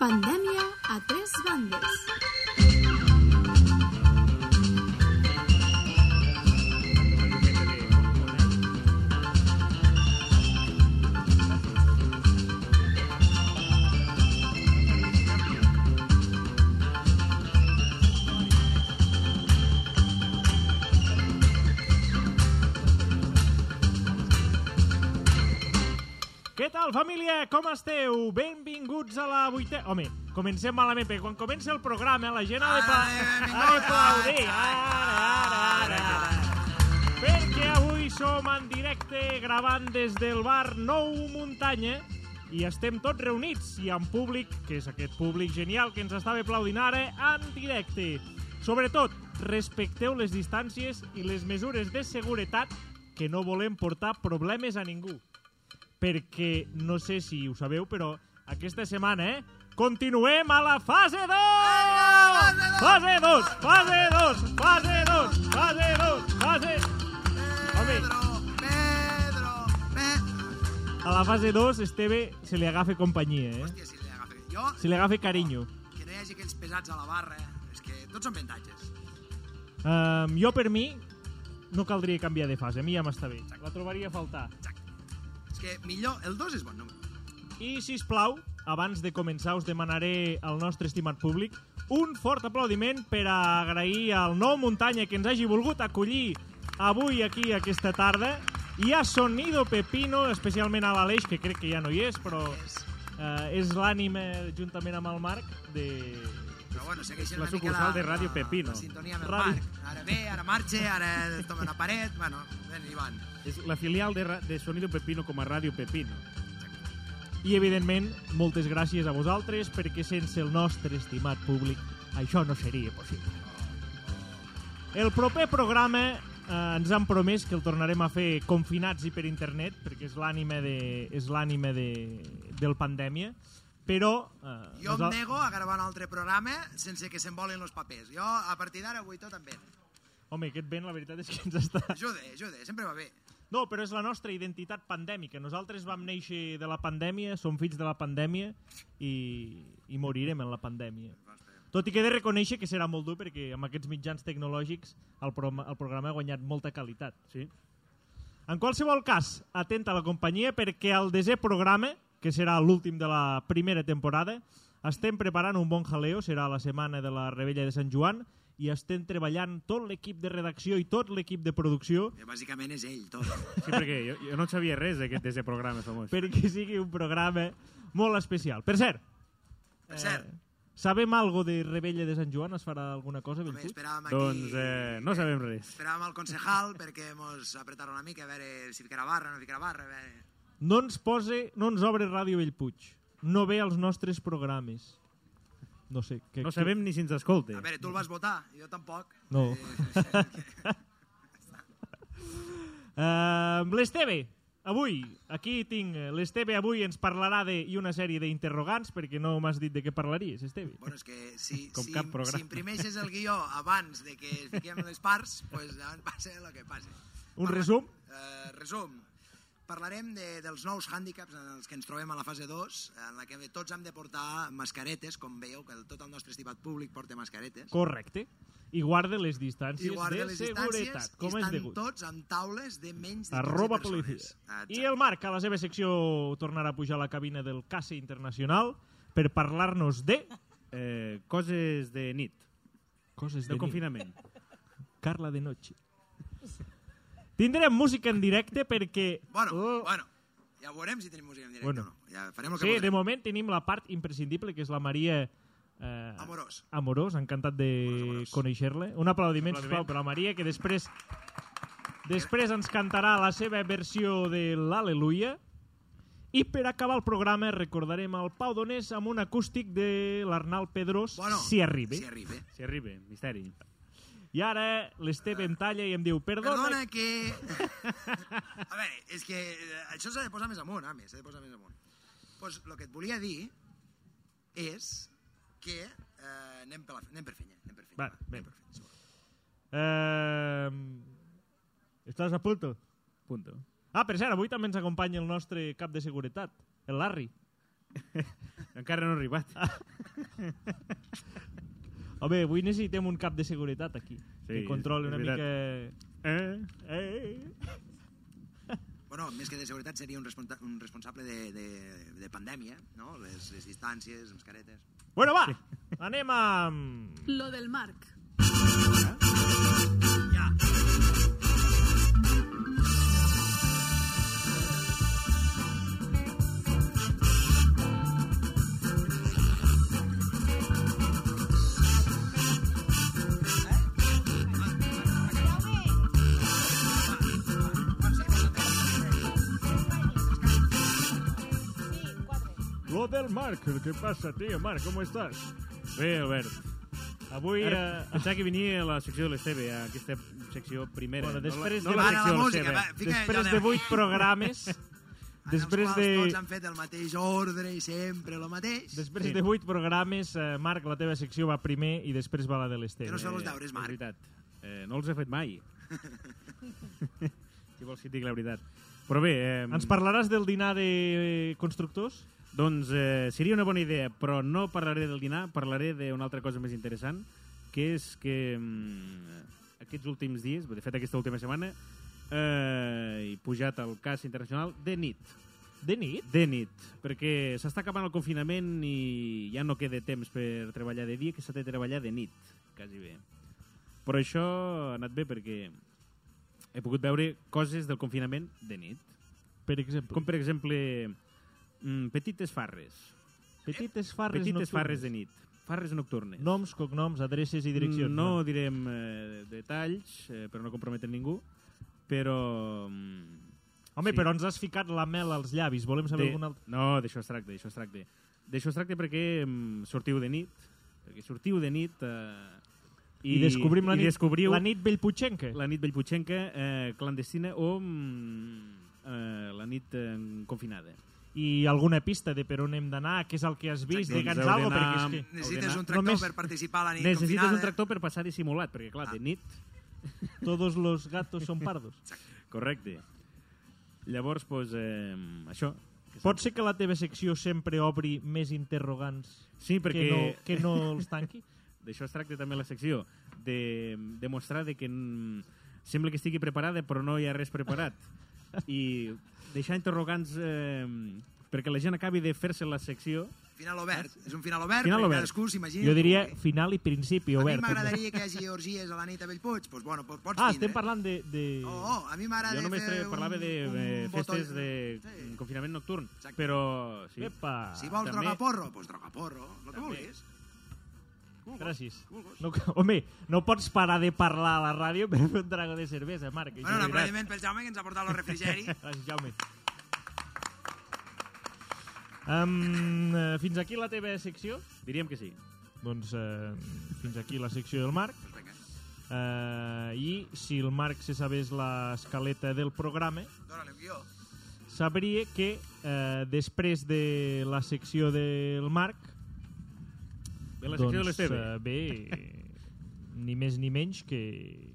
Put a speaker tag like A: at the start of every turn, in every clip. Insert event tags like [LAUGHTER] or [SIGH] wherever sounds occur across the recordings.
A: Pandèmia a tres bandes.
B: Què tal, família? Com esteu? Benvinguts a la vuitena... Home, comencem malament, perquè quan comença el programa la gent ha de... pla- Ha de plaudir. Ara, ara, ara, ara. Perquè avui som en directe gravant des del bar Nou Muntanya i estem tots reunits i en públic, que és aquest públic genial que ens estava aplaudint ara, en directe. Sobretot, respecteu les distàncies i les mesures de seguretat que no volem portar problemes a ningú perquè no sé si ho sabeu, però aquesta setmana, eh, continuem a la fase 2! Fase 2! Fase 2! Fase 2! Fase 2! Fase... Home,
C: Pedro, Pedro.
B: a la fase 2, Esteve se li agafa companyia, eh?
C: Hòstia, si li agafa. Jo,
B: Se li agafa carinyo.
C: que no hi hagi aquells pesats a la barra, eh? és que tots són avantatges.
B: Um, jo, per mi, no caldria canviar de fase. A mi ja m'està bé. La trobaria a faltar.
C: Exacte. És que millor, el 2 és bon número.
B: I, si us plau, abans de començar us demanaré al nostre estimat públic un fort aplaudiment per a agrair al Nou Muntanya que ens hagi volgut acollir avui aquí aquesta tarda i a Sonido Pepino, especialment a l'Aleix, que crec que ja no hi és, però
C: És,
B: eh, és l'ànime juntament amb el Marc de...
C: però bueno, segueix
B: La sucursal de Ràdio Pepino.
C: La, sintonia amb el
B: Ràdio-
C: Marc. Ara ve, ara marxa, ara toma una paret, bueno, ben i van.
D: Es la filial de, Ra- de Sonido Pepino com a Ràdio Pepino.
B: I, evidentment, moltes gràcies a vosaltres perquè sense el nostre estimat públic això no seria possible. El proper programa eh, ens han promès que el tornarem a fer confinats i per internet, perquè és l'ànime de, és l'ànime de, del pandèmia, però... Eh,
C: Jo em
B: nosal-
C: nego a gravar un altre programa sense que se'n volin els papers. Jo, a partir d'ara, avui tot em ven.
B: Home, aquest vent la veritat és que ens està...
C: Ajuda, ajuda, sempre va bé.
B: No, però és la nostra identitat pandèmica. Nosaltres vam néixer de la pandèmia, som fills de la pandèmia i, i morirem en la pandèmia. Tot i que he de reconèixer que serà molt dur perquè amb aquests mitjans tecnològics el, pro el programa ha guanyat molta qualitat.
D: Sí?
B: En qualsevol cas, atenta a la companyia perquè al desè programa, que serà l'últim de la primera temporada, estem preparant un bon jaleo, serà la setmana de la Revella de Sant Joan, i estem treballant tot l'equip de redacció i tot l'equip de producció
C: Eh, Bàsicament és ell, tot.
D: Sí, perquè jo, jo no en sabia res d'aquest d'aquest programa famós.
B: [LAUGHS] perquè sigui un programa molt especial. Per cert,
C: Per cert,
B: sabem algo de Rebella de Sant Joan? Es farà alguna cosa,
C: també
B: Bellpuig?
C: esperàvem aquí...
D: Doncs eh, no sabem res.
C: Esperàvem el concejal perquè mos apretaron una mica a veure si ficarà barra o no ficarà barra. A veure...
B: No ens pose, no ens obre Ràdio Bellpuig. No ve als nostres programes. No sé. Que,
D: No sabem ni si ens escolta.
C: A veure, tu el vas votar, jo tampoc.
B: No.
C: [LAUGHS] Eh,
B: Uh, L'Esteve, avui, aquí tinc... eh, L'Esteve avui ens parlarà de, i una sèrie d'interrogants, perquè no m'has dit de què parlaries, Esteve.
C: bueno, és que si,
B: [LAUGHS] [LAUGHS] Com
C: si,
B: cap programa.
C: si imprimeixes el guió abans de que es fiquem les parts, pues, doncs, llavors passa el que passa.
B: Un
C: Parla-
B: resum?
C: Eh, resum. Parlarem de, dels nous hàndicaps en els que ens trobem a la fase 2, en la que tots hem de portar mascaretes, com veieu, que el, tot el nostre estimat públic porta mascaretes.
B: Correcte. I guarda les distàncies
C: I guarda
B: de
C: les
B: seguretat,
C: distàncies
B: com
C: i
B: és
C: estan
B: degut.
C: tots amb taules de menys de 15
B: Arroba
C: persones.
B: policia.
C: Ah,
B: I el Marc, a la seva secció, tornarà a pujar a la cabina del Casa Internacional per parlar-nos de...
D: Eh, coses de nit,
B: Coses de
D: del
B: nit.
D: confinament.
B: [LAUGHS] Carla de noche. Tindrem música en directe perquè...
C: Bueno,
B: Oh.
C: bueno, ja veurem si tenim música en directe
B: Bueno.
C: bueno. o no. Ja farem el que
B: Sí, de
C: podrem.
B: moment tenim la part imprescindible, que és la Maria... Eh,
C: Amorós.
B: Amorós, encantat de
C: Amorós.
B: conèixer-la. Un aplaudiment, sisplau,
D: Aplaudiment.
B: per la Maria, que després després ens cantarà la seva versió de l'Aleluia. I per acabar el programa recordarem el Pau Donés amb un acústic de l'Arnal Pedrós,
C: Bueno,
B: si arriba.
C: Si arriba.
D: Si arriba, misteri.
B: I ara l'Esteve em talla i em diu, perdona,
C: Perdona
B: [LAUGHS]
C: que... A veure, és que eh, això s'ha de posar més amunt, home, s'ha de posar més amunt. Doncs pues, el que et volia dir és que eh, anem, per la, anem per fenya. Anem per fenya.
B: Va,
C: anem
B: vinga.
C: per fenya. segura.
B: Eh, estàs a punto?
D: Punto.
B: [LAUGHS] Ah, per cert, avui també ens acompanya el nostre cap de seguretat, el Larry.
D: Encara no he arribat.
B: [LAUGHS] Home, avui necessitem un cap de seguretat aquí. Sí, que
D: és-
B: controli
D: és
B: una mica... Eh? Eh? [LAUGHS]
C: Bueno, més que de seguretat seria un, responsa un responsable de, de, de pandèmia, no? Les, les distàncies, mascaretes...
B: Bueno, va, anem a...
A: Lo del Marc.
C: Ja!
B: Lo del Marc, què passa, tio? Marc, com estàs? Bé, Albert. Avui...
D: Ara,
B: Eh...
D: pensava que venia a la secció de l'Esteve, a aquesta secció primera.
B: Bueno, després
D: no
B: de-
D: la,
C: Ara Ah, la
D: secció de
C: música,
D: l'Esteve.
C: va. Fica
B: Després
C: allò
B: de
C: de-
B: vuit
C: [LAUGHS]
B: programes,
C: En
B: [LAUGHS] després
C: els quals
B: de...
C: tots han fet el mateix ordre i sempre el mateix.
B: Després de vuit programes, eh, Marc, la teva secció va primer i després va la de l'Esteve.
C: Que no sé- Són els
D: Eh,
C: deures, Marc.
D: És veritat. Eh, no els he fet
C: [LAUGHS]
D: mai. si vols que et digui la veritat. Però bé... Eh,
B: Ens parlaràs del dinar de constructors?
D: Doncs eh, seria una bona idea, però no parlaré del dinar, parlaré d'una altra cosa més interessant, que és que mm, aquests últims dies, de fet aquesta última setmana, eh, he pujat al cas internacional de nit.
B: De nit?
D: De nit, perquè s'està acabant el confinament i ja no queda temps per treballar de dia, que s'ha de treballar de nit, quasi bé. Però això ha anat bé perquè he pogut veure coses del confinament de nit.
B: Per exemple.
D: Com, per exemple, mm, petites farres.
B: Petites farres
D: petites
B: nocturnes.
D: farres de nit. Farres nocturnes.
B: Noms, cognoms, adreces i direccions.
D: No direm eh, detalls, eh, per no comprometre ningú, però... mm,
B: Home,
D: sí.
B: però ens has ficat la mel als llavis. Volem saber
D: de-
B: algun altre...
D: No, d'això es tracta, d'això es tracta. D'això es tracta perquè mm, sortiu de nit, perquè sortiu de nit eh,
B: I, descobrim la
D: i
B: nit,
D: descobriu
B: la nit Bellputxenca. La...
D: la nit Bellputxenca eh, clandestina o mm, eh, la nit eh, confinada.
B: I alguna pista de per on hem d'anar, què és el que has vist,
C: Exacte.
B: digue'ns
D: Doncs heu
B: alguna
D: d'anar
B: perquè és que...
C: Necessites
D: Haurien-
C: un tractor
B: només
C: per participar a la nit
D: Necessites
C: confinada. Ah.
D: un tractor per passar dissimulat, perquè clar, de
C: [LAUGHS]
D: nit...
B: Todos los gatos son pardos.
D: Correcte. Llavors, doncs, eh, això. Que
B: Pot ser que la teva secció sempre obri més interrogants
D: Sí, perquè
B: que, no, que no els tanqui?
D: d'això es tracta també la secció, de demostrar de que mm, [LAUGHS] sembla que estigui preparada però no hi ha res preparat. I deixar interrogants eh, perquè la gent acabi de fer-se la secció.
C: Final obert. És un final obert,
D: Final
C: final
D: obert.
C: obert. cadascú s'imagina...
B: Jo diria final i principi
C: A mi
B: obert.
C: m'agradaria que
B: [LAUGHS]
C: hi hagi orgies a la nit a Bellpuig. Doncs, pues bueno, pues pots
B: Ah,
C: tindre.
B: estem parlant de... de...
C: Oh, oh, a mi m'agrada
D: Jo només
C: fer
D: tre- parlava de
C: un,
D: eh,
C: un
D: festes
C: botó-
D: de
C: Sí.
D: confinament nocturn,
C: Exacte.
D: però... Sí.
B: Epa!
C: Si vols
D: també-
C: droga porro, doncs pues droga porro. El que vulguis.
B: Gràcies.
C: Vulguis.
B: No, home, no pots parar de parlar a la ràdio per fer un trago de cervesa, Marc. això és
C: Bueno, un
B: veritat.
C: aplaudiment pel Jaume, que ens ha portat el
D: [LAUGHS]
C: refrigeri.
B: [LAUGHS] Gràcies, Jaume. Um, eh, fins aquí la teva secció.
D: Diríem que sí.
B: Doncs eh, fins aquí la secció del Marc.
C: pues vinga,
B: Eh, I si el Marc se sabés l'escaleta del programa,
C: dóna-li un guió.
B: sabria que eh, després de la secció del Marc...
D: Bé, la secció de
B: doncs,
D: l'Esteve.
B: eh,
D: [LAUGHS]
B: bé, ni més ni menys que...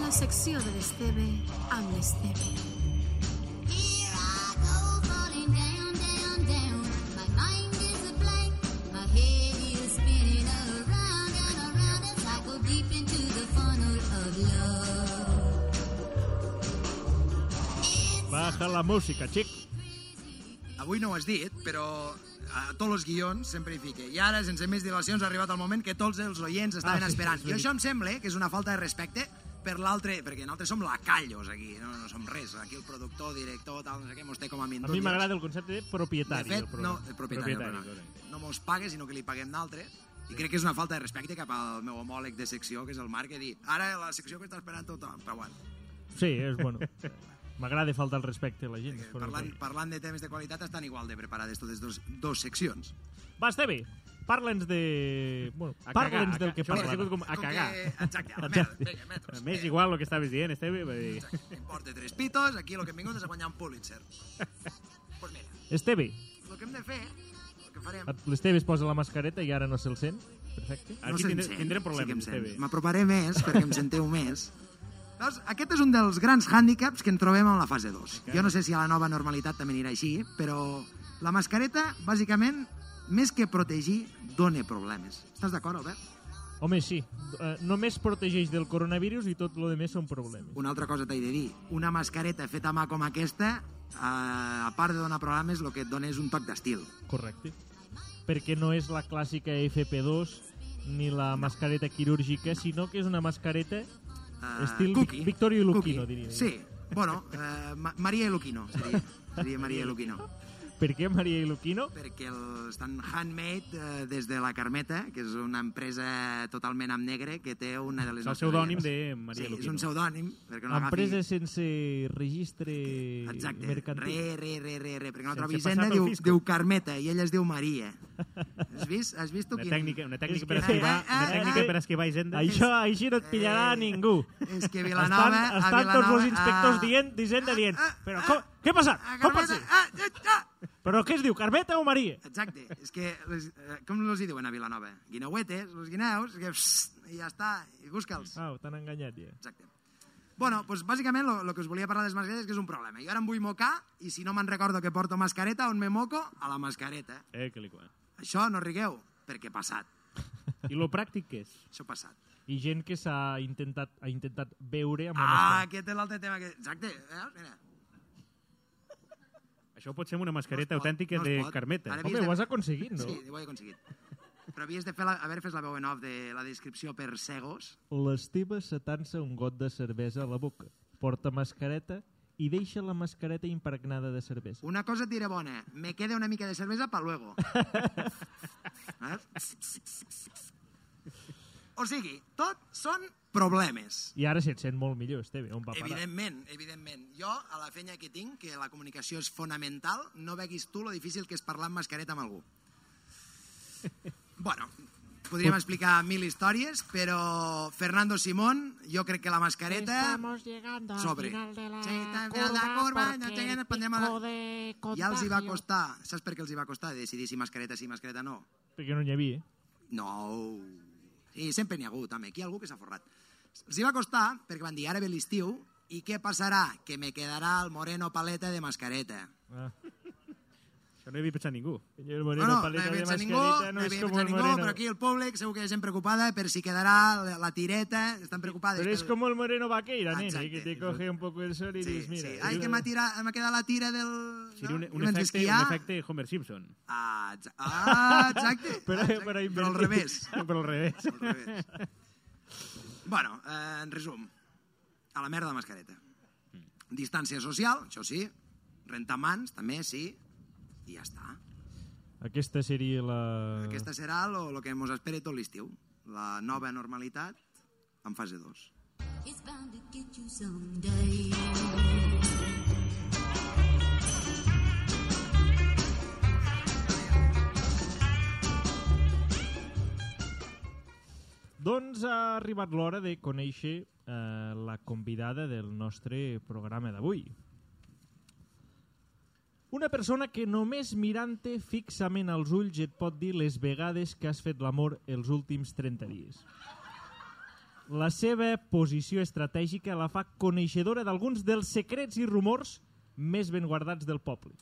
A: La secció de l'Esteve amb l'Esteve.
E: Here I go falling down, down, down. My mind is a blank. My head is spinning around and around as I go deep into the funnel of love.
B: Baja la música, xic.
C: Avui no ho has dit, però eh, a tots els guions sempre hi fica. I ara, sense més dilacions, ha arribat el moment que tots els oients estaven
B: Ah,
C: ah,
B: sí,
C: sí, esperant.
B: és
C: I
B: veritat.
C: això em sembla que és una falta de respecte per l'altre, perquè nosaltres som lacallos aquí, no, no som res. Aquí el productor, director, tal, no sé què, mos té com a
B: A
C: mindut.
B: mi m'agrada el concepte de propietari.
C: De fet,
B: del
C: no,
B: programa.
C: el propietari.
D: Propietari,
C: propietari no mos paga, sinó que li paguem d'altres. I crec que és una falta de respecte cap al meu homòleg de secció, que és el Marc, que dir, ara la secció que està esperant tothom, però bueno.
B: Sí, és
C: [LAUGHS]
B: bueno. M'agrada faltar el respecte a la gent. però
C: Eh, Parlant,
B: bé.
C: parlant de temes de qualitat, estan igual de preparades totes dos, dos seccions.
B: Va, Esteve, parla'ns de... Bueno,
D: A cagar,
B: parla'ns
D: a
B: del
D: ca-
B: que
D: això ha sigut
B: parlarem.
D: com a cagar.
C: Que, exacte,
B: [LAUGHS]
C: a la merda. Vinga, metros.
D: M'és igual el que estaves dient, Esteve. va dir-
C: Importa tres pitos, aquí el que hem vingut és a guanyar un Pulitzer. pues mira,
B: Esteve,
C: el que hem de fer, el que farem...
B: et- l'Esteve es posa la mascareta i ara no se'l sent. Perfecte.
D: Aquí
C: se'n
D: tindre-
C: sent.
D: tindrem
C: Sí que em
D: problemes,
C: sent.
D: Esteve.
C: M'aproparé més perquè em senteu més. Llavors, aquest és un dels grans hàndicaps que en trobem en la fase 2. Jo no sé si a la nova normalitat també anirà així, però la mascareta, bàsicament, més que protegir, dona problemes. Estàs d'acord, Albert?
B: Home, sí. Eh, només protegeix del coronavirus i tot lo de més són problemes.
C: Una altra cosa t'he de dir. Una mascareta feta a mà com aquesta, eh, a part de donar problemes, el que et dona és un toc d'estil.
B: Correcte. Perquè no és la clàssica FP2 ni la mascareta quirúrgica, sinó que és una mascareta
C: Eh,
B: Estil
C: cookie.
B: Vic- Victorio Luquino,
C: Cookie.
B: diria jo.
C: Sí, bueno, eh, Ma Maria i Luquino, seria, seria Maria i Luquino.
B: Per què Maria i Luquino?
C: perquè el, estan handmade eh, des de la Carmeta, que és una empresa totalment amb negre que té una de
D: És
C: les...
D: el
C: nostres
D: pseudònim
C: líderes.
D: de Maria
C: sí,
D: Luquino.
C: és un pseudònim, perquè no
B: Empresa
C: l'agafi...
B: sense registre
C: Exacte,
B: mercantil.
C: re, re, re, re, re, perquè no
D: Sense
C: trobi
D: passar
C: Hisenda,
D: pel
C: diu,
D: fisco.
C: diu Carmeta, i ella es diu Maria. Has vist? Has vist tu
D: Una
C: quin...
D: tècnica, una
B: És
D: tècnica
B: que-
D: per esquivar,
C: Ah, ah,
D: una tècnica
C: ah.
D: per esquivar Hisenda.
B: Això, així no et pillarà
C: Eh,
B: ningú.
C: és que Vilanova-
B: Estan,
C: a
B: estan tots
C: Vilanova-
B: els inspectors
C: a-
B: dient, d'Hisenda dient,
C: Ah, ah,
B: però
C: ah,
B: com, què ha passat?
C: Ah,
B: Com pot
C: Carmeta,
B: ser?
C: ah, ah, ah!
B: Però què es diu, Carmeta o Maria?
C: Exacte, és que, les, eh, com els hi diuen a Vilanova? Guineuetes, els guineus, que psst, i ja està, i busca'ls.
B: Au, t'han enganyat ja.
C: Exacte. Bueno, doncs bàsicament el que us volia parlar de les mascaretes és que és un problema. Jo ara em vull mocar i si no me'n recordo que porto mascareta, on me moco? A la mascareta.
D: Eh, que li quan.
C: Això no rigueu, perquè passat.
D: I lo pràctic que és?
C: Això passat.
B: I gent que s'ha intentat, ha intentat veure amb una
C: Ah,
B: mascareta.
C: aquest és l'altre tema. Que... Exacte, veus? Mira.
D: Això pot ser amb una mascareta
C: No es pot,
D: autèntica
C: no es
D: de
C: pot.
D: Carmeta.
C: Ara-
B: Home, ho has aconseguit,
C: No.
B: no?
C: Sí, ho he aconseguit. Però havies de fer la, haver fet la veu en off de la descripció per cegos.
B: L'Esteve s'atansa un got de cervesa a la boca, porta mascareta i deixa la mascareta impregnada de cervesa.
C: Una cosa et diré bona, me queda una mica de cervesa
B: [LAUGHS]
C: pa luego. Saps? o sigui, tot són [LAUGHS] problemes.
B: I ara se't sent molt millor, Esteve, on va parar?
C: Evidentment, evidentment. Jo, a la fenya que tinc, que la comunicació és fonamental, no veguis tu lo difícil que és parlar amb mascareta amb
B: [LAUGHS]
C: algú. bueno, podríem explicar mil històries, però Fernando Simón, jo crec que la mascareta...
F: Estamos llegando al
C: sobre.
F: final de la
C: Sí, estamos
F: curva,
C: llegando a la curva, no
F: porque
C: te-
F: el
C: nos pondremos
F: pico
C: la-
F: de
C: Ja els hi va
F: contagio-
C: costar, saps per què els hi va costar decidir si mascareta sí, mascareta no?
B: Perquè no n'hi havia. eh?
C: No. Sí, sempre n'hi ha hagut, home. Aquí hi ha algú que s'ha forrat. Els hi va costar perquè van dir, ara ve l'estiu, i què passarà? Que me quedarà el moreno paleta de mascareta.
B: Ah.
D: Això no hi havia pensat ningú.
B: Señor
C: No,
B: Moreno,
C: no, no
B: paleta
C: he
B: de mascarita
C: pensat ningú, no
B: no
C: he
B: es
C: pensat
B: como el
C: ningú,
B: Moreno.
C: però aquí el públic segur que és gent preocupada per si quedarà la, la tireta, estan preocupades.
B: Pero es
C: pel-
B: como el Moreno Vaqueira, nene,
C: Exacte.
B: eh, que te coge un poco el sol y
C: Sí,
B: dices, mira...
C: sí. Ai, que m'ha tira- m'ha quedat la tira del...
D: Seria un,
C: no?
D: un,
C: Vaig
D: efecte,
C: esquiar.
D: un efecte Homer Simpson.
C: Ah, exa- ah, exacte.
B: [LAUGHS] Però-
C: exacte.
B: però invertit.
C: però
B: [LAUGHS]
C: al revés.
D: Però al revés.
C: Al revés. bueno, eh, en resum, a la merda de mascareta.
B: Mm.
C: Distància social, això sí, rentar mans, també, sí, i ja
B: Ah.
C: està.
B: Aquesta seria la...
C: Aquesta serà el que ens espera tot l'estiu, la nova normalitat en fase 2.
E: It's bound to get you someday.
B: Doncs ha arribat l'hora de conèixer eh, la convidada del nostre programa d'avui. Una persona que només mirant-te fixament als ulls et pot dir les vegades que has fet l'amor els últims 30 dies. La seva posició estratègica la fa coneixedora d'alguns dels secrets i rumors més ben guardats del poble.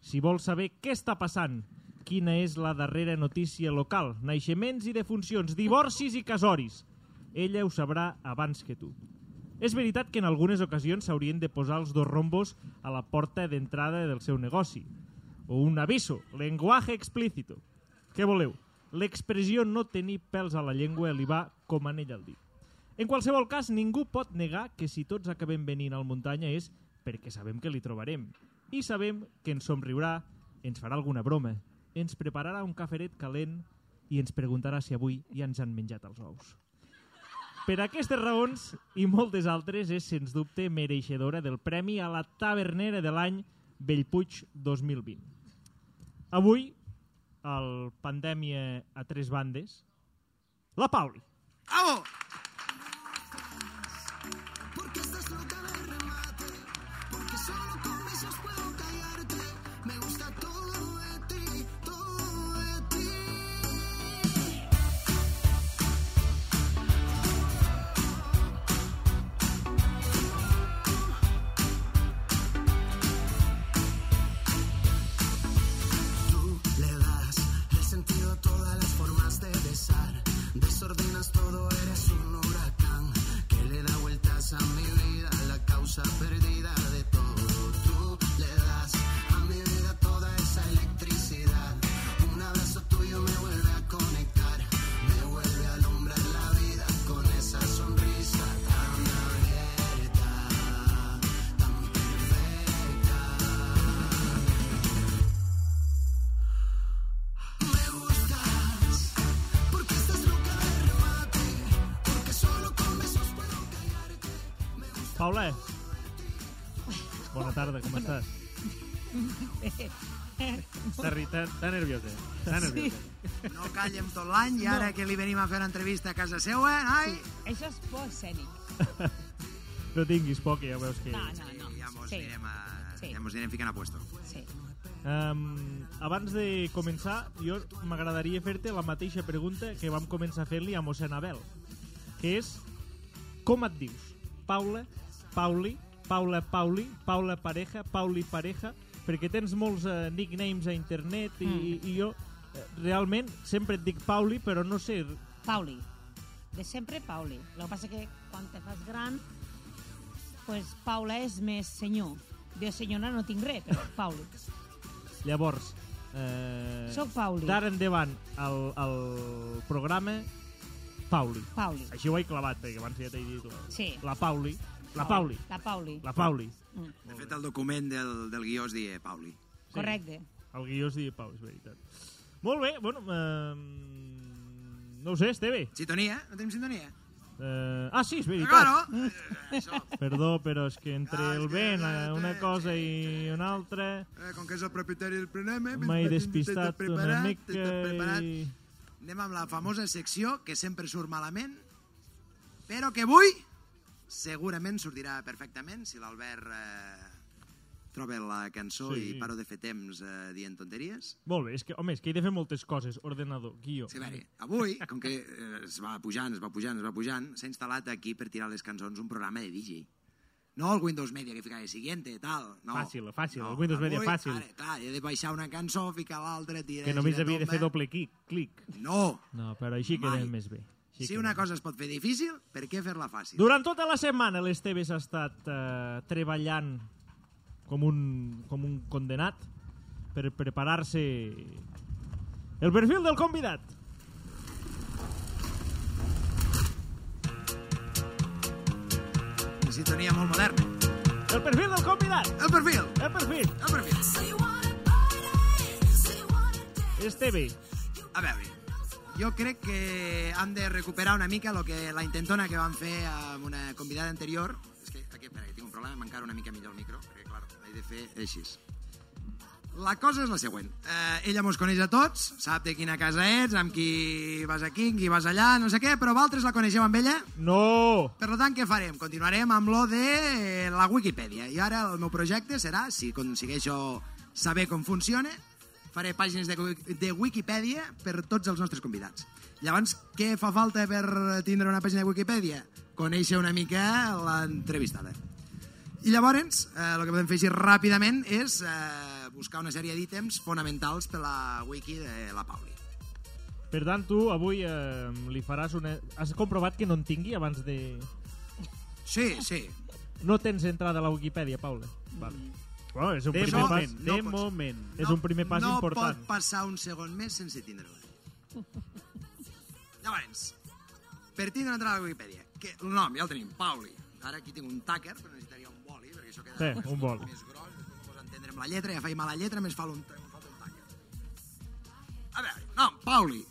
B: Si vols saber què està passant, quina és la darrera notícia local, naixements i defuncions, divorcis i casoris, ella ho sabrà abans que tu. És veritat que en algunes ocasions s'haurien de posar els dos rombos a la porta d'entrada del seu negoci. O un aviso, lenguaje explícito. Què voleu? L'expressió no tenir pèls a la llengua li va com anell al dit. En qualsevol cas, ningú pot negar que si tots acabem venint al muntanya és perquè sabem que li trobarem. I sabem que ens somriurà, ens farà alguna broma, ens prepararà un caferet calent i ens preguntarà si avui ja ens han menjat els ous. Per aquestes raons i moltes altres és, sens dubte, mereixedora del Premi a la Tavernera de l'any Bellpuig 2020. Avui, al Pandèmia a tres bandes, la Pauli.
C: Au!
E: Porque solo con besos puedo callarte. Me gusta todo de ti, todo de ti.
B: Paula, bona tarda, com estàs?
D: Està,
B: eh,
D: ri- està, està nerviosa. Està nerviosa.
C: No eh, callem tot l'any i ara que li venim a fer una entrevista a casa seva, noi,
F: Això és por escènic.
B: No tinguis por, que ja veus que...
F: No, no, no.
C: ja mos
F: sí.
C: anirem, a,
F: Sí.
C: ja mos anirem ficant a puesto.
F: Sí.
B: Um, abans de començar, jo m'agradaria fer-te la mateixa pregunta que vam començar fent-li a mossèn Abel, que és com et dius? Paula, Pauli, Paula Pauli, Paula Pareja, Pauli Pareja, perquè tens molts uh, nicknames a internet i, mm. i jo eh, realment sempre et dic Pauli, però no sé...
F: Pauli. De sempre Pauli. Lo que passa que quan te fas gran, pues Paula és més senyor. De senyora no tinc res, però Pauli.
B: Llavors, eh,
F: Soc Pauli.
B: d'ara endavant el, el programa Pauli.
F: Pauli.
B: Així ho he clavat, perquè abans ja t'he dit la,
F: Sí.
B: la Pauli. La Pauli.
F: La Pauli.
B: La Pauli.
F: Mm.
C: De fet, el document del, del guió es diu Pauli.
F: Correcte.
B: El guió es diu Pau, és veritat. Molt bé, bueno... Eh, no ho sé, Esteve.
C: Sintonia? No tenim sintonia?
B: Eh, ah, sí, és veritat. Ah.
C: Claro! Eh, Això.
B: Perdó, però és que entre
C: Ah, és
B: el
C: que-
B: vent, eh, una cosa i una altra,
C: Eh, com que és el propietari del prenema...
B: m'he despistat una mica i...
C: Anem amb la famosa secció que sempre surt malament, però que avui segurament sortirà perfectament si l'Albert eh, troba la cançó
B: Sí.
C: sí. i paro de fer temps eh, dient tonteries.
B: Molt bé, és que, home, és que he de fer moltes coses. Ordenador, guió.
C: Sí, a veure, avui, com que eh, es va pujant, es va pujant, es va pujant, s'ha instal·lat aquí per tirar les cançons un programa de DJ. No el Windows Media que ficava siguiente, tal. No.
D: Fàcil, fàcil, el Windows Media fàcil.
C: Ara, clar, he de baixar una cançó, ficar l'altra, tirar...
D: Que només
C: girar
D: havia de fer
C: tomba.
D: doble clic. clic.
C: No!
B: No, però així
C: Mai.
B: quedem més bé. Així
C: Si
B: quedem
C: una cosa es pot fer difícil, per què fer-la fàcil?
B: Durant tota la setmana l'Esteve s'ha estat eh, treballant com un, com un condenat per preparar-se el perfil del convidat.
C: Una sintonia molt moderna.
B: El perfil del convidat!
C: El perfil!
B: El perfil!
C: El perfil!
B: Esteve,
C: A veure, jo crec que hem de recuperar una mica el que la intentona que vam fer amb una convidada anterior. És que, aquí, espera, que tinc un problema, m'encara una mica millor el micro, perquè, clar, he de fer així. La cosa és la següent. Eh, ella mos coneix a tots, sap de quina casa ets, amb qui vas aquí, amb qui vas allà, no sé què, però vosaltres la coneixeu amb ella?
B: no!
C: Per tant, què farem? Continuarem amb lo de eh, la Wikipedia. I ara el meu projecte serà, si aconsegueixo saber com funciona, faré pàgines de, wi- de Wikipedia per tots els nostres convidats. Llavors, què fa falta per tindre una pàgina de Wikipedia? Conèixer una mica l'entrevistada. I llavors, eh, el que podem fer així ràpidament és eh, buscar una sèrie d'ítems fonamentals per la wiki de la Pauli.
B: Per tant, tu avui eh, li faràs una... Has comprovat que no en tingui abans de...
C: Sí, sí.
B: No tens entrada a la Wikipeàdia, Paula. Vale. Bueno, és un
D: De
B: primer
D: moment,
B: pas,
D: de
B: no pots-
D: moment.
B: És un primer pas
C: no
B: important.
C: No pot passar un segon més sense
B: [LAUGHS]
C: tindre-la. Llavors, per tindre entrar a la Wikipedia, que el nom ja el tenim, Pauli. Ara aquí tinc un tàquer, però necessitaria un boli, perquè això queda
B: Sí, un bol.
C: més gros, després no entendre amb la lletra, ja faig mala lletra, més falta un, falta un tàquer. A veure, nom, Pauli.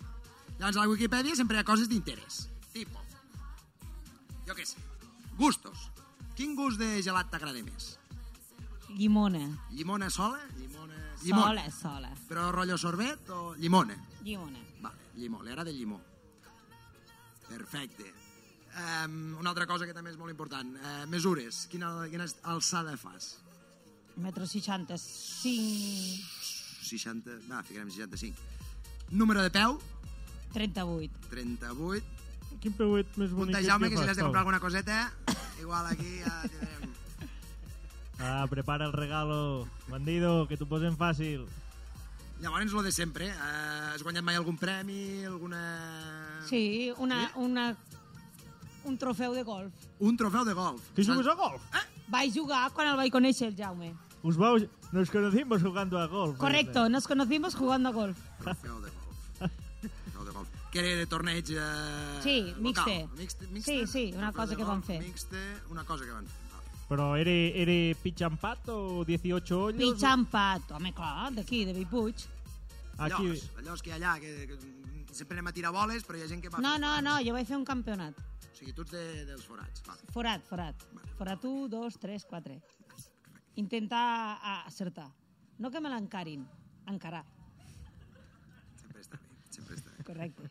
C: Llavors, a la Wikipedia sempre hi ha coses d'interès. Tipo, jo què sé, gustos. Quin gust de gelat t'agrada més?
F: Llimona.
C: Llimona sola? Llimona...
F: Sola, sola.
C: Però rotllo sorbet o llimona?
F: Llimona.
C: Vale, llimó, l'era de llimó. Perfecte. Um, una altra cosa que també és molt important. Uh, mesures. Quina, quina alçada fas?
F: Metro 65,
C: 60... Va, ficarem 65. Número de peu,
F: 38.
C: 38.
B: Quin peuet més bonic
C: Puntejau-me que si
B: fas,
C: l'has de comprar
B: Paula.
C: alguna coseta, igual aquí ja tindrem...
B: Ah, prepara el regalo, bandido, que t'ho posen fàcil.
C: Llavors, lo de sempre. Uh, has guanyat mai algun premi, alguna...
F: Sí, una, una, un trofeu de golf.
C: Un trofeu de golf. Ah.
B: Que jugues a golf?
F: Vaig jugar quan el vaig conèixer, el Jaume.
B: Us vau... Nos conocimos jugando a golf.
F: Correcto,
C: [LAUGHS]
F: nos conocimos jugando a golf.
C: Trofeu de golf. Trofeu de golf. Que era de torneig eh,
F: Sí,
C: local.
F: mixte.
C: mixte.
F: Sí, sí, una
C: Trofeu
F: cosa
C: de
F: que
C: golf,
F: van fer.
C: Mixte, una cosa que van fer. Vale.
B: Però ere, ere pitch and pat o 18 hoyos?
F: Pitch empat. Home, clar, d'aquí, de Bellpuig.
B: Aquí...
C: Allò, allò és que hi ha allà, que, que sempre anem a tirar boles, però hi ha gent que va...
F: No,
C: fer-
F: no, no, jo vaig fer un campionat.
C: sigui, tu ets de, dels forats. Vale.
F: Forat, forat. Forat 1, 2, 3, 4. Intenta a- acertar. No que me l'encarin, encarar.
C: Sempre està bé, sempre està bé.
F: Correcte.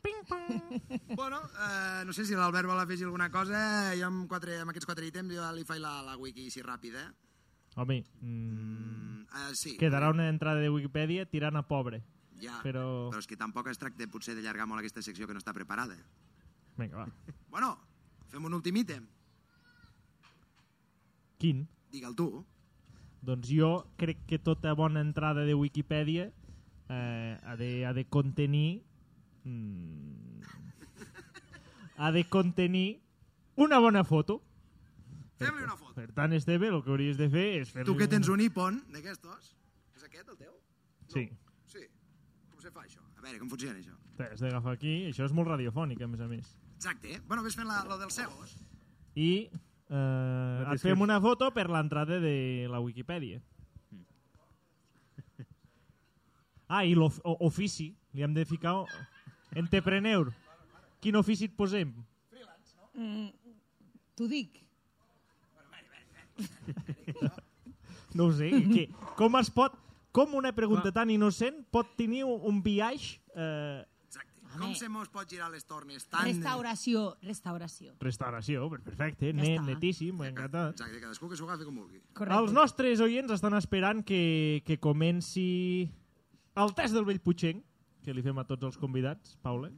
F: [LAUGHS]
C: bueno, eh, no sé si l'Albert vol afegir alguna cosa. Eh, Jo amb, quatre, amb aquests quatre ítems jo li faig la, la wiki així ràpida.
B: Home, mm,
C: Eh, sí,
B: quedarà una entrada de Wikipedia tirant a pobre.
C: ja,
B: però-
C: però és que tampoc es tracta potser d'allargar molt aquesta secció que no està preparada.
B: Vinga, va.
C: Bueno, fem un últim ítem.
B: Quin?
C: Digue'l tu.
B: Doncs jo crec que tota bona entrada de Wikipedia eh, ha, de, ha de contenir... Mm, ha de contenir una bona foto.
C: Fem-li una foto.
B: Per tant, Esteve, el que hauries de fer és fer
C: Tu que tens un iPhone d'aquestos, és aquest el teu?
B: Sí,
C: Sí. Com se fa això? A veure, com funciona això?
B: t'has d'agafar aquí. Això és molt radiofònic, a més a més.
C: Exacte. Eh? Bueno, vés fent la, lo dels cegos.
B: I eh, et fem una foto per l'entrada de la [LAUGHS] Wikipedia. Ah, i l'ofici. Li hem de ficar... o- Entrepreneur. Quin ofici et posem?
F: Mm, T'ho dic.
B: No ho sé. Que, [LAUGHS] com es pot... Com una pregunta tan innocent pot tenir un biaix eh,
C: Exacte.
F: Home.
C: Com se mos pot girar les tornes tan...
F: Restauració, restauració.
B: restauració? Perfecte,
F: Ja
B: net,
F: està.
B: netíssim, m'ha encantat.
C: Exacte, cadascú que s'ho agafi com vulgui.
F: Correcte.
B: Els nostres oients estan esperant que, que comenci el test del vell Puigcenc, que li fem a tots els convidats, Paula.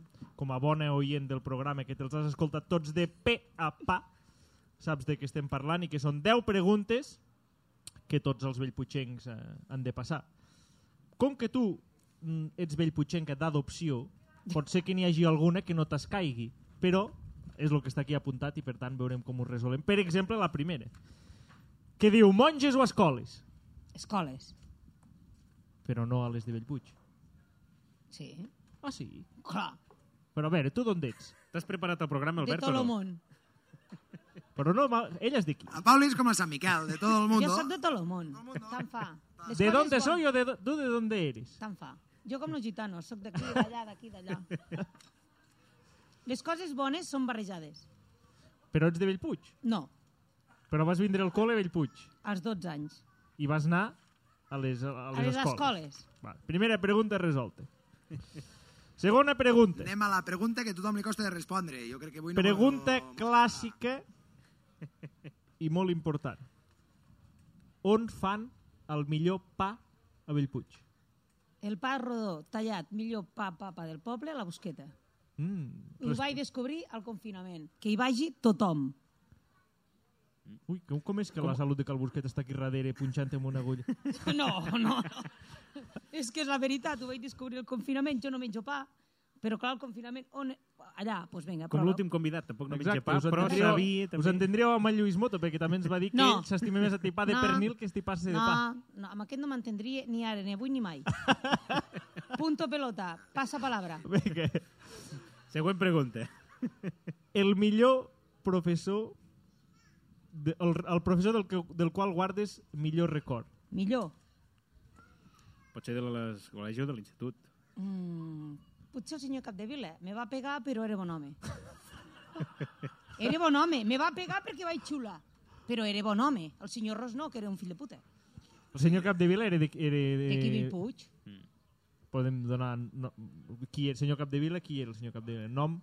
B: Com a bona oient del programa, que te'ls has escoltat tots de pe a pa, saps de què estem parlant i que són 10 preguntes que tots els vellputxencs eh, han de passar. Com que tu mm, ets vellputxenca d'adopció, pot ser que n'hi hagi alguna que no t'escaigui, però és el que està aquí apuntat i per tant veurem com ho resolem. Per exemple, la primera, que diu monges o escoles,
F: Escoles.
B: però no a les de Bellpuig.
F: Sí.
B: Ah, sí?
F: Clar.
B: Però a veure, tu d'on ets?
D: T'has preparat el programa,
F: De
D: Albert,
F: tot el
D: o no?
F: món.
B: Però no, ma- ella és d'aquí.
C: El Pauli és com el Sant Miquel, de tot el món.
F: Jo soc de tot el món.
C: Del mundo.
F: Tant fa. Les
B: De
F: coses
B: d'on
F: bones-
B: soy o de, do- tu de d'on eres?
F: Tant fa. Jo com los gitanos, sóc d'aquí, d'allà, d'aquí, d'allà.
B: [LAUGHS]
F: Les coses bones són barrejades.
B: Però ets de Bellpuig.
F: No,
B: Però vas vindre al col·le a Bellpuig.
F: als 12 anys.
B: i vas anar a les, a les,
F: A les
B: escoles.
F: escoles.
B: Val. Primera pregunta resolta. Segona pregunta.
C: Anem a la pregunta que a tothom li costa de respondre. Jo crec que avui no...
B: Pregunta
C: no-
B: clàssica i molt important. On fan el millor pa a Bellpuig?
F: El pa rodó, tallat, millor pa, papa del poble, la busqueta.
B: Mm.
F: Ho
B: res-
F: vaig descobrir al confinament. Que hi vagi tothom.
B: Ui, com, com és que la salut de Calbusquet està aquí darrere punxant amb una agulla?
F: No, no, no. És que és la veritat, ho vaig descobrir al confinament. Jo no menjo pa, però clar, al confinament, on... allà, doncs vinga,
D: [LAUGHS] Com
F: prova.
D: l'últim convidat, tampoc no menja pa,
B: us
D: però
B: entendríeu-
D: sabia...
B: us
D: També...
B: entendríeu amb el Lluís Moto, perquè també ens va dir que
F: No.
B: ell s'estima més a tipar de
F: No.
B: pernil que estipar-se de
F: no,
D: [LAUGHS]
B: pa.
F: No, amb aquest no m'entendria ni ara, ni avui, ni
B: [LAUGHS]
F: mai. Punto pelota, passa palabra.
B: Vinga.
D: Següent pregunta. [LAUGHS]
B: el millor professor de, el, el professor del, que, del qual guardes millor record.
F: Millor.
D: Pot ser de les col·legi o de l'institut.
F: Mm, potser el senyor Capdevila eh? me va pegar, però era bon home. Era bon home, me va pegar perquè vaig xula. Però era bon home. El senyor Ros no, que era un fill de puta.
B: El senyor Capdevila era de... Era de,
F: De Quivi Puig.
B: mm. Podem donar... No, qui era el senyor Capdevila? Qui era el senyor Capdevila? Nom?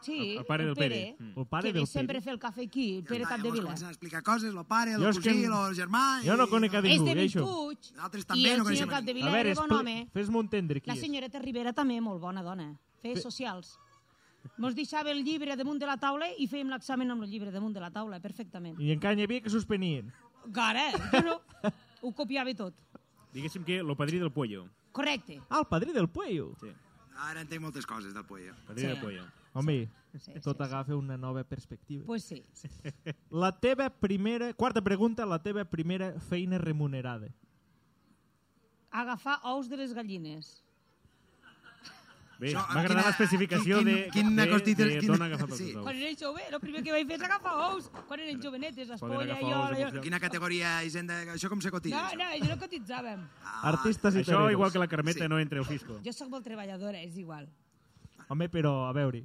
F: Sí,
D: El- el pare del Pere. Mm.
B: El pare
F: que ve
B: del
F: sempre
B: Pere.
F: a fer el cafè aquí, el Pere
C: Ah, llavors
F: Capdevila.
C: comencen a explicar coses, lo pare, lo
B: Jo és
C: cosí,
B: que
C: que...
B: en-
C: lo germà...
B: Jo no conec a
F: És
B: ningú,
F: de
B: eh, això.
F: Puig.
C: Nosaltres
F: I
C: també
F: el
C: no
F: senyor
C: coneixem a ningú.
F: Capdevila era bon
B: expli-
F: home.
B: fes-m'ho entendre qui
F: La senyoreta Rivera també, molt bona dona. Feia socials. Mos deixava el llibre damunt de la taula i fèiem l'examen amb el llibre damunt de la taula, perfectament.
B: és. I encara n'hi havia que suspenien.
F: Gara, eh? jo no. Ho copiava tot.
D: Diguéssim que lo padrí del pollo.
F: Correcte.
B: Ah, el padrí del Pueyo.
D: Sí,
C: Ara entenc moltes coses del Pueyo.
D: padrí
F: Sí.
D: del pollo.
B: Home,
F: Sí, sí,
B: tot
F: sí.
B: agafa una nova perspectiva.
F: Pues sí.
B: La teva primera... Quarta pregunta, la teva primera feina remunerada.
F: Agafar ous de les gallines.
D: Bé,
C: Això,
D: m'ha agradat
C: quina-
D: l'especificació
C: quin-
D: de,
C: quina
D: de, de,
C: constitu- quina-
D: d'on ha agafat els
C: sí.
D: ous.
F: Quan era jove, el primer que vaig fer és agafar ous. Quan eren jovenetes, espolla,
D: agafar
F: Eh, jo...
D: ous a
F: jo...
D: funció.
C: Quina categoria, Hisenda? Això com se cotilla,
F: No, no,
C: això?
F: jo no cotitzàvem.
C: Ah,
B: Artistes i
D: Això,
B: toreros.
D: igual que la Carmeta,
C: Sí.
D: no entra al fisco.
F: Jo sóc molt treballadora, és igual.
B: Home, però, a veure,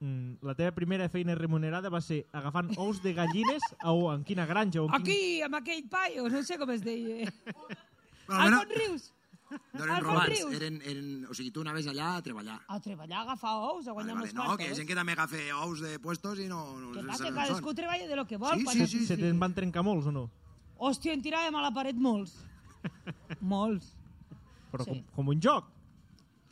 B: mm, la teva primera feina remunerada va ser agafant ous de gallines a, o en quina granja o en quin...
F: Aquí, amb aquell paio, no sé com es deia.
C: Però almenys-
F: Alfons Rius.
C: No eren
F: Alfons
C: romans,
F: Rius.
C: eren, eren... O sigui, tu anaves allà a treballar.
F: A treballar, a agafar ous, a guanyar
C: vale,
F: uns
C: no, que hi ha
F: quartos.
C: gent que també agafa ous de puestos i no... no
F: Que va,
C: saben
F: que
C: on
F: cadascú
C: són.
F: treballa de lo que vol.
C: Sí,
F: quan
C: sí,
F: es-
C: sí,
B: Se te'n van trencar molts o no?
F: Hòstia, en tiràvem a la paret molts. molts.
B: Però
F: Sí.
B: com, com un joc.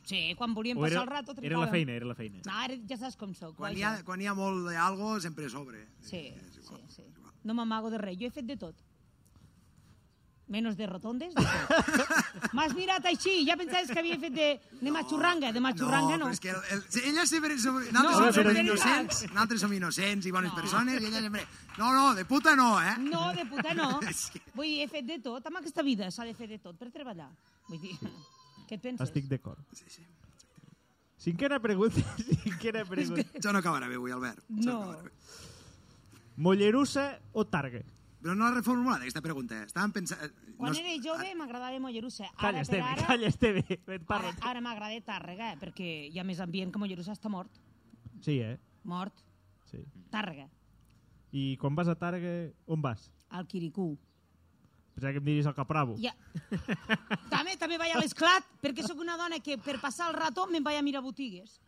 F: Sí, quan volíem
D: O
F: passar
D: era,
F: el rato
D: era
F: trincàvem.
D: la feina, era la feina.
F: No, ara ja saps com sóc.
C: Quan hi, ha,
F: vaja.
C: quan hi ha molt d'algo, sempre sobre.
F: Sí,
C: És
F: sí,
C: igual,
F: sí.
C: és igual.
F: No m'amago de res, jo he fet de tot. Menos de rotondes, de tot.
C: [LAUGHS]
F: M'has mirat així, ja pensaves que havia fet de, de matxurranga, de matxurranga no.
C: però és que el, el, ella sempre... Som,
F: [LAUGHS]
C: nosaltres,
F: No,
C: no, som,
B: però
C: som
B: és
C: innocents, nosaltres som innocents i bones persones i ella sempre... No, no, de puta no, eh?
F: No, de puta no.
C: [LAUGHS] És que-
F: Vull dir, he fet de tot. Amb aquesta vida s'ha de fer de tot per treballar. Vull dir, [LAUGHS] què et penses?
B: Estic d'acord.
C: Sí, sí.
B: Cinquena pregunta, [LAUGHS] cinquena pregunta.
C: Això no acabarà bé avui, Albert. Això
F: No.
C: acabarà bé.
B: Mollerussa o Targa?
C: Però no l'ha reformulada, aquesta pregunta. eh. Estàvem pensant...
F: Quan
C: no,
F: era
B: Ah.
F: jove m'agradava Mollerussa. Ara
B: Calla,
F: per
B: [LAUGHS] Esteve,
F: ara,
B: calla, Esteve. Et parlo.
F: ara, ara m'agrada Tàrrega, eh, perquè hi ha més ambient que Mollerussa està mort.
B: Sí, eh?
F: Mort.
B: Sí.
F: Tàrrega.
B: I quan vas a Targa, on vas?
F: Al
B: [LAUGHS]
F: Quiricú.
B: Pensava que em diries el Capravo.
F: Ja. també, també vaig a l'esclat, perquè sóc una dona que per passar el rato me'n vaig a mirar botigues.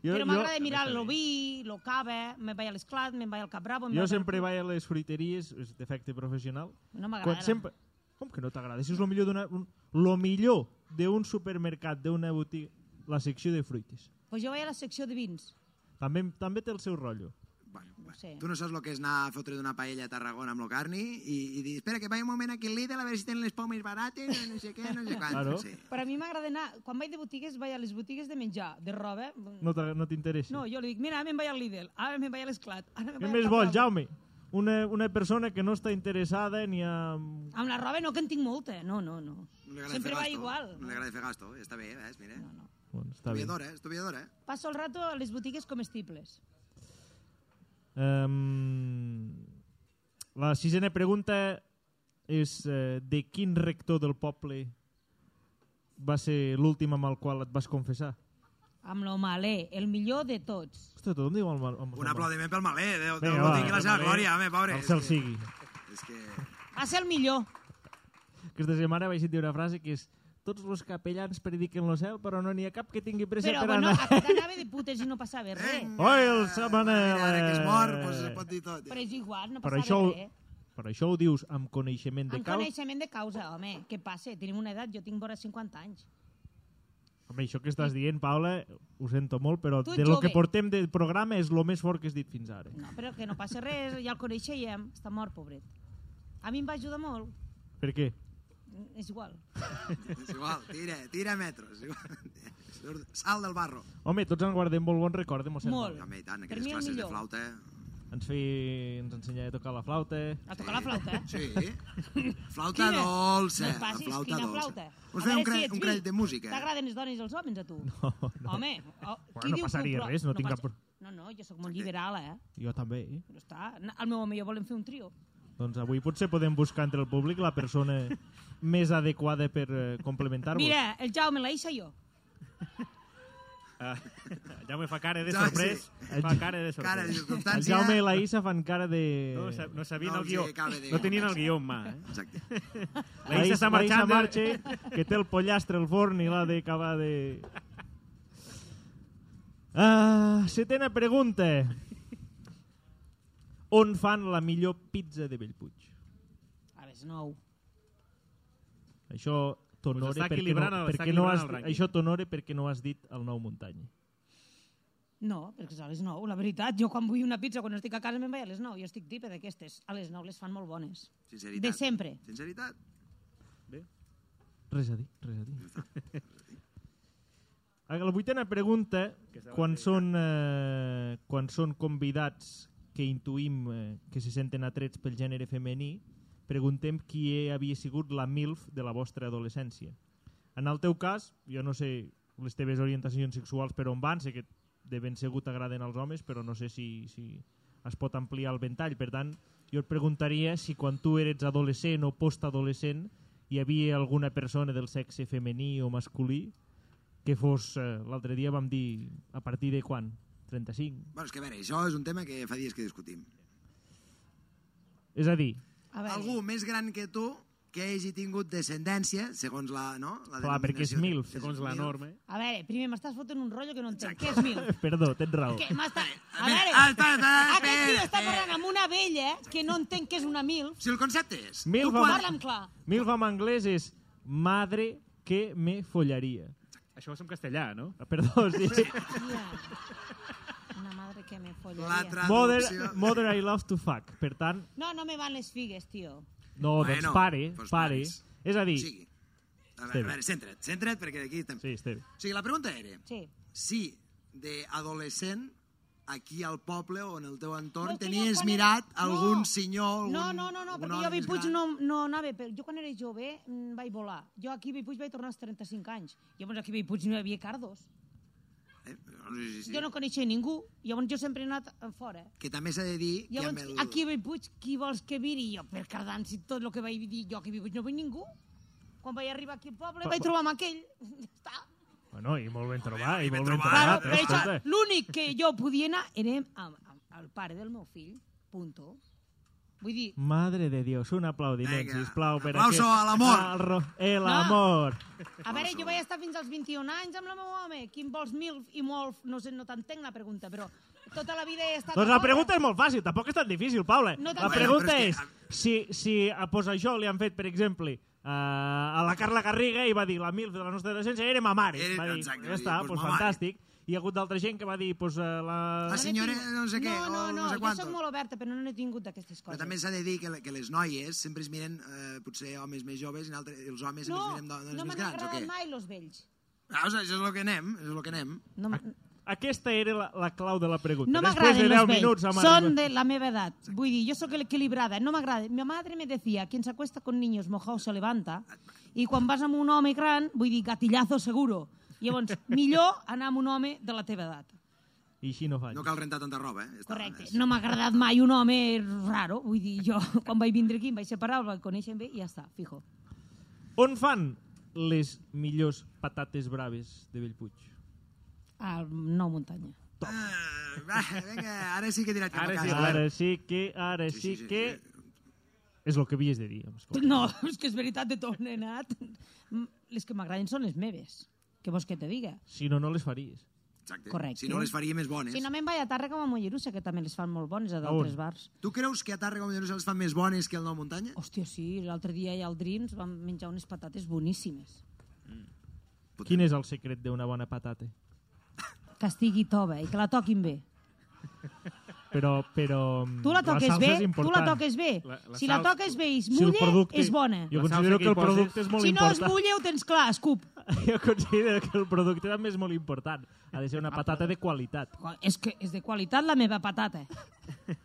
F: Jo, Però m'agrada mirar el vi, el cava, me'n vaig a l'esclat, me'n vaig al Capravo... me'n
B: Jo
F: vaig al-
B: sempre vaig a les fruiteries, és defecte professional.
F: No m'agrada.
B: Quan sempre... Com que no t'agrada? Si és el millor d'una... Un, lo millor d'un supermercat, d'una botiga, la secció de fruites.
F: Pues jo vaig a la secció de vins.
B: També, també té el seu rotllo.
C: Bueno,
F: No sé.
C: Tu no saps el que és anar a fotre d'una paella a Tarragona amb el carni i, i dir, espera, que vaig un moment aquí al Lidl a veure si tenen les pomes barates, no sé què, no sé quant.
B: Claro.
C: Sí.
F: Però a mi m'agrada anar... Quan vaig de botigues, vaig a les botigues de menjar, de roba...
B: No t'ag- no t'interessa.
F: No, jo li dic, mira, ara me'n vaig al Lidl, ara me'n vaig a l'esclat, ara me'n
B: Què
F: vaig
B: més
F: al
B: vol,
F: Caprabo.
B: Jaume? Una, una persona que no està interessada ni a...
F: Amb la roba no, que en tinc molta. eh? No, no, no.
C: No li agrada
F: Sempre
C: fer
F: va
C: gasto.
F: igual.
C: No li agrada fer gasto, està bé, ves, mira. No, no.
B: Bueno, està bé.
C: Estudiadora, eh? estudiadora. eh?
F: Passo el rato a les botigues comestibles.
B: Um, la sisena pregunta és eh, de quin rector del poble va ser l'últim amb el qual et vas confessar?
F: Amb l'Omalé, el millor de tots.
B: Ostres, tothom diu el mal.
C: Un aplaudiment pel Malé, Déu, Déu,
B: Vinga,
C: no
B: va,
C: tingui la seva
B: Malé.
C: glòria, home, pobre.
B: El
C: És
B: cel
C: que-
B: sigui.
C: És que...
F: Va ser el millor.
B: Aquesta setmana vaig sentir una frase que és tots els capellans prediquen lo cel, però no n'hi ha cap que tingui pressa
F: Però,
B: per
F: bueno,
B: anar.
F: aquest anava de putes i no passava res.
C: Vinga,
B: [LAUGHS] Oi, el Sant Manel,
C: Ara que és mort,
B: eh.
C: doncs es Eh, pot dir tot.
F: Però és igual, no
B: Per
F: passava
B: això,
F: res.
B: per això ho dius amb coneixement de
F: Amb
B: cau.
F: coneixement de causa, home, què passa? Tenim una edat, jo tinc vora 50 anys.
B: Home, això que estàs dient, Paula, ho sento molt, però
F: Tu ets
B: de lo
F: jove.
B: que portem del programa és lo més fort que has dit fins ara.
F: No, però que no passa res, ja el coneixíem, està mort, pobret. A mi em va ajudar molt,
B: Per què?
F: és igual.
C: És igual, tira, tira metros. és igual. Surt- Sal del barro.
B: Home, tots en guardem molt bon record de mossèn
F: Molt.
B: Mauri.
C: Home, i tant,
F: Per
C: aquelles
F: mi el
C: classes de
F: millor.
C: flauta...
F: [LAUGHS]
B: Ens, feia, ens ensenyava a tocar la flauta.
F: A tocar la flauta, eh?
C: Sí. Flauta
F: Quina? No
C: dolça.
F: et passis,
C: la flauta
F: quina
C: dolça.
F: flauta.
C: Vols
F: A
C: fer un,
F: veure si
C: cre
F: ets
C: un
F: vi.
C: crèdit de música?
F: T'agraden les dones i els homes, a tu? No, no. Home, oh,
B: Bueno,
F: qui
B: no
F: diu que un
B: passaria
F: pro-
B: res, no tinc cap pro-
F: No, no, jo sóc molt liberal, eh?
B: Jo també, eh?
F: Però està, al meu home i jo volem fer un trio.
B: Doncs avui potser podem buscar entre el públic la
D: [LAUGHS]
B: persona més adequada per eh, complementar-vos.
F: Mira, el Jaume, la Isa i jo.
D: Ah, ja me fa cara de
C: Ja,
D: sorprès.
B: sí.
D: Fa cara de
C: Cara de
D: sorprès.
B: El
C: circumstància...
B: Jaume i la Isa fan cara de...
D: No, sa- no sabien
C: No
D: el
C: els
D: guió.
C: acaba de-
D: No tenien el guió en mà. Eh?
C: Exacte.
D: [LAUGHS] La Isa està
B: la Isa
D: marxant. eh? de-
B: marxa, que té el pollastre al forn i l'ha d'acabar de... Ah, setena pregunta. On fan la millor pizza de Bellpuig?
F: A les 9.
B: Això
D: Pues
B: t'honore
D: està
B: perquè,
D: equilibrant
B: no,
D: el- està
B: perquè no
D: equilibrant
B: has,
D: el rànquing.
B: això t'honore perquè no has dit el nou muntanya.
F: No, perquè és a les 9. La veritat, jo quan vull una pizza, quan estic a casa, me'n vaig a les 9. Jo estic tipa d'aquestes. A les 9 les fan molt bones.
C: Sinceritat.
F: De sempre.
C: Sinceritat.
B: Res a dir, res a dir. A La vuitena pregunta, quan són, eh, quan són convidats que intuïm eh, que se senten atrets pel gènere femení, preguntem qui havia sigut la MILF de la vostra adolescència. En el teu cas, jo no sé les teves orientacions sexuals per on van, sé que de ben segur t'agraden els homes, però no sé si, si es pot ampliar el ventall. Per tant, jo et preguntaria si quan tu eres adolescent o postadolescent hi havia alguna persona del sexe femení o masculí que fos... Eh, L'altre dia vam dir a partir de quan 35...
C: Bueno, és que a veure, això és un tema que fa dies que discutim.
B: És a dir,
F: A veure,
C: Algú més gran que tu que hagi tingut descendència, segons la, no? La
B: Clar, perquè és
C: denominació de-
B: mil,
D: Segons la
C: mil.
D: norma.
F: a veure primer m'estàs fotent un rotllo que no entenc. Què és mil?
B: eh? [LAUGHS] perdó, tens raó.
F: Què? M'està... A
C: veure,
F: veure,
C: ah, espera, espera,
F: aquest tio
C: espera,
F: està
C: espera.
F: parlant amb una vella que no entenc què és una mil.
C: Si el concepte és...
B: Mil
C: tu
B: fa-
C: quan-
F: Parla'm clar.
B: Milf en anglès és madre que me follaria. Ah,
D: Això ho és en castellà, no?
B: Perdó, sí.
C: [LAUGHS]
F: Tia. Una madre que me
C: La
F: follaria.
B: Mother,
C: traducció... [LAUGHS]
B: mother I love to fuck. Per tant,
F: No, no me van les figues, tio.
B: no,
C: Bueno,
B: doncs pare,
C: doncs
B: pare.
C: pares.
B: És a dir...
C: O sigui, a veure,
B: Esteve.
C: a veure, centra't, centra't, perquè d'aquí... estem-
B: Sí, Esteve.
C: O sigui, la pregunta era
F: Sí.
C: si d'adolescent aquí al poble o en el teu entorn
F: No, és que jo
C: tenies
F: quan era-
C: mirat
F: no.
C: algun senyor... Algun,
F: No, no, no, no
C: algun
F: perquè
C: home
F: jo a
C: més
F: Bellpuig
C: gran.
F: no, no anava. Però jo quan era jove mm, vaig volar. Jo aquí a Bellpuig vaig tornar als 35 anys. Llavors aquí a Bellpuig no hi havia cardos.
C: Eh, no sé si sí.
F: Sí. Jo no coneixia ningú. Llavors jo sempre he anat a fora.
C: Que també s'ha de dir que amb
F: Llavors
C: el...
F: aquí a Bellpuig qui vols que viri? Jo per Cardan, si tot el que vaig dir jo aquí a Bellpuig no veig ningú. Quan vaig arribar aquí al poble
B: Però-
F: vaig trobar amb aquell. Ja està.
B: Bueno, i molt ben trobat, i
C: ben
B: molt ben
C: trobat.
F: Claro,
B: trobat.
F: però això,
B: escolta.
F: l'únic que jo podia anar era amb, amb, el pare del meu fill, punto. Vull dir,
B: Madre de Dios, un aplaudiment,
C: Vinga,
B: sisplau. Per
C: aplauso
B: aquest-
C: a l'amor.
B: al ro- El amor.
F: a veure, jo vaig estar fins als 21 anys amb la meva home, quin vols mil i molt, no sé, no t'entenc la pregunta, però tota la vida he estat...
B: Doncs
F: a
B: la
F: fora.
B: pregunta és molt fàcil, tampoc és tan difícil, Paula.
F: No tan
B: la
F: fàcil.
B: pregunta
C: Bueno,
B: és,
C: però
B: si, si a pues, això li han fet, per exemple, eh, a la Carla Garriga i va dir la mil de la nostra adolescència era ma mare.
C: Era-
B: va dir,
C: exacte,
B: ja
C: va dir,
B: està,
C: pues,
B: pues,
C: ma mare.
B: fantàstic. Hi ha hagut d'altra gent que va dir pues, eh, la...
C: La senyora
F: tinc-
C: no sé què,
F: No, no,
C: o
F: no,
C: no sé
F: jo
C: quantos.
F: soc molt oberta, però no n'he tingut d'aquestes
C: Però
F: coses.
C: també s'ha de dir que, que les noies sempre es miren, eh, potser homes més joves, i en altre, els homes
F: no,
C: sempre es miren do- dones
F: no
C: més
F: m'han
C: grans, o
F: agradat
C: què?
F: mai los vells.
C: Ah, o sigui, això és el que anem, això és el que anem.
F: No, m'ha-
B: Aquesta era la, la clau de la pregunta.
F: No
B: Després de
F: m'agraden los vells,
B: 10 minuts... doncs, amb-
F: són de la meva edad. Vull dir, jo sóc equilibrada, no m'agrada. Mi madre me decía, quien se acuesta con niños mojado se levanta, i quan vas amb un home gran, vull dir, gatillazo seguro. Llavors, millor anar amb un home de la teva edat.
B: I així no faig.
C: No cal rentar tanta roba, eh? Ja està,
F: Correcte.
C: és-
F: No m'ha agradat mai un home raro. Vull dir, jo, [LAUGHS] quan vaig vindre aquí, em vaig separar, el vaig conèixer bé i ja està, fijo.
B: On fan les millors patates braves de Bellpuig?
F: Al Nou Muntanya.
C: Eh, va, vinga, ara sí que he tirat cap
D: Ara
C: a
D: sí,
C: casa.
B: Ara sí que, ara sí,
C: sí, sí,
B: que... És el que havies de dir. em escolta.
F: [LAUGHS] No, és que és veritat, de tot n'he anat. Mm, Les que m'agraden són les meves. Què vols que te diga?
B: Si no, no les faries.
C: Exacte.
F: Correcte.
C: Si no, les faria més bones.
F: Si no me'n vaig a Tàrrega o a Mollerussa, que també les fan molt bones a d'altres
B: On?
F: bars.
C: Tu creus que a Tàrrega o Mollerussa les fan més bones que el Nou Muntanya?
F: Hòstia, sí, l'altre dia allà al Dreams vam menjar unes patates boníssimes.
B: Quin és el secret d'una bona patata?
F: Que estigui tova i que la toquin bé.
B: Però, però... mm,
F: Tu la toques
B: salsa
F: bé,
B: és
F: tu
B: important.
F: la toques bé.
D: La- la
F: si la
D: salsa-
F: toques bé i es
B: Si el
F: mulla,
B: producte-
F: és bona.
B: Jo
D: La salsa
B: considero
D: que
B: que el
D: hi poses-
B: producte és molt
F: Si no es
B: important.
F: mulla, ho tens clar, escup.
B: [LAUGHS] Jo considero que el producte també és molt important. Ha de ser una patata de qualitat.
F: Jo, És que és de qualitat la meva
B: [LAUGHS]
F: patata. eh?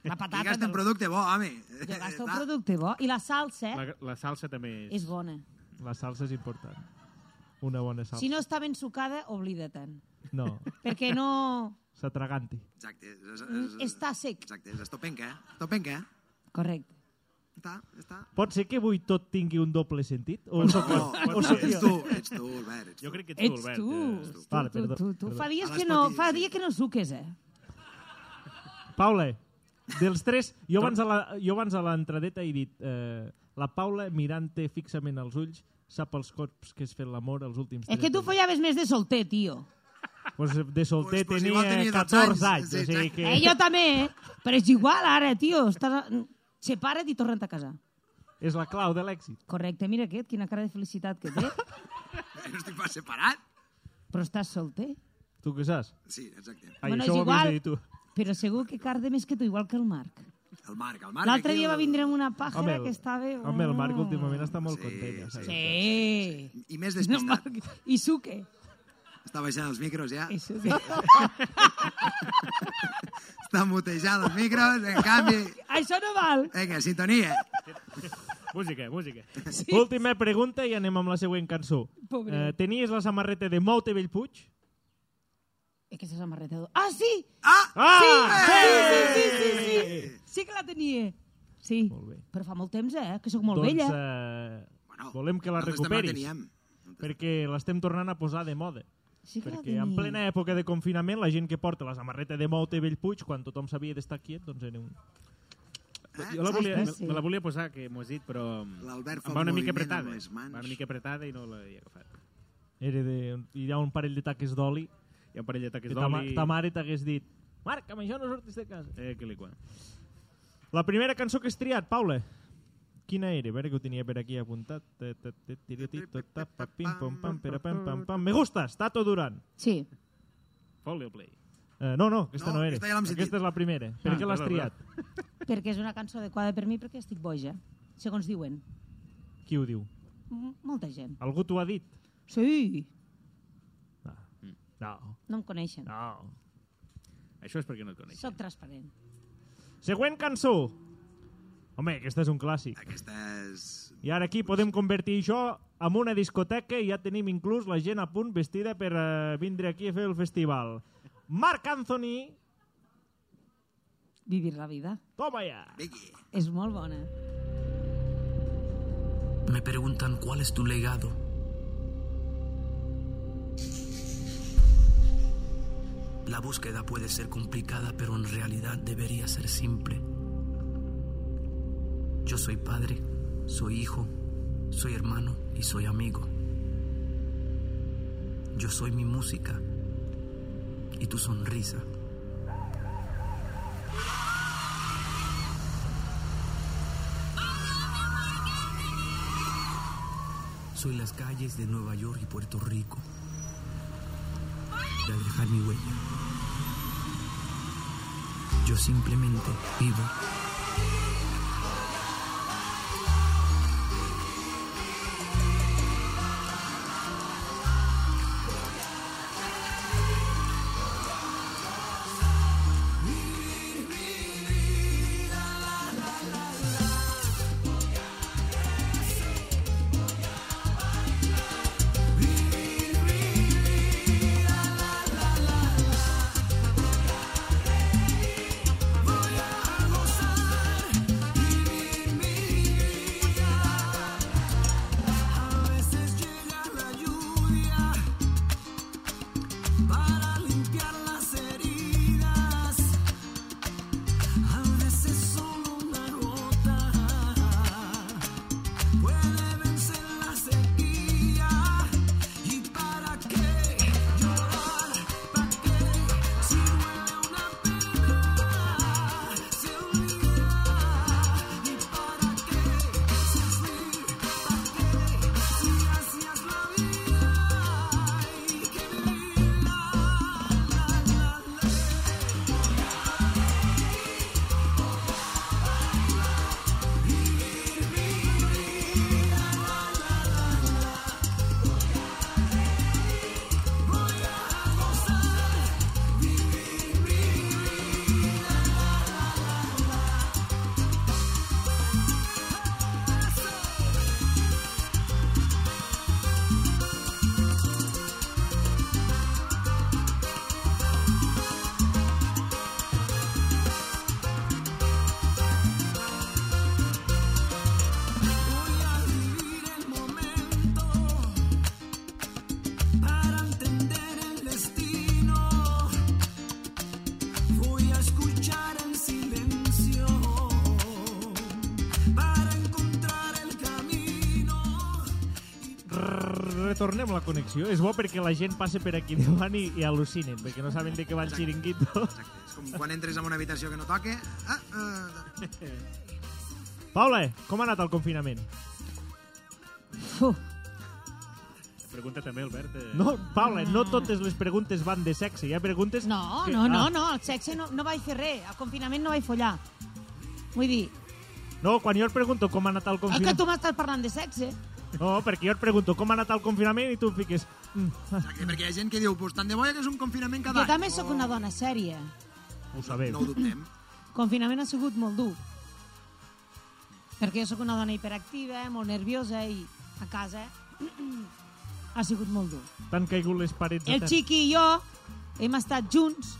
F: La
C: I
F: patata...
C: gasta un producte bo, home.
F: Jo gasto un
C: [LAUGHS] Va,
F: producte bo. I la salsa
D: La, la salsa també és...
F: és bona.
B: La salsa és important. Una bona salsa.
F: Si no està ben sucada, oblida-te'n.
B: No,
F: Perquè no...
B: [LAUGHS] s'atraganti.
C: Exacte. És,
F: Mm,
C: és,
F: Està sec.
C: Exacte, és estopenca. eh? Estopenca.
F: Correcte.
C: Està, està.
B: Pot ser que avui tot tingui un doble sentit? O sóc
C: No,
B: o sóc jo?
C: ets tu, Oh, ets tu, Albert. Ets tu.
D: Jo crec que ets,
F: Ets
D: Albert.
F: tu.
D: eh?
F: Ets tu,
B: Vale,
F: tu,
B: perdó,
F: tu, tu.
B: perdó.
F: Fa dies
C: A
F: que
C: les
F: no,
C: potes,
F: fa
C: sí.
F: dies que no suques, eh?
B: Paula, dels tres, jo abans a la- jo abans a l'entradeta he dit eh, la Paula, mirant-te fixament als ulls, sap els cops que has fet l'amor els últims
F: És que tu
B: anys.
F: follaves més de solter, tio.
B: Pues eh, de solter
C: Pues- pues
B: tenia,
C: igual tenia 12
B: 14 anys.
C: anys, sí,
B: o sigui
C: exacte.
B: que...
F: Eh, jo també, eh? Però és igual, ara, tio. Estàs... Separa't i torna't a casa.
B: És la clau de l'èxit.
F: Correcte, mira aquest, quina cara de felicitat que té.
B: [LAUGHS]
C: No estic pas separat.
F: Però estàs solter.
B: Tu què saps?
C: Sí, exacte.
B: Ai,
F: Bueno, és
B: això ho havies
F: igual.
B: de dir tu.
F: Però segur que carde més que tu, igual que el Marc.
C: El Marc, el Marc.
F: L'altre
C: aquí,
F: dia va
C: el-
F: vindre amb una pàjara
B: el-
F: que oh. estava...
B: home, el Marc últimament està molt
C: Sí,
B: content. Ja,
C: sí.
B: saps?
F: Sí.
C: I més
F: No,
C: despistat.
F: Marc. I suque.
C: Està baixant els micros ja.
F: I suque.
C: [LAUGHS] Està mutejant els micros. En canvi...
F: Això no val.
C: Vinga, sintonia.
D: Música, música.
C: [LAUGHS]
D: Oh,
B: Última pregunta i anem amb la següent cançó.
F: Pobre.
B: Eh, tenies la samarreta de Moute Bellpuig?
F: Eh, Aquesta samarreta... do- Ah, sí!
C: Ah!
B: Ah!
F: Sí,
B: Eh!
F: sí, sí, sí, sí, sí. Sí que la tenia. Sí.
B: Molt bé.
F: Però fa molt temps, eh? Que sóc molt
B: doncs,
F: vella.
B: eh, volem que la
C: nosaltres també
B: recuperis,
C: teníem.
B: perquè l'estem tornant a posar de moda.
F: Sí que la
B: Perquè en
F: tenim.
B: plena època de confinament la gent que porta la samarreta de Mote Bellpuig, quan tothom sabia d'estar quiet, doncs era un...
D: Jo la volia,
F: Ostres, sí.
D: me la volia posar, que m'ho has dit, però em
G: L'Albert fa
D: va una
G: un
D: mica
G: moviment
D: apretada.
G: amb les mans.
D: Va una mica apretada i no l'he agafat.
B: Era de... Hi ha un parell de taques d'oli
D: Hi ha un parell de
B: que
D: taques
B: ta, ma-
D: d'oli...
B: ta mare t'hagués dit Marc, amb això no sortis de casa.
D: Eh, que li quan.
B: La primera cançó que has triat, Paula, quina era? A veure que ho tenia per aquí apuntat. Te- te- te- tiritito, tapa, pim, pom, pam, pera, pam, pam, pam. Me gustas, Tato Duran.
F: Sí.
D: Folio play.
B: Eh, no, no, aquesta
C: No,
B: no, era.
C: aquesta ja l'hem sentit.
B: Aquesta és la primera. Per
D: Ah,
B: què l'has
D: perdó,
B: triat? eh,
F: Perquè és una cançó adequada per mi perquè estic boja, segons diuen.
B: Qui ho diu?
F: M Molta gent.
B: Algú t'ho ha dit? Ah.
F: Sí,
B: No. No.
F: no em coneixen.
B: no.
D: Això és perquè no et coneix.
F: Soc transparent.
B: Següent cançó. Home, aquesta és un clàssic.
G: Aquesta és...
B: I ara aquí podem convertir això en una discoteca i ja tenim inclús la gent a punt vestida per eh, vindre aquí a fer el festival. Marc Anthony,
F: Vivir la vida.
B: toma ja!
G: Vicky.
F: És molt bona.
H: Me preguntan cuál es tu legado. La búsqueda puede ser complicada, pero en realidad debería ser simple. Yo soy padre, soy hijo, soy hermano y soy amigo. Yo soy mi música y tu sonrisa. Soy las calles de Nueva York y Puerto Rico. De dejar mi huella. Yo simplemente vivo.
I: para limpiar las heridas. A veces solo una gota puede vencer la sequía. ¿Y para qué llorar? ¿Para qué? Si duele una pena, se olvida. ¿Y para qué? Sufrir, ¿para qué? Si así es la vida, hay que vivirla. La, la, la. Voy a vivir el momento para entender el destino. Voy a escuchar el silencio para encontrar el camino.
B: Retornem la connexió. És bo perquè la gent passa per aquí davant i, i al·lucinen, perquè no saben de què va el xiringuito.
C: Exacte. És com quan entres en una habitació que no toca. Ah, eh,
B: Paula, com ha anat el confinament?
F: Uf,
D: Pregunta també, Albert. Eh...
B: No, Paula, no totes les preguntes van de sexe. Hi ha preguntes...
F: No,
B: que-
F: no, no,
B: Ah,
F: no, el sexe no, no vaig fer res, al confinament no vaig follar. Vull dir,
B: no, quan jo et pregunto com ha anat el
F: el que tu
B: confinament...
F: m'estàs parlant de sexe,
B: No, perquè jo et pregunto com ha anat el confinament i tu em fiques... Mm, ah,
C: Exacte, perquè hi ha gent que diu, pues, tant de boia que és un confinament cada
F: jo
C: any.
F: també sóc una dona sèria.
B: ho sabeu.
C: No ho dubtem.
F: Confinament ha sigut molt dur. Perquè jo sóc una dona hiperactiva, molt nerviosa i a casa [CLEARS THROAT] ha sigut molt dur.
B: T'han caigut les parets... a
F: El
B: terra.
F: Xiqui i jo hem estat junts,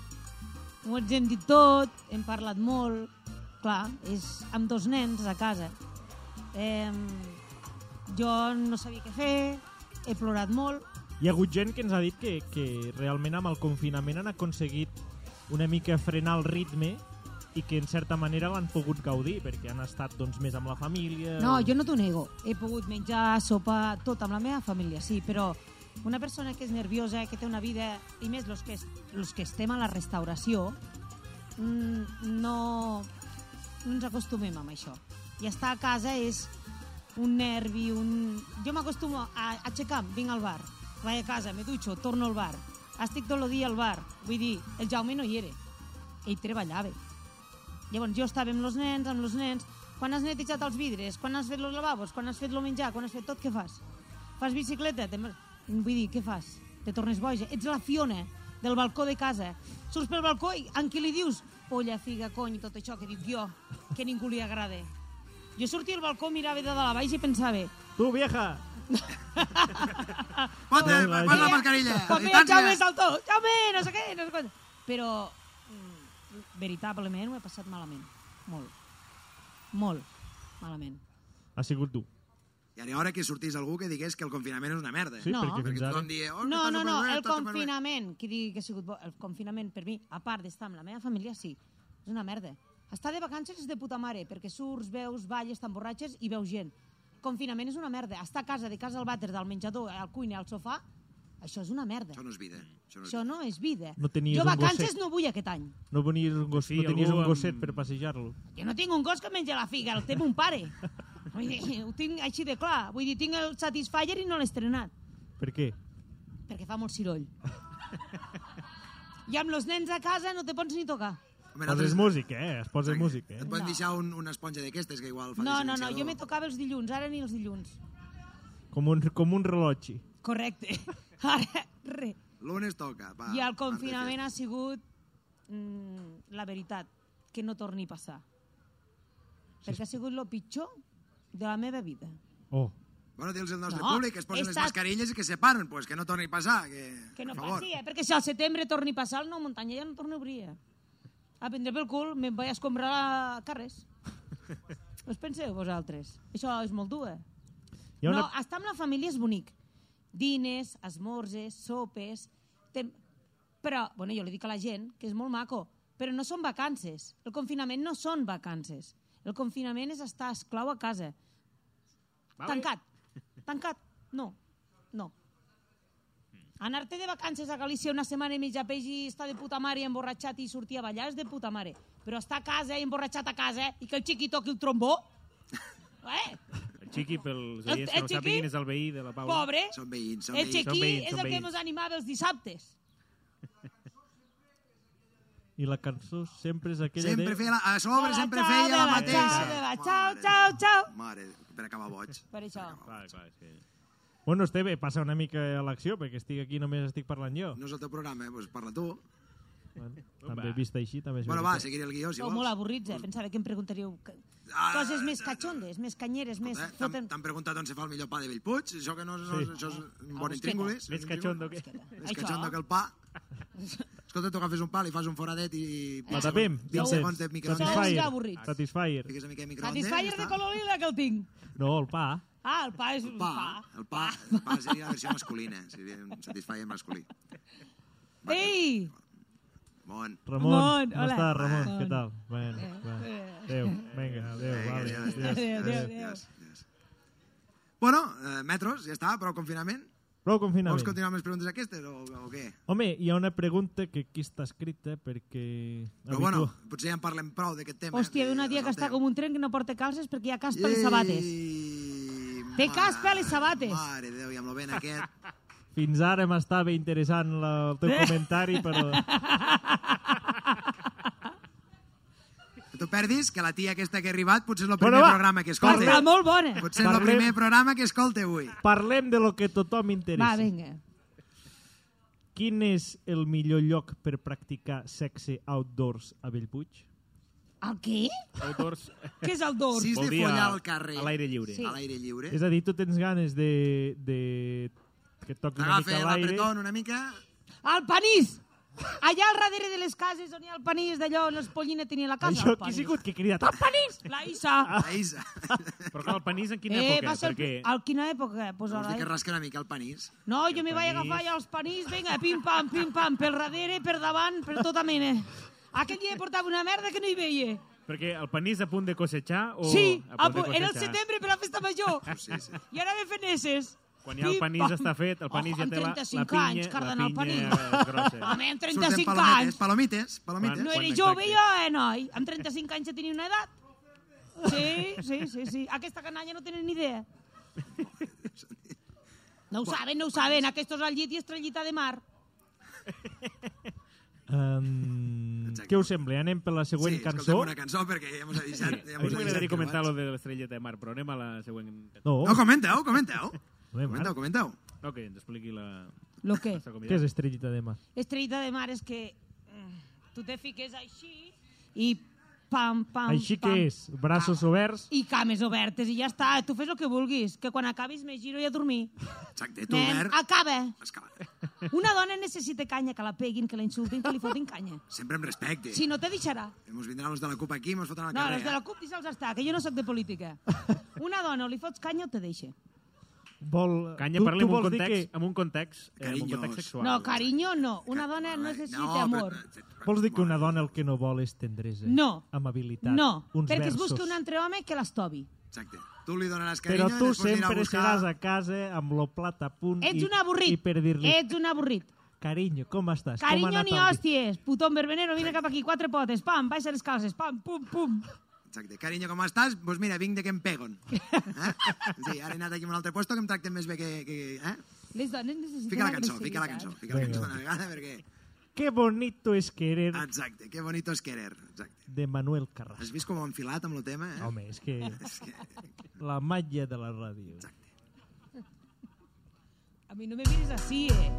F: ho ens hem dit tot, hem parlat molt, clar, és amb dos nens a casa. Eh, jo no sabia què fer, he plorat molt,
B: Hi ha hagut gent que ens ha dit que, que realment amb el confinament han aconseguit una mica frenar el ritme i que en certa manera l'han pogut gaudir perquè han estat doncs, més amb la família...
F: No, jo no t'ho nego. He pogut menjar, sopar, tot amb la meva família, sí, però una persona que és nerviosa, que té una vida, i més los que, es- los que estem a la restauració, mm, no, no ens acostumem amb això. I estar a casa és un nervi, un... Jo m'acostumo a aixecar-me, vinc al bar, vaig a casa, me dutxo, torno al bar, estic tot el dia al bar. Vull dir, el Jaume no hi era, ell treballava. Llavors jo estava amb els nens, amb els nens, quan has netejat els vidres, quan has fet els lavabos, quan has fet el menjar, quan has fet tot, què fas? Fas bicicleta? Te... Vull dir, què fas? Te tornes boja? Ets la Fiona del balcó de casa. Surts pel balcó i en qui li dius polla, figa, cony, tot això que dic jo, que a ningú li agrada. Jo sortia al balcó, mirava de dalt a baix i pensava
B: Tu,
F: [LAUGHS]
B: vieja!
C: Pot, eh,
B: Hola,
C: pot la
B: Jaume.
C: mascarilla.
F: quan veia el Jaume saltó, Jaume, no sé què, no sé què. Però, mm, veritablement, ho he passat malament. Molt. Molt malament.
B: Ha sigut dur.
C: Hi hauria hora que sortís algú que digués que el confinament és una merda.
B: Sí,
F: No.
B: perquè
C: Perquè
B: fins ara...
C: tothom dia... Oh, que
F: No,
C: està
F: no, no,
C: superbé,
F: el
C: està superbé.
F: confinament, qui digui que ha sigut bo, el confinament per mi, a part d'estar amb la meva família, sí, és una merda. Estar de vacances és de puta mare, perquè surts, veus, balles, t'emborratxes i veus gent. Confinament és una merda. Estar a casa, de casa al vàter, del menjador, al cuina, al sofà, això és una merda.
C: Això no és vida. Això no és
F: Això no és vida.
B: No tenies
F: jo
B: un
F: vacances
B: gosset.
F: no vull aquest any.
B: No, venies un gos,
D: Sí,
B: no tenies
D: algú
B: un
D: amb-
B: gosset per passejar-lo.
F: Jo no tinc un gos que menja la figa, el té mon
B: [LAUGHS]
F: pare. Vull dir, ho tinc així de clar. Vull dir, tinc el Satisfyer i no l'he estrenat.
B: Per què?
F: perquè fa molt ciroll. I amb els nens a casa no te pots ni tocar.
C: vida. Home, nosaltres-
B: Poses músic, eh? Es posa músic, eh?
C: Et poden
F: No.
C: deixar un, una esponja d'aquestes que igual fa de
F: No, no, no,
C: silenciador.
F: jo me tocava els dilluns, ara ni els dilluns.
B: Com un, com un rellotge.
F: Correcte. [LAUGHS] Ara, re.
C: Lunes toca, va.
F: I el
C: martes
F: confinament
C: festa.
F: ha sigut mm, la veritat, que no torni a passar. Perquè ha sigut el pitjor de la meva vida.
B: Oh,
C: Bueno, dius al nostre
F: No,
C: públic que es posen les
F: estàs-
C: mascarilles i que se paren, pues, que no torni a passar. Que,
F: Que no
C: per favor.
F: passi, eh? Perquè si al setembre torni a passar, el nou muntanya ja no torna a obrir. eh? A prendre pel cul, me'n vaig a escombrar a carrers. Us penseu vosaltres? Això és molt dur, eh?
B: hi ha una...
F: No, estar amb la família és bonic. Dines, esmorzes, sopes... Tem... Però, bueno, jo li dic a la gent que és molt maco, però no són vacances. El confinament no són vacances. El confinament és estar esclau a casa. Vale. Tancat. Tancat. No. No. Anar-te de vacances a Galícia una setmana i mitja a peix i estar de puta mare i emborratxat i sortir a ballar és de puta mare. Però estar a casa i emborratxat a casa i que el xiqui toqui el trombó... Eh?
D: El Xiqui, pels
F: El-
D: oients que
F: el
D: no
F: Xiqui?
D: sàpiguen, és el veí de la Paula.
F: Pobre.
C: Són veïns, són
F: El
C: veïns.
F: Chequí
D: veïns,
F: és
D: són
F: el que
D: veïns.
F: ens animava els dissabtes.
B: I la cançó sempre és aquella
C: Sempre
B: de...
C: feia la, a sobre
F: De la
C: sempre
F: xau,
C: feia
F: de
C: la
F: la
C: mateixa.
F: xau, de la xau, xau, xau.
C: Mare, per acabar boig.
F: Per això.
D: Clar, clar, sí.
B: Bueno, Esteve, passa una mica a l'acció, perquè estic aquí només estic parlant jo.
C: No és el teu programa, eh? doncs parla tu.
B: Bueno, també vist així, també és
C: Bueno, va,
B: veritat.
C: seguiré el guió, si
F: Sou
C: vols.
F: molt avorrits, eh? Pensava que em preguntaríeu que-
C: Ah,
F: coses més catxondes, més canyeres, més...
C: Eh? T'han
F: Foten...
C: t'han preguntat on se fa el millor pa de Bellpuig, això que no, no
B: Sí.
C: això és un
F: busqueta.
C: bon intríngulis.
B: Més cachondo que...
C: Més cachondo que el pa. Escolta, tu agafes un pal i fas un foradet i...
B: Patapim,
C: 20 segons de
B: Vincent.
C: microondes.
F: Sou
B: Satisfyer.
F: uns avorrits.
B: Satisfyer.
C: Fiques una mica de microondes.
F: Satisfyer
C: ja
F: de
C: està.
F: color lila que el tinc.
B: No, el pa.
F: Ah, el pa és un
C: Pa,
F: pa. Ah,
C: el pa, el pa seria la versió masculina, seria un Satisfyer masculí.
F: Ei!
C: Bon.
B: Ramon,
F: Ramon,
B: com
F: hola.
B: estàs, Ramon?
F: Ramon. Eh,
B: Què tal? Bueno, va. Adéu, vinga, adéu,
C: Vinga,
B: vale.
C: adiós,
B: Adéu.
F: Adéu, adéu, adéu.
C: Yes, yes. Bueno, eh, metros, ja està, però confinament.
B: Prou
C: Vols
B: confinament.
C: continuar amb les preguntes aquestes o, o què?
B: Home, hi ha una pregunta que aquí està escrita perquè...
C: Però bueno, potser ja en parlem prou d'aquest tema.
F: Hòstia, hi ha una tia que està com un tren que no porta calces perquè hi ha caspa a les sabates. Té caspa a les sabates.
C: Mare de Déu,
F: Oh.
C: i amb el vent aquest.
B: Fins ara m'estava interessant la, el teu
F: Eh.
B: comentari,
F: [LAUGHS]
B: però...
C: Que tu perdis, que la tia aquesta que ha arribat potser és el
B: Bueno,
C: primer
B: va,
C: programa que escolta.
F: Està molt bona.
C: Potser és el
B: Parlem.
C: primer programa que escolta avui.
B: Parlem de lo que tothom interessa.
F: Va, vinga.
B: Quin és el millor lloc per practicar sexe outdoors a Bellpuig?
F: El què?
D: Autors,
F: Què és el dor?
C: Si és
D: vol
C: de
D: dir
C: follar
D: a-
C: al carrer,
D: a l'aire lliure.
F: Sí.
C: a l'aire
B: [LAUGHS]
C: lliure,
B: És a dir, tu tens ganes de... de que et toqui una
C: t'agafa
B: mica l'aire.
C: l'apretón una mica...
F: El panís! Allà al darrere de les cases on hi ha el panís d'allò on l'espollina tenia la casa.
B: Això,
F: el
B: qui ha
F: panís.
B: sigut que ha cridat? El panís!
F: La Isa.
C: La Isa.
B: [LAUGHS]
J: Però clar, el panís Ah, en quina
F: Eh,
J: època?
F: va ser...
J: Perquè...
F: Perquè... Al quina època? Pues
C: Vols dir
F: ara...
C: que
F: eh.
C: rasca una mica el panís?
F: No, jo m'hi vaig
J: panís.
F: agafar ja els panís, vinga, pim-pam, pim-pam, pel darrere, per davant, per tota mena. Aquell dia portava una merda que no hi veia.
J: Perquè el panís a punt de cosechar o...
F: sí,
J: Oh, a punt de
F: apu- era el
J: cosechar?
F: setembre per la festa major.
C: Sí, sí.
F: I ara ve fent esses.
J: Quan ja el panís
F: Pim-pam.
J: està fet, el panís
F: oh,
J: ja té la,
F: amb
J: la
F: 35
J: pinya,
F: anys,
J: la
F: cardenal
J: pinya
F: Panís.
J: grossa.
F: Home, amb
C: Surten
F: 35
C: palomites,
F: anys.
C: palomites, palomites.
F: No
J: Quan
F: era
J: exacte?
F: jove jo, eh, noi? Amb 35 anys ja tenia una edat. Sí, sí, sí, sí. Aquesta canalla no tenen ni idea. No ho saben, no ho saben. Aquestos al llit i estrellita de mar.
B: Um,
C: Exacte.
B: què us sembla? Anem per la següent
C: sí,
B: cançó?
C: una cançó perquè ja mos avisat. Ja
J: A
C: mos
J: mi m'agradaria
C: avisat
J: comentar lo
C: cremats.
J: de l'estrelleta de mar, però anem a la següent...
B: No,
C: No, comenteu,
J: [LAUGHS]
C: comenteu.
B: Bé,
C: Comenteu,
B: Marc,
C: comenteu.
J: No, que ens expliqui la...
F: Lo que?
J: Està
B: què
J: convidada.
B: és Estrellita de Mar?
F: Estrellita de mar és que mm, tu te fiques així i pam, pam,
B: Així
F: pam.
B: que és, braços
C: Ah.
B: oberts,
F: I cames obertes i ja està. Tu fes el que vulguis, que quan acabis me giro i a dormir.
C: Exacte, tu,
F: Nen,
C: Mer.
F: acaba.
C: Escala.
F: Una dona necessita canya, que la peguin, que la insultin, que li fotin canya.
C: Sempre amb respecte.
F: Si no, te deixarà.
C: Mos vindran els de la CUP aquí i mos fotran al
F: No, els
C: carrer.
F: de la
C: eh?
F: CUP se'ls està, que jo no sóc de política. Una dona o li fots canya o te deixa.
B: vol...
J: Canya,
B: tu,
J: parlem
B: tu
J: en un
B: vols dir
J: context,
B: Que,
J: amb un context, eh, amb un
C: Carinyos.
J: context sexual.
F: No, carinyo, no. Una dona
C: Ai,
F: necessita
C: no,
F: amor.
C: Però,
B: vols dir que una dona el que no vol és tendresa?
F: No.
B: Amabilitat?
F: No,
B: Uns
F: perquè es
B: versos.
F: busca un altre home que l'estovi.
C: Exacte. Tu li donaràs carinyo
B: Però
C: i
B: tu
C: després anirà
B: sempre
C: a buscar...
B: seràs a casa amb lo plat a punt
F: Ets
B: i,
F: un avorrit.
B: i per dir-li,
F: Ets un avorrit.
B: carinyo, com estàs? com ha
F: Carinyo
B: anat
F: ni
B: el dia?"
F: hòsties. Putón verbenero, vine cap aquí. Quatre potes. Pam, baixa les calces. Pam, pum, pum.
C: Exacte. Carinyo, com estàs? Doncs mira, vinc de que em
F: [LAUGHS]
C: peguen. Eh? Sí, ara he anat aquí a un altre lloc que em tracten més bé que... que eh?
F: Les dones necessiten
C: Fica la cançó,
F: agressivitat.
C: fica la cançó. Fica la
B: Vinga.
C: cançó una vegada perquè...
B: Que bonito es querer
C: Exacte, que bonito es querer. Exacte.
B: de Manuel
C: Has
B: Carrasco.
C: vist com ho hem filat amb el tema, eh?
B: Home, és que
C: És que...
B: la màgia de la ràdio.
C: Exacte.
F: A mi no me mires así, eh.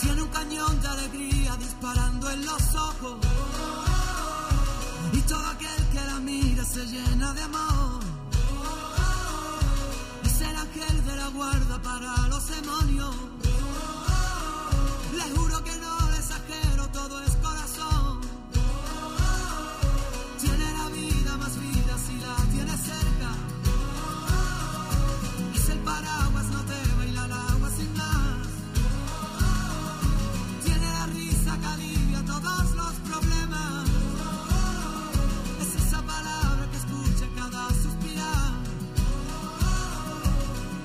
A: Tiene un cañón de alegría disparando en los ojos. Y todo aquel que la mira se llena de amor. Es el ángel de la guarda para los demonios. Le juro que no le exagero, todo es corazón. Tiene la vida más vida si la tiene cerca. Es el paraguas, no te baila el agua sin más. Tiene la risa que alivia todos los problemas. Es esa palabra que escucha cada suspirar.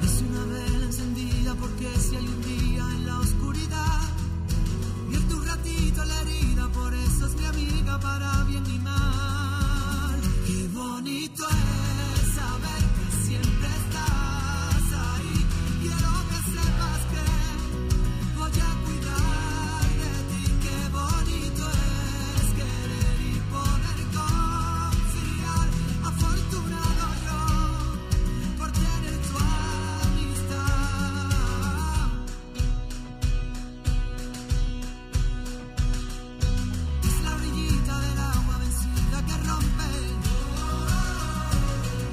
A: Es una vela encendida porque si hay un día en la oscuridad, vierte un ratito en la herida, por eso es mi amiga para bien y mal. Qué bonito es saber que siempre estás ahí. Quiero que sepas que voy a cuidar de ti, qué bonito es querer y poder confiar. Afortunado yo por tener tu amistad. Es la orillita del agua vencida que rompe.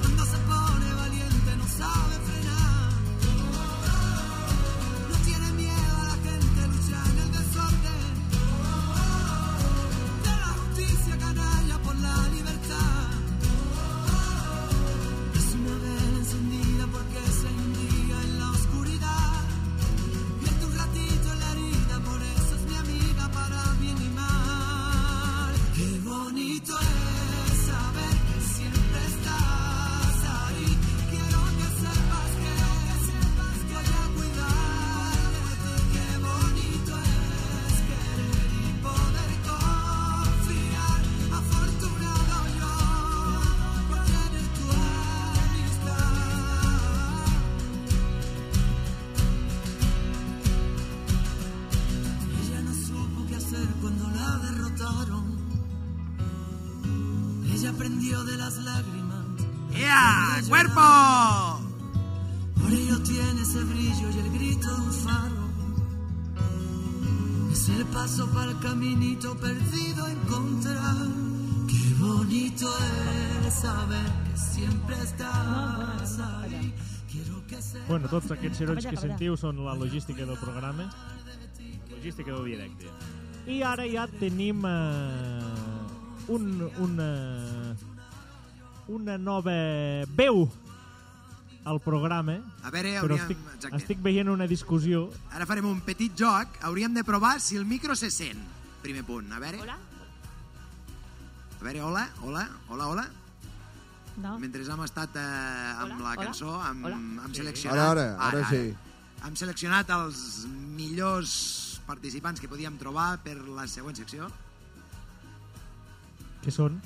A: Cuando se pone valiente no sabe frenar. No tiene miedo a la gente, lucha en el desorden. De la justicia canalla por la libertad. Es una vela encendida porque se envía en la oscuridad. Vierte un ratito en la herida, por eso es mi amiga para bien y mal. Qué bonito es saber que siempre estás ahí. Quiero que sepas que, sepas que voy a cuidar de ti. Qué bonito es querer y poder confiar. Afortunado yo por tener tu amistad. Ella no supo qué hacer cuando la derrotaron. Ella aprendió de las lágrimas.
C: ¡Ea! ¡Cuerpo!
A: Por ello tiene ese brillo y el grito de un faro. Es el paso para el caminito perdido encontrar. Qué
I: bonito es saber que siempre estás ahí. Quiero que se
B: Bueno, tots aquests serons
F: Calla,
B: que
F: calla.
B: sentiu són la logística del programa.
D: Logística del directe.
B: I ara ja tenim eh, un, una, una nova veu al programa.
C: A veure,
B: Però
C: hauríem...
B: estic,
C: Exacte.
B: estic veient una discussió.
C: Ara farem un petit joc. Hauríem de provar si el micro se sent. Primer punt. A veure,
A: Hola.
C: a veure, hola, hola, hola, hola.
F: No?
C: Mentre hem estat eh, amb
A: Hola,
C: la
A: hola,
C: cançó, hem,
A: hola.
C: hem seleccionat...
G: Ara, ara, ara, sí.
C: Hem seleccionat els millors participants que podíem trobar per la següent secció,
B: Què són?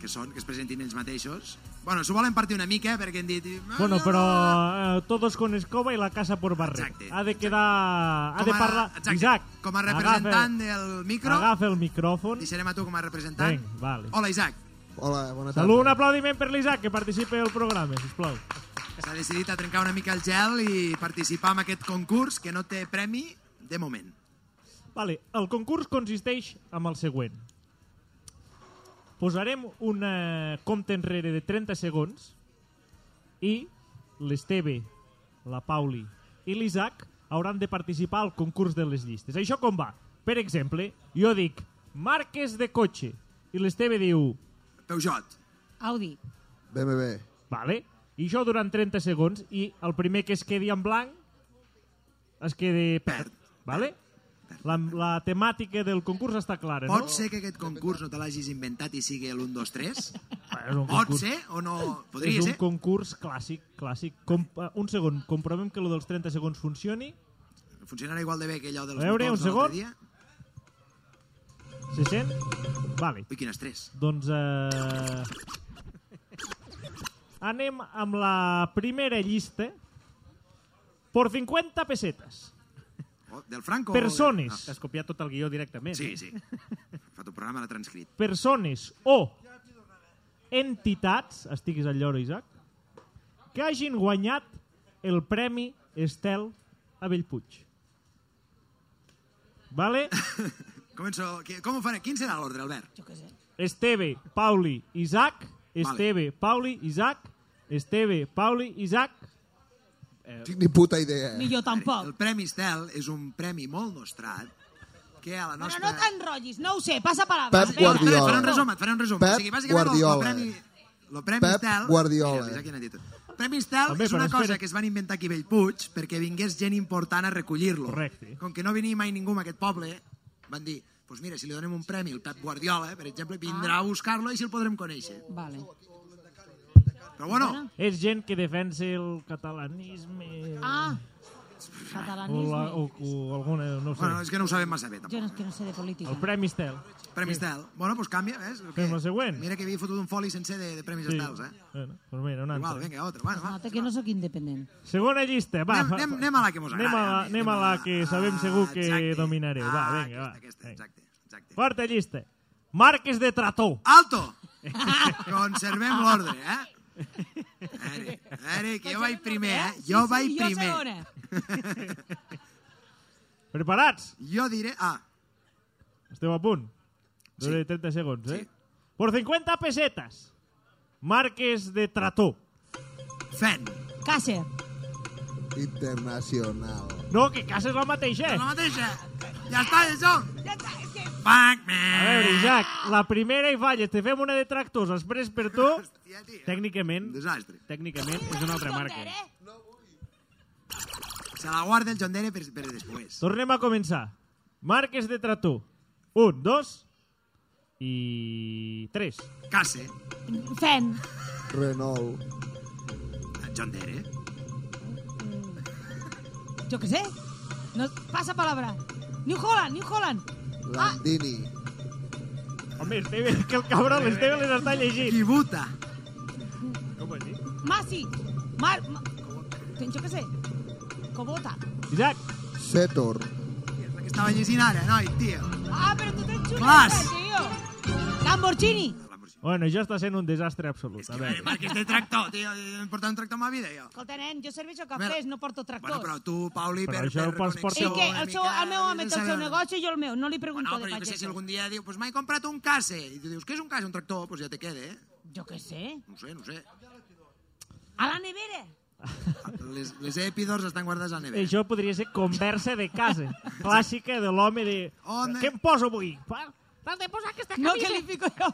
C: que són, que es presentin ells mateixos. Bueno, s'ho volen partir una mica, perquè hem dit...
B: Bueno, però eh, todos con escoba i la casa por barret.
C: Exacte.
B: Ha de quedar... Ha de
C: Com a-
B: parlar...
C: exacte,
B: Isaac,
C: com a representant del micro,
B: agafa el micròfon.
C: deixarem a tu com a representant.
B: Vinga, vale.
C: Hola, Isaac.
G: Hola, bona tarda.
B: Salut, un aplaudiment per l'Isaac, que participa al programa, sisplau.
C: S'ha decidit a trencar una mica el gel i participar en aquest concurs que no té premi de moment.
B: Vale, el concurs consisteix en el següent. Posarem un eh, compte enrere de 30 segons i l'Esteve, la Pauli i l'Isaac hauran de participar al concurs de les llistes. Això com va? Per exemple, jo dic marques de cotxe i l'Esteve diu
C: Peugeot.
F: Audi.
G: BMB.
B: Vale. I jo durant 30 segons i el primer que es quedi en blanc es quedi perd.
C: Perd.
B: Vale? La, la temàtica del concurs està clara,
C: Pot
B: no?
C: ser que aquest concurs no te l'hagis inventat i sigui l'1, 2, 3?
B: És un
C: Pot
B: concurs,
C: ser o no?
B: és
C: Oh, Podria
B: un
C: ser?
B: concurs clàssic, clàssic. Com, eh, un segon, comprovem que lo dels 30 segons funcioni.
C: eh? Funcionarà igual de bé que allò dels
B: A veure, un
C: motors de l'altre
B: segon.
C: dia?
B: Se sent? Vale.
C: Ui, quin estrès.
B: Doncs... Eh... Anem amb la primera llista. Por 50 pesetas.
C: Oh, del Franco? o de-
B: Persones.
D: Has copiat tot el guió directament.
C: Ah, sí, sí. Ha fet un programa, l'ha transcrit.
B: persones o entitats, estiguis al lloro, Isaac, que hagin guanyat el Premi Estel a Bellpuig. Vale?
C: [LAUGHS] Començo... que- Com ho faré? Quin serà l'ordre, Albert?
F: Jo què sé.
B: Esteve, Pauli, Isaac, Esteve, Pauli, Isaac, Esteve, Pauli, Isaac. Eh,
G: No tinc ni puta idea. eh.
F: Ni jo
C: El
F: tampoc.
C: Premi Estel és un premi molt nostrat que a la
F: Però
C: nostra...
F: no t'enrotllis, no ho sé, passa palabra.
G: Pep
C: Espera, espera, et faré
G: Guardiola.
C: un resum, et faré un resum.
G: Pep
C: o sigui, bàsicament,
G: Guardiola.
C: El, el premi, el premi
G: Pep
C: Estel...
G: Guardiola.
C: Mira, quina actitud. El premi Estel
B: També,
C: és una
B: però
C: cosa
B: espera.
C: que es van inventar aquí a Bellpuig perquè vingués gent important a recollir-lo.
B: Correcte.
C: Com que no venia mai ningú a aquest poble, van dir, doncs pues mira, si li donem un premi al Pep Guardiola, eh, per exemple, vindrà a buscar-lo i així el podrem conèixer.
F: Vale.
C: Però bueno,
B: És gent que defensa el catalanisme
F: Ah,
B: o, la,
F: catalanisme.
B: o, o alguna... No ho sé.
C: bueno, és que no ho sabem massa
F: Jo
C: bé, tampoc.
F: no, és que no sé de política.
B: El Premi Estel.
C: Premi Estel. Bueno, doncs canvia, ves? O què?
B: Fem la següent.
C: Mira que havia fotut un foli sencer de, de premis
B: Sí.
C: Estels, eh?
B: Bueno, doncs mira, un
C: Igual,
B: altre.
C: vinga, otra. Bueno, va.
F: Nota que no sóc independent.
B: Segona llista, va.
C: Anem-
B: fa-
C: anem- anem a la que mos
B: Anem a
C: agrada, Ah,
B: la, anem a la que sabem segur que
C: exacte.
B: dominareu. Va,
C: Ah,
B: vinga, va.
C: Aquesta,
B: Vinga.
C: aquesta, exacte, exacte.
B: Quarta llista. Marques de Trató.
C: Alto! [LAUGHS] Conservem l'ordre, eh? A veure, a veure, que jo vaig primer, eh? Jo
F: sí,
C: vaig
F: sí, Jo
C: primer.
F: segona.
B: [LAUGHS] Preparats?
C: Jo diré... Ah,
B: Esteu a punt?
C: Sí.
B: Dure 30 segons, eh?
C: Sí.
B: Por 50 pesetas. Marques de Trató.
C: fent.
F: Càcer.
G: Internacional.
B: No, que casa és la mateixa. eh?
C: La
B: A
C: mateixa. Ja està, ja som. Fuck, man.
B: veure, Isaac, la primera hi falles. Te fem una de tractors després per tu.
C: Hòstia, tio.
D: Tècnicament,
C: Un desastre.
D: tècnicament és una altra marca.
C: Se la guarda el Jondere per, per després.
B: Tornem a començar. Marques de Trató. Un, dos i tres.
C: Case.
F: Fent.
G: Renault.
C: El Jondere.
F: Jo què sé. No, passa palabra. New Holland, New Holland. Ah.
G: Landini.
B: Home, Esteve, que el cabron, l'Esteve les està llegint.
C: Kibuta.
B: Com ho has dit?
F: Masi. Mar... Ma... Jo què sé. Cobota.
B: Isaac,
G: Setor.
C: La que estava llegint ara, noi, tio.
F: Ah, però tu tens xuleta,
C: Mas.
F: tio. Lamborghini.
C: Lamborghini.
B: Bueno, això està sent un desastre absolut.
C: És
B: A
C: que,
B: veure.
C: perquè este tractor, tio, em porta un tractor a ma vida, jo.
F: Escolta, nen, jo serveixo cafès, no porto tractors.
C: Bueno, però tu, Pauli,
B: Però
C: per,
B: això
C: per
B: ho pots
C: connexió eh?
F: Ei,
B: portar-
F: que
C: una
F: el, seu,
C: mica,
F: el meu home té el seu
C: saber-
F: negoci i jo el meu. No li pregunto
C: No,
F: de
C: però jo que sé, si
F: pagesos.
C: algun dia diu, pues m'he comprat un case, i tu dius, què és un case? Un tractor? Pues ja te queda, eh?
F: Jo què sé.
C: No ho sé, no ho sé.
F: A la nevera.
C: Les, les epidors estan guardades a la nevera.
B: Això podria ser conversa de
C: [LAUGHS]
B: casa, clàssica de l'home de...
C: Home.
B: Què em poso avui? Va,
F: No, que li fico jo.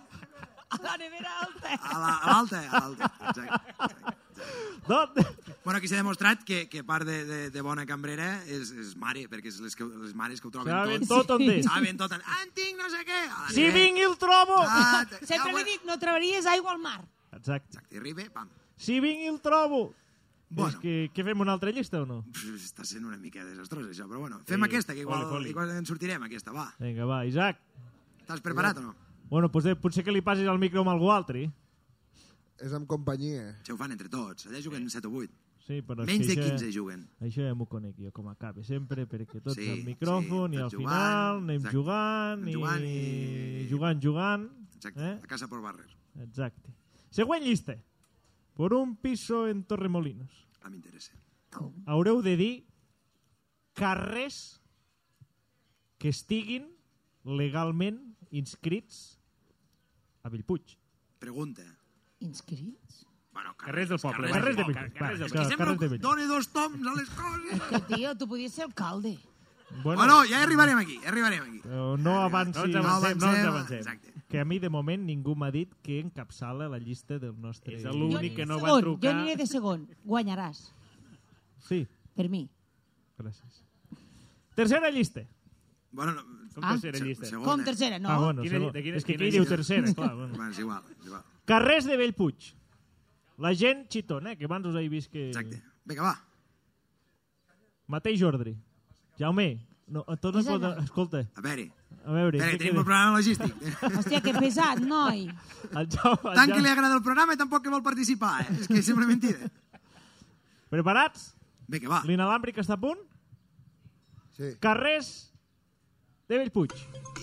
F: A la nevera alta.
C: A la- a l'alta, a l'alta. Exacte, exacte.
B: Doncs...
C: Bueno, aquí s'ha demostrat que, que part de, de, de bona cambrera és, és mare, perquè és les, que, les mares que ho troben
B: Saben
C: tot.
B: tot on és.
C: [LAUGHS] Saben tot. Ah, en tinc no sé què. Ah,
B: Si vinc i el trobo!
C: Ah, te-
F: Sempre
C: ja,
F: li dic, no trobaries aigua al mar.
B: Exacte.
C: Exacte, arriba, pam.
B: Si vinc i el trobo!
C: Bueno.
B: És que, que fem una altra llista o no?
C: Pff, Està sent una mica desastrós, això, però bueno. Fem aquesta, que igual,
B: foli, foli.
C: igual en sortirem, aquesta, va.
B: Vinga, va, Isaac.
C: Estàs preparat o no?
B: Bueno, doncs, eh, potser que li passis el micro amb algú altre.
G: És amb companyia.
C: Això ho fan entre tots. Allà juguen 7 o 8.
B: Sí, però és
C: Menys
B: que
C: de
B: això-
C: 15 juguen.
B: Això ja m'ho conec jo com acaba sempre, perquè tots
C: Sí,
B: sí, al micròfon
C: sí,
B: sí, i al
C: tots jugant,
B: final anem
C: exacte.
B: jugant,
C: Anem jugant
B: jugant i...
C: i-
B: jugant, jugant.
C: Exacte,
B: Eh?
C: a casa por barrer.
B: Exacte. Següent llista. Por un piso en Torremolinos.
C: Ah, m'interessa.
B: Haureu de dir carrers que estiguin legalment inscrits a Bellpuig.
C: Pregunta.
F: Inscrits?
C: Bueno,
D: Carrers del poble.
B: Carrers de
D: poble,
B: Bellpuig.
D: carrers del
B: Va,
D: poble.
B: clar, carrers de
C: Sempre
B: Bellpuig.
C: doni dos toms a les coses.
F: Que, tio, tu podies ser alcalde.
B: Bueno,
C: Bueno, Oh, ja arribarem aquí, ja arribarem aquí.
B: però no
D: No
B: avanci...
D: ens avancem, no ens
C: avancem,
D: avancem.
C: Exacte.
B: que a mi, de moment, ningú m'ha dit que encapçala la llista del nostre...
D: És l'únic que no va
F: Segon, jo
D: trucar.
F: aniré de segon. Guanyaràs.
B: Sí,
F: Per mi.
B: gràcies. Tercera llista.
C: Bueno, no,
D: Com
F: Ah.
D: tercera llista.
C: segona.
F: Com tercera, no?
B: Ah, bueno,
D: Quina-
B: segona.
D: de quina-
B: és que aquí
D: quina
B: diu
D: llista?
B: tercera,
C: [LAUGHS]
B: clar. Bueno.
C: Bueno, és igual, és igual.
B: Carrers de Bellpuig. La gent xitona, eh, que abans us he vist que...
C: Exacte. Vinga, va.
B: Mateix ordre. Jaume, no, a tots no
F: És
B: poden...
F: allà.
B: Escolta,
C: A veure.
B: a veure...
C: A veure,
B: què
C: tenim
B: queda?
C: un programa logístic.
F: Hòstia, que pesat, noi.
B: [LAUGHS] El Jaume, el
C: Tant que li
B: Jaume.
C: agrada el programa i tampoc que vol participar, eh? És que sembla mentida.
B: Preparats?
C: Vinga, va.
B: L'inalàmbric està a punt?
G: Sí.
B: Carrers de Bellpuig.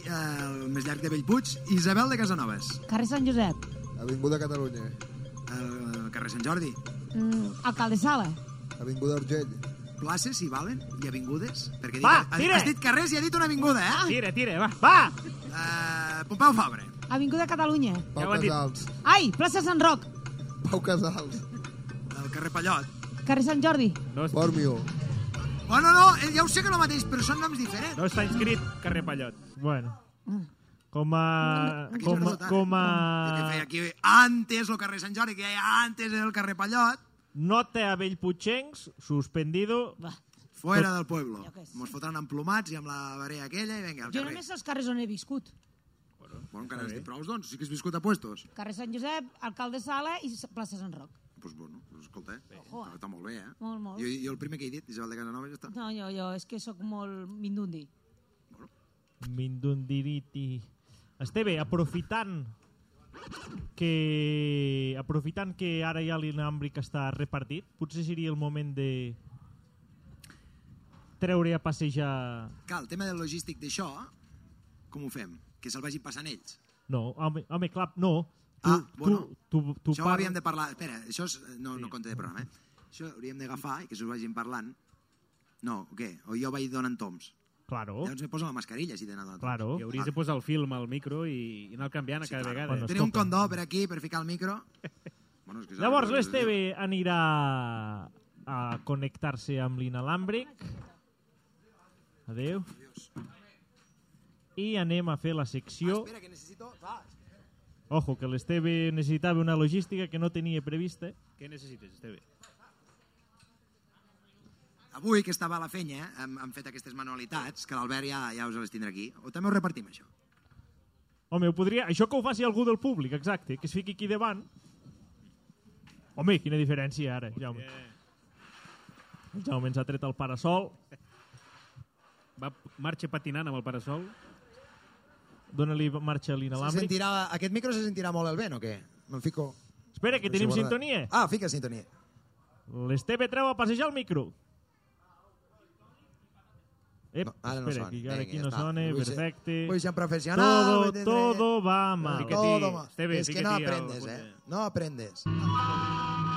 C: El més llarg de Bellpuig, Isabel de Casanovas.
F: Carrer Sant Josep.
G: Avinguda Catalunya.
C: El carrer Sant Jordi.
F: Mm, alcalde Sala.
G: Avinguda Urgell.
C: Places, si valen, i avingudes. Perquè
B: Va,
C: ha-
B: tira! Ah.
C: Has dit carrers i ha dit una avinguda, eh?
B: Tira, tira, va. Va!
C: Uh, Pompeu Fabra.
F: Avinguda Catalunya.
B: Ja
G: Pau
B: ho ha dit.
G: Casals.
F: Ai, plaça Sant Roc.
G: Pau Casals.
C: El carrer Pallot.
F: Carrer Sant Jordi.
D: No, es-
G: Bormio.
C: Oh, no, no, eh, ja ho sé que és el mateix, però són noms diferents.
D: no està inscrit carrer Pallot.
B: Bueno. Com a...
C: Aquí
B: Com a...
C: sobretot, eh?
B: Com
C: El que feia
B: a...
C: aquí antes el carrer Sant Jordi, que hi ha antes el carrer Pallot,
B: Nota a Bellputxencs, suspendido.
F: Va.
C: Fuera del pueblo.
F: Jo què sé.
C: Mos fotran emplomats i amb la barea aquella i vinga, al
F: Jo
C: carrer.
F: només sé els carrers on he viscut.
C: Bueno, encara has dit prous, doncs. Sí que has viscut a puestos.
F: Carrer Sant Josep, alcalde Sala i plaça Sant Roc.
C: Doncs, bueno, doncs, escolta, eh?
F: Ojo, eh?
C: Està molt bé, eh?
F: Molt, molt.
C: Jo, jo el primer que he dit, Isabel de Casanova, ja està.
F: No, jo, jo, és que sóc molt mindundi.
B: Mindundiriti. Esteve, aprofitant que aprofitant que ara ja l'inàmbric està repartit, potser seria el moment de treure a passejar...
C: Clar, el tema del logístic d'això, com ho fem? Que se'l vagin passant ells.
B: No, home, home clar, no. Tu,
C: Ah, bueno.
B: tu, tu, tu
C: això ho
B: par-
C: havíem de parlar... Espera, això és... no, no compta de programa, eh? Això hauríem d'agafar i que s'ho vagin parlant. No, o què? O jo vaig donant toms.
B: Claro,
C: Llavors me poso la mascarilla si he d'anar donant toms.
B: claro.
D: I hauries de posar el film al micro i, i anar canviant a cada
C: claro.
D: vegada. eh?
B: Bueno,
C: Tenia un
B: escolta.
C: condó per aquí, per ficar el micro. [LAUGHS] bueno, és que saps-
B: Llavors l'Esteve anirà a connectar-se amb l'inalàmbric. Adeu. I anem a fer la secció...
C: Ah, Espera, que necessito... Va,
B: Ojo, que l'Esteve necessitava una logística que no tenia prevista.
D: Què necessites, Esteve?
C: Avui, que estava a la fenya, hem, hem fet aquestes manualitats, que l'Albert ja, ja us les tindrà aquí. O també ho repartim, això.
B: Home, ho podria... Això que ho faci algú del públic, exacte, que es fiqui aquí davant. Home, quina diferència ara, Jaume. El Jaume ens ha tret el parasol.
D: Va, marxa patinant amb el parasol.
B: Dóna-li marxa a
C: Se
B: l'inalàmbric.
C: sentirà, aquest micro se sentirà molt el vent o què? Me'n fico...
B: Espera, que tenim
C: Deixa guardar.
B: sintonia.
C: Ah, fica sintonia.
B: L'Esteve treu a passejar el micro. Ep,
G: No, ara no
B: espera,
G: sona.
B: que ara
G: Vinga,
B: aquí
G: ja
B: no
G: està.
B: sone,
G: Vull ser-
B: perfecto.
G: vull ser professional,
B: Todo,
G: vull ser-
B: todo va mal.
D: Fica-t'hi,
G: Todo mal.
D: Esteve,
G: es que
D: fica-t'hi
G: no
D: al
G: aprendes,
D: puntet.
G: eh? No aprendes.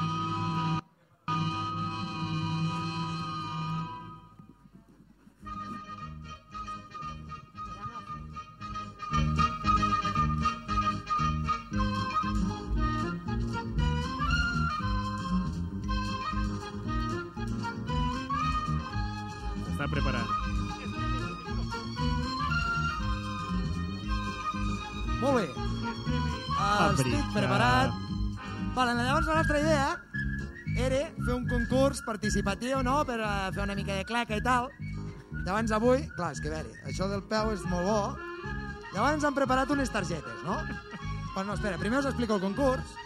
D: Està preparat.
C: Molt bé. Estic
B: Fabricar.
C: preparat. Vale, doncs llavors la nostra idea era fer un concurs participatiu, no?, per eh, fer una mica de claca i tal. Llavors avui, clar, és que a veure, això del peu és molt bo. Llavors han preparat unes targetes, no? Però no, espera, primer us explico el concurs.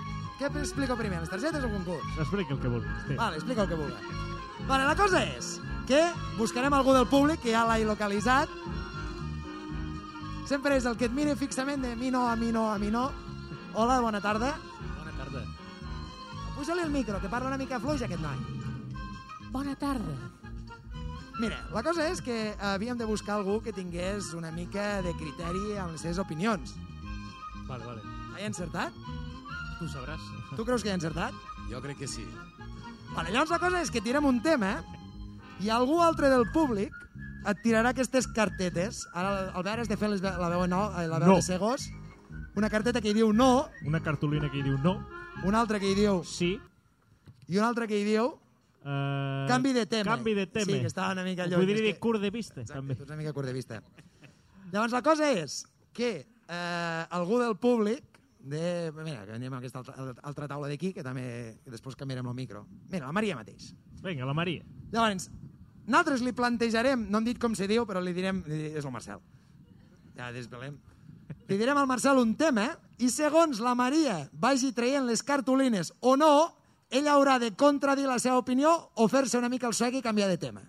C: Què explico primer, les targetes o el concurs?
B: Explica el que vulguis.
J: Mm.
B: Esteve.
C: Vale, explica el que vulgui. Vale, la cosa és que buscarem algú del públic que ja l'hagi localitzat. Sempre és el que et mira fixament de mi no, a mi no, a mi no. Hola, bona tarda.
J: Bona tarda.
C: Puja-li el micro, que parla una mica fluix aquest noi.
J: Bona tarda.
C: Mira, la cosa és que eh, havíem de buscar algú que tingués una mica de criteri en les seves opinions.
J: Vale, vale.
C: He encertat?
J: Tu sabràs.
C: Tu creus que he encertat?
J: Jo crec que sí.
C: Vale, llavors la cosa és que tirem un tema eh? i algú altre del públic et tirarà aquestes cartetes. Ara Albert has de fer les, ve- la veu, no, eh, la veu
B: No.
C: de Segos. Una carteta que hi diu no,
B: Una cartulina que hi diu no,
C: una altra que hi diu
B: sí.
C: i una altra que hi diu
B: eh,
C: canvi de tema.
B: Canvi de tema.
C: Sí, que estava una mica
B: Ho
C: lluny.
B: Podria
C: és
B: dir
C: que-
B: curt de vista,
C: Exacte,
B: també.
C: tu ets una mica curt de vista. Llavors la cosa és que eh, algú del públic de... Mira, que anem a aquesta altra, altra taula d'aquí, que també que després canviarem el micro. Mira, la Maria mateix.
B: Vinga, la Maria.
C: Llavors, nosaltres li plantejarem, no hem dit com se diu, però li direm, li direm- és el Marcel. Ja desvelem. Li direm al Marcel un tema i segons la Maria vagi traient les cartolines o no, ella haurà de contradir la seva opinió o fer-se una mica el suec i canviar de tema.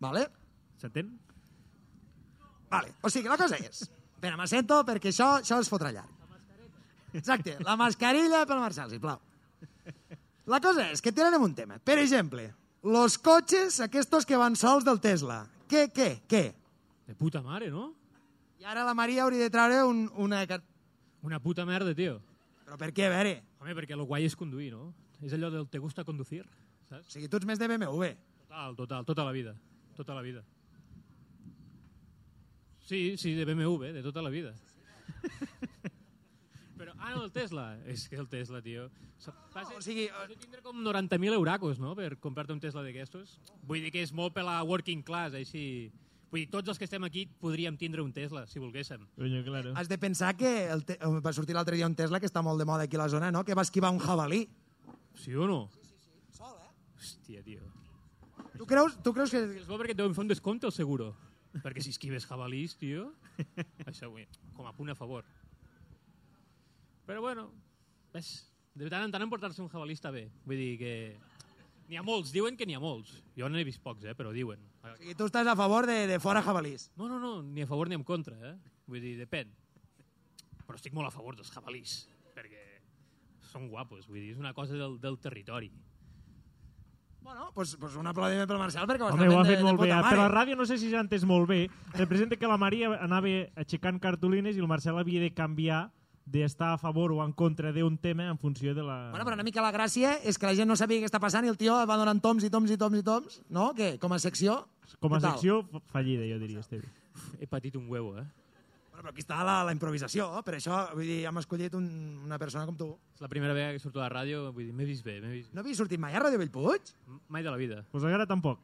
C: Vale?
D: S'entén?
C: Vale. O sigui, la cosa és... Espera, m'assento perquè això, això es fotrà llarg. Exacte, la mascarilla pel Marcel, sisplau. La cosa és que tirarem un tema. Per exemple, los cotxes aquestos que van sols del Tesla. Què, què, què?
J: De puta mare, no?
C: I ara la Maria hauria de treure un, una... car-
J: Una puta merda, tio.
C: Però per què, a veure?
J: Home, perquè lo guai és conduir, no? És allò del te gusta conducir,
C: O
J: saps?
C: sigui, tu ets més de BMW.
J: Total, total, tota la vida. Tota la vida. Sí, sí, de BMW, de tota la vida. [LAUGHS] Però, ah, no, el Tesla. És que el Tesla, tio... Se- Passa,
C: O sigui,
J: has de tindre com 90.000 euracos, no?, per comprar-te un Tesla d'aquestos. Vull dir que és molt per la working class, així... Vull dir, tots els que estem aquí podríem tindre un Tesla, si volguéssim.
B: Coño, claro.
C: has de pensar que el te... eh, va sortir l'altre dia un Tesla que està molt de moda aquí a la zona, no? Que va esquivar un jabalí.
J: Sí o no? Sí, sí, sí. Sol, eh? Hòstia, tio.
C: Tu creus, tu creus que...
J: És bo perquè et deuen fer un descompte al seguro. perquè si esquives jabalís, tio... això, vull dir, com a punt a favor. Però bueno, ves, de tant en tant emportar-se un jabalí està bé. Vull dir que... N'hi ha molts, diuen que n'hi ha molts. Jo n'he vist pocs, eh, però diuen.
C: O sigui, tu estàs a favor de, de fora jabalís.
J: No, no, no, ni a favor ni en contra, eh? Vull dir, depèn. Però estic molt a favor dels jabalís, perquè són guapos, vull dir, és una cosa del, del territori.
C: Bueno, doncs pues, un aplaudiment pel Marcel perquè ho has
B: Home, ho ha fet
C: de,
B: molt
C: de
B: bé.
C: puta
B: Per
C: mare.
B: la ràdio no sé si s'ha entès molt bé. Representa que la Maria anava aixecant cartolines i el Marcel havia de canviar d'estar a favor o en contra d'un tema en funció de la...
C: Bueno, però una mica la gràcia és que la gent no sabia què està passant i el tio va donant toms i toms i toms i toms, no? Que com a secció...
B: Com a
C: Què tal?
B: secció, fa- fallida, jo diria, Esteve.
J: He patit un huevo, eh?
C: Bueno, però aquí està la, la improvisació, eh? per això vull dir, hem escollit un, una persona com tu.
J: És la primera vegada que surto a la ràdio, vull dir, m'he vist bé, m'he vist
C: No havia sortit mai a Ràdio Bellpuig?
J: M- Mai de la vida.
B: Doncs pues ara tampoc.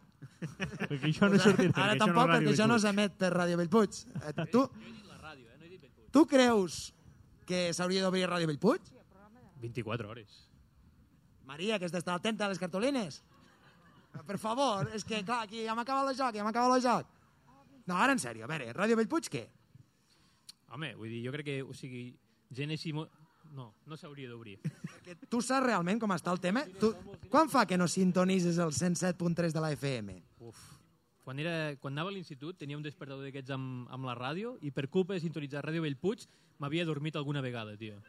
B: perquè això no sortirà.
C: Ara
B: perquè això
C: tampoc,
B: no
C: perquè això no
B: s'ha...
C: s'emet per Ràdio Bellpuig. Eh, tu,
J: La ràdio, eh? No he dit 24.
C: tu creus que s'hauria d'obrir Ràdio Bellpuig?
J: 24 hores.
C: Maria, que has d'estar atenta a les cartolines. Eh, Per favor, és que clar, aquí ja m'ha acabat el joc, ja m'ha acabat el joc. No, ara en sèrio, a veure, Ràdio Bellpuig què?
J: Home, vull dir, jo crec que, o sigui, gent així... Mo... No, no s'hauria d'obrir.
C: Que tu saps realment com està el tema? Tu, quan fa que no sintonises el 107.3 de la FM?
J: Uf. Quan, era, quan anava a l'institut tenia un despertador d'aquests amb, amb la ràdio i per culpa de sintonitzar Ràdio Bellpuig m'havia dormit alguna vegada, tio.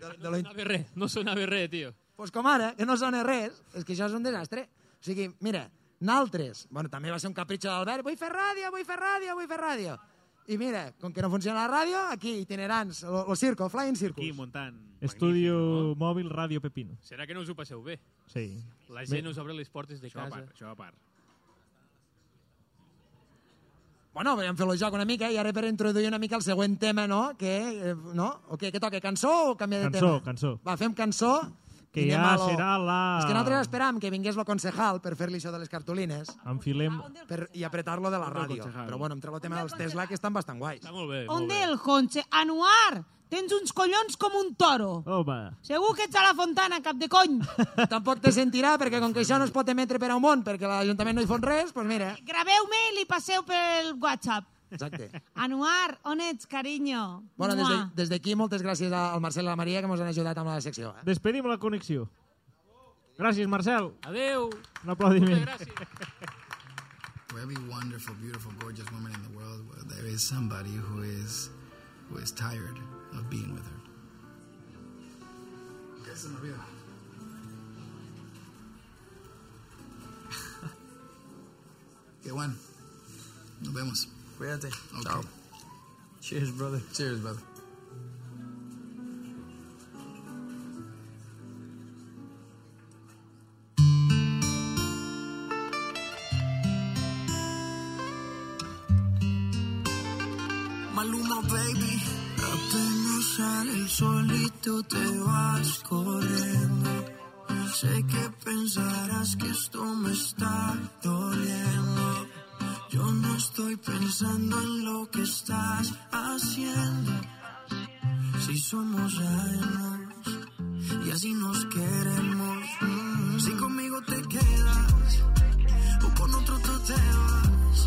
C: De,
J: No
C: de la...
J: sonava res, no sonava res, tio.
C: pues com ara, que no sona res, és que això és un desastre. O sigui, mira, Naltres. Bueno, també va ser un capritxo d'Albert. Vull fer ràdio, vull fer ràdio, vull fer ràdio. I mira, com que no funciona la ràdio, aquí itinerants, lo, lo circo, flying circus.
D: Aquí muntant.
B: [LAUGHS] Estudio mòbil Ràdio Pepino.
J: Serà que no us ho passeu bé?
B: Sí.
J: La gent us obre les portes de
D: Això a
J: casa.
D: part, això a part.
C: Bueno, vam fer el joc una mica i ara per introduir una mica el següent tema, no? Que, eh, no? O què, què toca? Cançó o canviar de
B: Cançó,
C: tema?
B: cançó.
C: Va, fem cançó.
B: Que
C: i anem
B: ja
C: a lo-
B: serà la-
C: És que nosaltres esperam que vingués lo concejal per fer-li això de les cartolines
B: Enfilem...
C: per, i apretar-lo de la
B: del
C: ràdio.
B: concejal?
C: Però bueno, hem tret el tema dels Tesla, que estan bastant guais.
J: Està molt bé.
F: On el conche? Anuar, tens uns collons com un toro.
B: Home.
F: Segur que ets a la fontana, cap de
C: [LAUGHS]
F: cony.
C: Tampoc te sentirà, perquè com que això no es pot emetre per a un món, perquè l'Ajuntament no hi fot res, doncs mira,
F: Graveu-me i li passeu pel WhatsApp.
C: exacte.
F: Anuar, on ets, carinyo?
C: Bueno, des
F: Mua.
C: de- des d'aquí moltes gràcies al Marcel i a la Maria que ens han ajudat amb la secció. Eh?
B: Despedim la connexió. Gràcies, Marcel.
J: Adeu.
B: Un aplaudiment.
J: Moltes gràcies.
B: [LAUGHS]
K: For every wonderful, beautiful, gorgeous woman in the world, well, there is somebody who is who is tired of being with her. ¿Qué se me olvida? Qué bueno. Nos vemos. Cuídate. Chao. Cheers, brother. Cheers, brother.
I: Maluma, baby. Apenas sale el solito te vas corriendo. Sé que pensarás que esto me está doliendo. Yo no estoy pensando en lo que estás haciendo. Si somos ajenos y así nos queremos. Mm. Si conmigo te quedas o con otro tú te vas.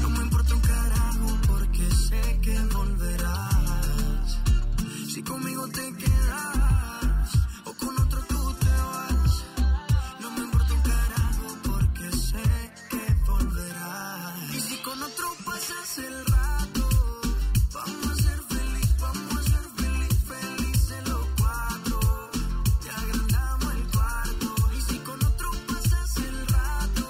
I: No me importa un carajo porque sé que volverás. Si conmigo te quedas o con otro tú te vas. No me importa un carajo porque sé que volverás. Y si con otro pasas el rato, vamos a ser feliz, vamos a ser feliz, felices los cuatro. Te agrandamos el cuarto. Y si con otro pasas el rato,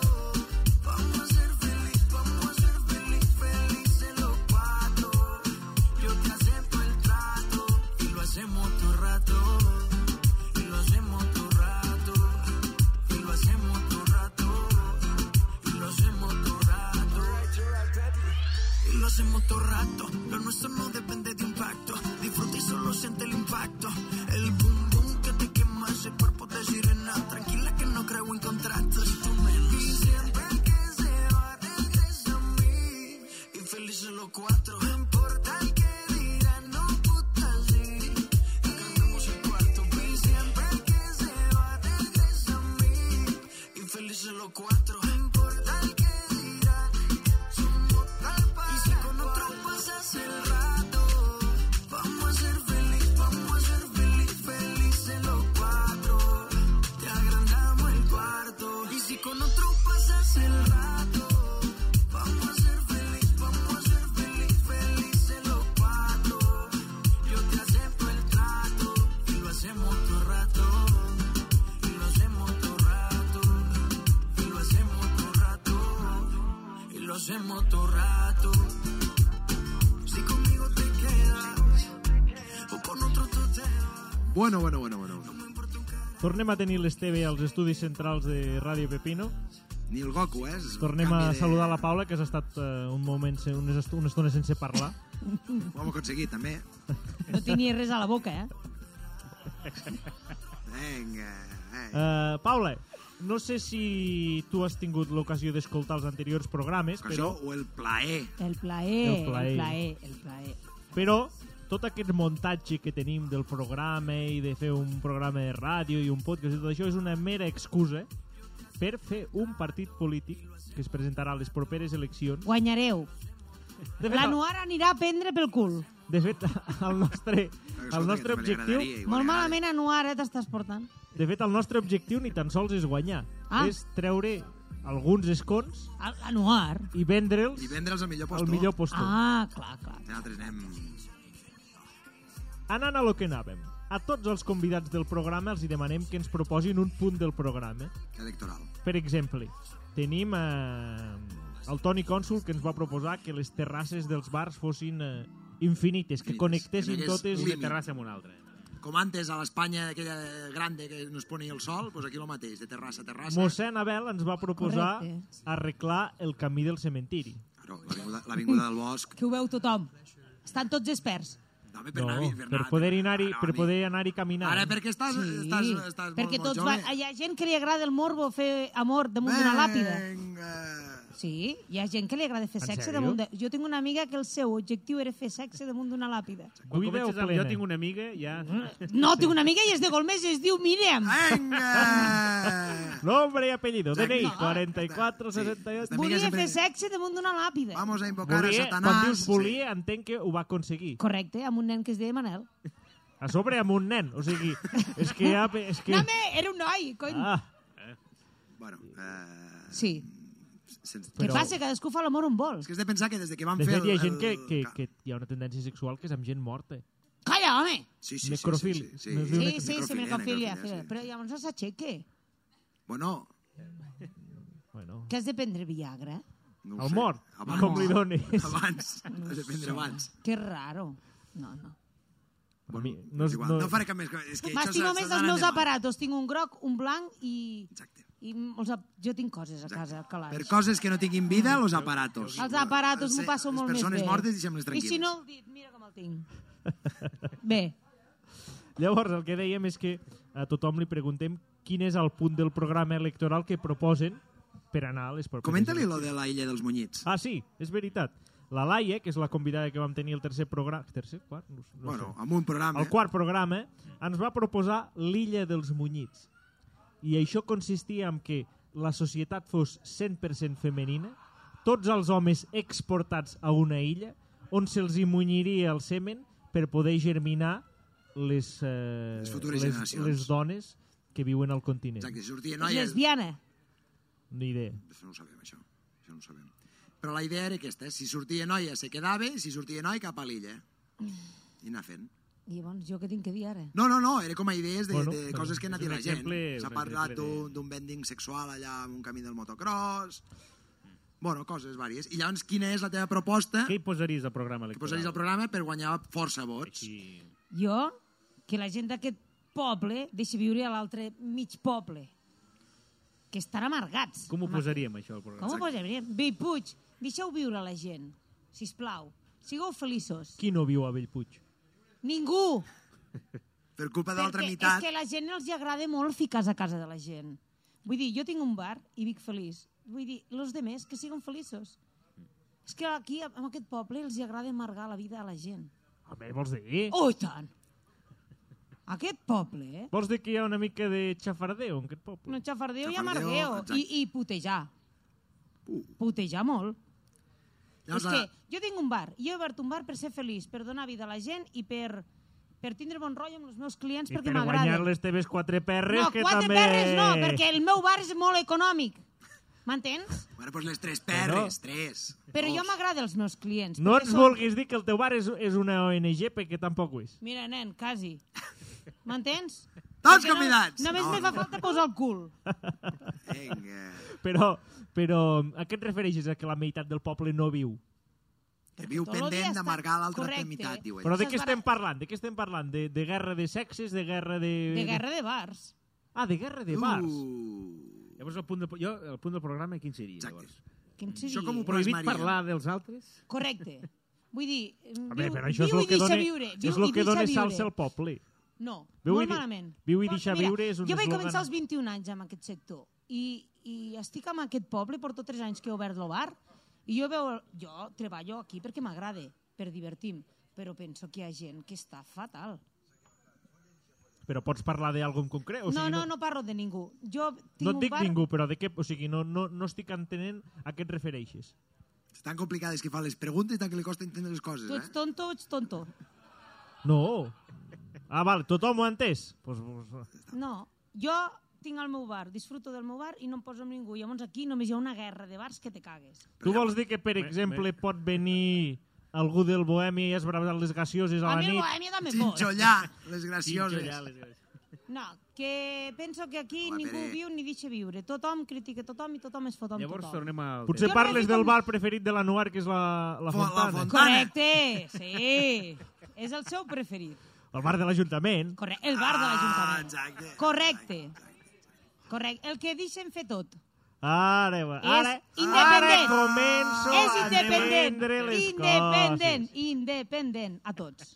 I: vamos a ser feliz, vamos a ser feliz, felices los cuatro. Yo te acepto el trato y lo hacemos todo rato. Y lo hacemos todo rato. Y lo hacemos todo rato. Y lo hacemos todo rato. Y lo hacemos todo rato. Lo nuestro no depende de impacto. Disfruta y solo siente el impacto. El boom boom que te quema ese cuerpo de sirena. Tranquila que no creo en contratos. Y tú menos. Y siempre que se va regresa a mí. Y felices los cuatro. No importa el que dirán, no puta sí. Y cantamos el cuarto. Y siempre que se va regresa a mí. Y felices los cuatro. No importa el que dirán. Y si con otro pasas el rato, vamos a ser feliz, vamos a ser feliz, felices los cuatro. Te agrandamos el cuarto. Y si con otro pasas el rato, vamos a ser feliz, vamos a ser feliz, felices los cuatro. Yo te acepto el trato y lo hacemos todo rato. Y lo hacemos todo rato. Y lo hacemos todo rato y lo hacemos todo rato. Si conmigo te quedas o con otro tú te vas.
B: Bueno, bueno, bueno, bueno. Tornem a tenir l'Esteve als estudis centrals de Ràdio Pepino.
C: Ni el Goku, eh? És un
B: Tornem a
C: canvi de-
B: saludar la Paula, que has estat eh, un moment, se- unes, est una estona sense parlar.
C: Ho hem aconseguit,
B: [LAUGHS]
C: també.
F: No tenia res a la boca, eh?
C: Vinga. Eh.
B: Eh, Paula, no sé si tu has tingut l'ocasió d'escoltar els anteriors programes,
C: Però...
B: però,
C: O el plaer.
F: El plaer,
B: El
F: el
B: plaer.
F: plaer, el plaer. El plaer.
B: però tot aquest muntatge que tenim del programa i de fer un programa de ràdio i un podcast i tot això és una mera excusa per fer un partit polític que es presentarà a les properes eleccions.
F: Guanyareu.
B: De fet,
F: L'anuar anirà a prendre pel cul.
B: De fet, [LAUGHS] el nostre, el nostre
C: Escolta, que també
B: objectiu...
C: li agradaria,
F: Molt
C: igual que
F: malament, Anuar, eh, t'estàs portant.
B: De fet, el nostre objectiu ni tan sols és guanyar.
F: Ah.
B: És treure alguns escons
F: A- Anuar.
B: i vendre'ls
C: I vendre'ls al millor postor.
B: al millor postor.
F: Ah, clar, clar.
C: Nosaltres anem...
B: Anant a lo que anàvem. A tots els convidats del programa els hi demanem que ens proposin un punt del programa.
C: Electoral.
B: Per exemple, tenim eh, el Toni Cònsul que ens va proposar que les terrasses dels bars fossin eh, infinites, que connectessin
C: que no hi hagués
B: totes
C: límit. Una terrassa
B: amb una altra.
C: Com antes a l'Espanya aquella grande que no es ponia el sol, doncs aquí el mateix, de terrassa a terrassa.
B: Mossèn Abel ens va proposar
F: Correcte.
B: arreglar el camí del cementiri.
C: Claro, l'avinguda- L'avinguda del Bosc.
F: Que ho veu tothom. Estan tots experts.
C: No, per,
B: No,
C: anar, per,
B: per poder anar-hi per poder anar camina.
C: Ara, perquè estàs, sí. estàs, estàs
F: Perquè
C: molt, molt
F: tots
C: jove.
F: van... Hi ha gent que li agrada el morbo fer amor damunt d'una làpida. Sí, hi ha gent que li agrada fer
D: En
F: sexe
D: sèrio?
F: damunt de... Jo tinc una amiga que el seu objectiu era fer sexe damunt d'una làpida.
D: Quan
B: Buida o
D: comences amb
B: plena?
D: jo tinc una amiga, ja...
F: No, tinc una amiga i és de Golmés i es diu Míriam.
B: [LAUGHS]
F: [LAUGHS]
B: Nombre y apellido, DNI,
F: No.
B: 44, 68...
F: Volia fer sexe damunt d'una làpida.
C: Vamos a
B: Volia, quan dius volia, entenc que ho va aconseguir.
F: Correcte, amb un nen que es deia Manel.
B: A sobre amb un nen, o sigui, és que ja... És que...
F: Name, era un noi, cony.
B: Ah,
C: Bueno, eh,
F: Sí.
C: sens...
F: Què passa? Cadascú fa l'amor on vol.
C: És que has de pensar que des de que vam
B: de
C: fer
B: fet, hi ha
C: el-
B: gent que,
C: el-
B: que, que hi ha una tendència sexual que és amb gent morta.
F: Calla, home!
C: Sí, sí, sí,
B: Necrofil.
C: sí, sí,
B: No es diu
F: Sí, sí,
B: necrofil.
F: sí,
C: necrofilia,
F: necrofilia.
C: necrofilia, sí.
F: Però llavors no s'aixeque.
C: Bueno,
B: Bueno,
F: Que has de prendre Viagra?
C: no ho
B: el
C: sé.
B: mort,
C: Abans.
B: com li dones.
C: Abans, [LAUGHS]
F: [LAUGHS]
C: has de prendre abans.
F: Que raro. No, no.
B: Bueno, no,
C: És
B: és-
C: igual,
B: no,
C: no faré cap més... És que això
F: M'estimo
C: s'ha-
F: més
C: s'ha
F: els
C: d'anar
F: meus
C: endavant.
F: aparatos. Tinc un groc, un blanc i...
C: Exacte.
F: i els ap- jo tinc coses a casa, al calaix.
C: Per coses que no tinguin vida, los aparatos.
F: Els aparatos m'ho
C: Se-
F: passo molt més bé.
C: Les persones mortes,
F: I
C: deixem-les
F: si
C: tranquil·les.
F: no el dit, mira com el tinc. Bé,
B: Llavors, el que dèiem és que a tothom li preguntem quin és el punt del programa electoral que proposen per anar a les properes...
C: Comenta-li lo de la illa dels munyits.
B: Ah, sí, és veritat. La Laia, que és la convidada que vam tenir el tercer programa... Tercer? Quart? No, no
C: Bueno,
B: sé.
C: amb un programa. eh?
B: El quart programa ens va proposar l'illa dels munyits. I això consistia en que la societat fos 100% femenina, tots els homes exportats a una illa, on se'ls hi munyiria el semen per poder germinar les, eh,
C: Les futures
B: les,
C: generacions.
B: les dones que viuen al continent.
C: Exacte, si sortia
F: no,
C: noies...
F: lesbiana.
B: Ni idea.
C: Això no ho sabem, això. Això no ho sabem. Però la idea era aquesta, eh? si sortia noia se quedava i si sortia noi cap a l'illa. I anar fent.
F: I llavors, jo què tinc que dir ara?
C: No, no, no, era com a idees de,
B: Bueno,
C: de
B: però
C: coses que ha anat
D: és un
C: la gent.
D: exemple-
C: S'ha
D: un
C: parlat
D: exemple de-
C: d'un d'un vending sexual allà en un camí del motocross... Bueno, coses vàries. I llavors, quina és la teva proposta
D: Què hi posaries al programa
C: que
D: electoral?
C: posaries al programa per guanyar força vots?
D: Sí.
F: Jo, que la gent d'aquest poble deixi viure a l'altre mig poble. Que estan amargats.
D: Com ho posaríem, això, al programa?
F: Com ho posaríem? Vell Puig, deixeu viure la gent, si plau. Sigueu feliços.
B: Qui no viu a Bellpuig?
F: Ningú!
C: Per culpa de l'altra
F: Perquè
C: meitat...
F: És que la gent els hi agrada molt ficar a casa de la gent. Vull dir, jo tinc un bar i vic feliç. Vull dir, los demés que siguin feliços. És que aquí, en aquest poble, els hi agrada amargar la vida a la gent.
B: Home, vols dir?
F: Oh, i tant! Aquest poble, eh?
B: Vols dir que hi ha una mica de xafardeu en aquest poble?
F: No xafardeu i
C: Xafardeu,
F: amargueu. I,
C: exacte. Uh.
F: I putejar. Putejar molt.
C: Llavors,
F: és que
C: la-
F: jo tinc un bar. Jo he obert un bar per ser feliç, per donar vida a la gent i per, per tindre bon rotllo amb els meus clients
B: I
F: perquè
B: per guanyar
F: m'agraden.
B: les teves quatre perres,
F: no,
B: que
F: quatre
B: també...
F: perres no, perquè el meu bar és molt econòmic. M'entens?
C: Bueno, doncs les tres perres, tres.
F: Però
C: Dos.
F: jo m'agrada els meus clients.
B: No
F: perquè
B: ens
F: són-
B: vulguis dir que el teu bar és, és una ONG, perquè tampoc ho és.
F: Mira, nen, quasi. M'entens?
C: Tots
F: Perquè no-
C: convidats!
F: Només
C: No,
F: me fa
C: no.
F: falta posar el cul.
C: Vinga.
B: Però, però a què et refereixes a que la meitat del poble no viu?
C: Que viu
F: Tot el dia
C: pendent
F: està-
C: d'amargar l'altra
F: correcte. eh?
C: meitat, diu ell.
B: Però de
F: Això
B: què
F: és
B: estem
F: barat.
B: parlant? De què estem parlant? De, de guerra de sexes? De guerra de...
F: De guerra de bars.
B: Ah, de guerra de bars.
C: Uh.
D: Llavors, el punt, de, jo, el punt del programa, quin seria,
C: Exacte.
D: llavors?
F: Que em
C: Això com ho
F: seria?
D: Prohibit
C: plasmaríem?
D: parlar dels altres?
F: Correcte. Vull dir,
B: A
F: viu,
B: veure, però això és
F: viu
B: el
F: i
B: que
F: deixa
B: dona,
F: viure.
B: és
F: viu
B: el
F: i
B: que
F: deixa
B: dona
F: viure.
B: salsa al poble.
F: No,
B: Viu i
F: molt
B: di-
F: malament.
B: viu i
F: Però,
B: deixar
F: mira,
B: viure és un
F: Jo vaig
B: eslògan.
F: començar als 21 anys amb aquest sector i, i estic en aquest poble, porto 3 anys que he obert el bar i jo, veu, jo treballo aquí perquè m'agrada, per divertir-me, però penso que hi ha gent que està fatal.
B: Però pots parlar d'algo en concret? O sigui,
F: no, no, no parlo de ningú. Jo tinc
B: No et
F: un
B: dic
F: bar...
B: ningú, però de què... O sigui, no, no, no estic entenent a què et refereixes.
C: És tan complicades que fan les preguntes i tant que li costa entendre les coses,
F: Tu ets
C: eh?
F: tonto o ets tonto?
B: No. Ah, val, tothom ho ha entès? Pues, pues,
F: No, jo tinc el meu bar, disfruto del meu bar i no em poso amb ningú. Llavors aquí només hi ha una guerra de bars que te cagues.
B: tu vols dir que, per exemple, pot venir algú del Bohèmia i esbravar les gaseoses a
F: A
B: la
F: mi el
B: nit
F: bohèmia també fot.
C: Xinxollar, les gracioses.
D: Xinxollar, les gràcies.
F: No, que penso que aquí
B: Home,
F: ningú
B: Pere.
F: viu ni deixa viure. Tothom critica tothom i tothom es fot amb
D: Llavors
F: tothom.
D: tornem al...
B: Potser
F: Jo no
B: parles
F: dic
B: del
F: amb-
B: bar preferit de l'Anuar, que és la, la Fontana.
F: Correcte, sí. És el seu preferit.
B: El bar de l'Ajuntament.
F: Corre el bar
C: Ah,
F: de l'Ajuntament. Correcte. Correcte. El que deixen fer tot.
B: Ara, ara,
F: és
B: ara
F: independent.
B: començo
F: és
B: a
F: independent.
B: entendre les
F: independent. Independent. A tots.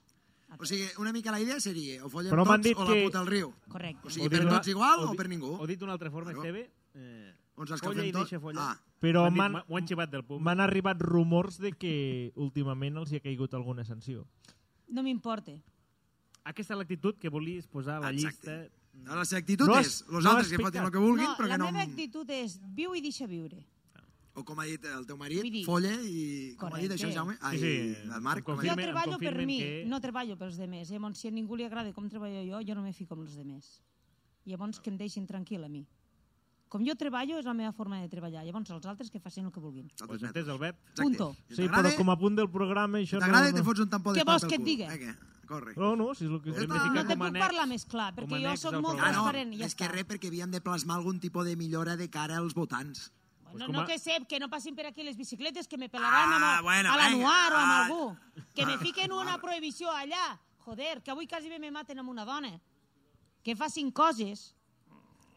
C: O sigui, una mica la idea seria o follem
B: Però m'han
C: tots
B: dit
C: o la
B: que-
C: puta al riu.
F: Correcte.
C: O sigui, per tots igual o, per ningú.
D: O dit d'una altra forma, Esteve... Eh,
C: Doncs els que
D: folla
C: fem
D: i
C: tot-
D: deixa follar.
C: Ah.
B: Però
D: M'han dit-
B: m'han-
D: m'ho han xivat del pub.
B: M'han arribat rumors de que últimament els hi ha caigut alguna sanció.
F: No m'importa.
D: Aquesta és l'actitud que volies posar a la
C: Exacte.
D: llista.
C: No, la seva actitud No és, has- los no altres has que fotin explicat. lo que vulguin, però
F: la
C: que no
F: meva
C: em-
F: actitud és viu i deixa viure.
C: O com ha dit el teu marit,
F: Vull dir-
C: folla i... Com ha dit
F: Correcte.
C: això, Jaume? Ai,
D: Sí,
C: sí,
D: sí.
C: el Marc, com ha dit?
F: Jo treballo per mi, no treballo pels demés. Llavors, si a ningú li agrada com treballo jo, jo no me fico amb els demés. Llavors, que em deixin tranquil a mi. Com jo treballo, és la meva forma de treballar. Llavors, els altres que facin el que vulguin.
D: Pues entès, Albert.
F: Punto.
B: Sí, però com a punt del programa això no...
C: T'agrada, te fots un tampó de
F: Què
C: pal
F: vols
C: pel
F: que et
C: cul.
F: digui?
C: Vinga, corre.
B: No, no, si és el que...
C: Hem de
F: No,
C: ficar
F: no te
C: com a
F: puc
C: annex-
F: parlar més clar, perquè jo
C: annex
F: sóc
C: al
F: molt
C: programa.
F: transparent.
C: Ah,
F: i
C: no,
F: Ja
C: és que
F: està.
C: res, perquè havíem de plasmar algun tipus de millora de cara als votants.
F: No, no, que sé, que no passin per aquí les bicicletes, que me pelaran amb, el-
C: Ah, bueno,
F: Ah, a l'anuar o amb
C: venga,
F: algú. Que me
C: Ah,
F: fiquen una prohibició allà. Joder, que avui quasi bé me maten amb una dona. Que facin coses.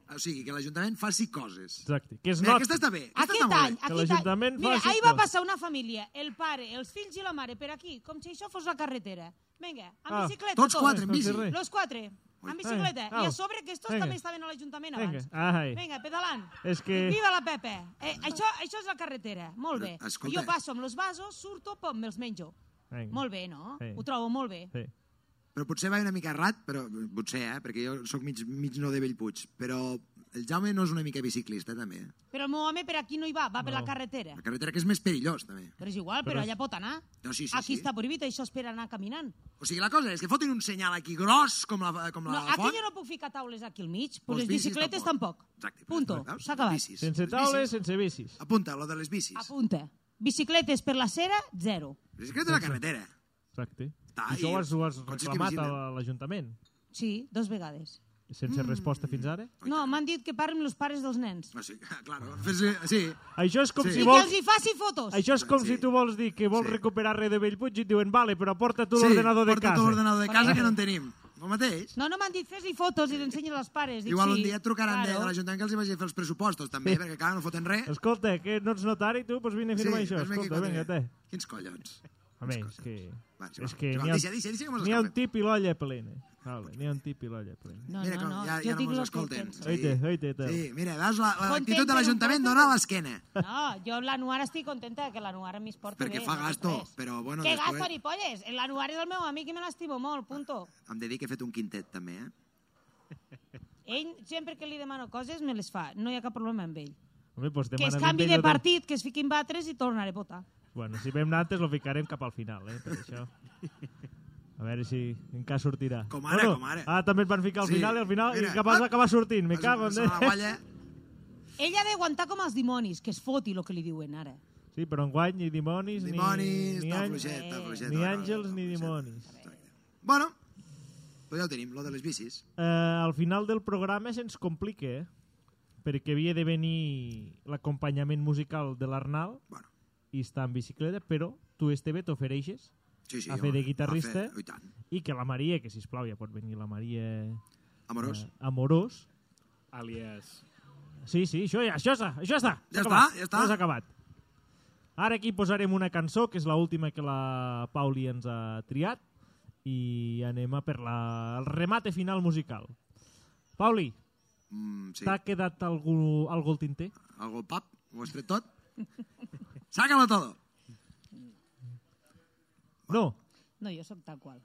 C: O sigui, que l'Ajuntament faci coses.
B: Exacte. Que es
C: Mira,
B: noti.
C: aquesta està bé. Aquesta
F: Aquest
C: està molt
F: any,
C: bé.
F: aquest any. Mira, ahir va passar una família, el pare, els fills i la mare, per aquí, com si això fos la carretera. Vinga, amb
C: Ah,
F: bicicleta.
C: tots quatre, en bici.
F: Los quatre, amb bicicleta.
B: Vinga,
F: I
B: au.
F: a sobre, que estos
B: Vinga.
F: també estaven a l'Ajuntament
B: Vinga,
F: abans.
B: ai.
F: Vinga, pedalant.
C: Eh,
B: És que-
F: Viva la Pepe. Eh, això, això és la carretera. Molt bé.
B: Però, escolta,
F: jo passo amb los vasos, surto, pom, me'ls menjo.
C: Vinga.
F: Molt bé, no?
C: Sí.
F: Ho trobo molt bé.
B: Sí.
C: Però potser va una mica errat, però potser, eh? Perquè jo sóc mig, mig no de Bellpuig. Però el Jaume no és una mica biciclista, també. eh?
F: Però el meu home per aquí no hi va, va per
C: No.
F: la carretera.
C: La carretera que és més perillós, també.
F: Però és igual, però,
C: Però és-
F: allà pot anar.
C: No, sí, sí,
F: aquí
C: sí.
F: està prohibit, això és per anar caminant.
C: O sigui, la cosa és que fotin un senyal aquí gros, com la, eh, com
F: No,
C: la
F: aquí
C: font.
F: jo no puc ficar taules aquí al mig,
C: Pues
F: però les
C: bicis
F: bicicletes tampoc.
C: Exacte.
F: Punto, s'ha acabat.
C: Bicis.
B: Sense
C: Les
B: taules,
C: bicis.
B: sense bicis.
C: Apunta, lo de les bicis.
F: Apunta. Bicicletes per la cera, zero.
C: Bicicleta a la carretera.
B: Exacte.
C: Està,
B: I això
C: i
B: ho has, ho has
C: cotxes que
B: reclamat a
C: viginen.
B: l'Ajuntament,
F: Sí, dos vegades.
C: Mm.
B: sense resposta fins ara?
F: No, m'han dit que parlen els pares dels nens.
C: [LAUGHS] O sigui, Ah, claro, fes-li... Sí.
B: Això és com
F: I
B: si
F: que
B: vols...
F: els hi faci fotos.
B: Això és com si tu vols dir que vols recuperar res de Bellpuig i et diuen, vale, però porta tu l'ordenador de
C: porta
B: casa.
C: tu l'ordenador de casa que no en tenim. El mateix.
F: No, no m'han dit fes-hi fotos i l'ensenyen als pares. Dic,
C: Igual
F: sí,
C: un dia et trucaran de,
F: claro.
C: de l'Ajuntament que els hi vagi a fer els pressupostos, també, perquè clar, no foten res.
B: Escolta, que no ets notari, tu? Doncs vine a firmar
C: Sí,
B: això.
C: fes-me aquí
B: Escolta,
C: quatre.
B: vinga, te.
C: Quins collons?
B: Home, és que...
C: sí, va.
B: és que
C: Joan,
B: n'hi ha,
C: deixa, deixa, deixa que mos
B: n'hi ha un
C: escapen.
B: tip i l'olla plena. Vale, n'hi ha un tip i l'olla plena.
F: No,
C: mira
F: no,
C: com,
F: no,
C: ja,
F: jo
C: ja no
F: dic
C: mos
F: lo que
C: escolten.
F: penso.
B: Oite, oite, te.
C: Sí, mira, veus la- la- l'actitud
F: Contenta
C: de
F: un
C: l'Ajuntament
F: poco.
C: donar a l'esquena.
F: No, jo amb l'anuar estic contenta que l'anuar a mi es porta bé.
C: Perquè fa
F: no passa
C: gasto,
F: res.
C: però bueno,
F: que
C: després-
F: gasto, ni polles? L'anuar és el meu amic i me l'estimo molt, punto.
C: Em dedic he fet un quintet, també,
B: [LAUGHS]
C: eh?
F: Ell, sempre que li demano coses, me les fa. No hi ha cap problema amb ell.
B: Home, doncs
F: que es
B: demana'm
F: canvi
B: ell
F: de
B: o
F: partit, que es fiquin batres i tornaré a votar.
B: Bueno, si vam anar antes, lo ficarem cap al final, eh, per això. A veure si encara sortirà.
C: Com ara,
B: bueno,
C: com ara.
B: Ah, també et van ficar al
C: Sí,
B: final i al final
C: mira,
B: i que vas
C: ah,
B: acabar sortint. Me cago en...
C: Se la gualla.
F: Ell ha d'aguantar com els dimonis, que es foti el que li diuen ara.
B: Sí, però enguany ni dimonis, ni-
C: Dimonis,
B: ni,
C: està
B: àngels-
C: fluixet, està fluixet,
B: ni
C: no, no,
B: àngels ni dimonis.
C: Bueno, doncs ja ho tenim, lo de les bicis.
B: Eh, al final del programa se'ns complica, eh? perquè havia de venir l'acompanyament musical de l'Arnal
C: bueno.
B: i està en bicicleta, però tu, Esteve, t'ofereixes
C: Sí, sí,
B: a fer
C: home,
B: de guitarrista
C: a fer- oi tant.
B: i que la Maria, que sisplau ja pot venir la Maria...
C: Amorós.
B: Eh, amorós.
D: Eh, Alias...
B: Sí, sí, això ja, això està, això està. s'ha
C: Ja està,
B: acabat,
C: ja està.
B: Has acabat. Ara aquí posarem una cançó, que és l'última que la Pauli ens ha triat, i anem a per la, el remate final musical. Pauli,
C: Mm, sí.
B: t'ha quedat algú, algú al tinter?
C: Algo pap, ho has tret tot? [LAUGHS] Sácalo todo.
B: No,
F: No, jo sóc tal qual.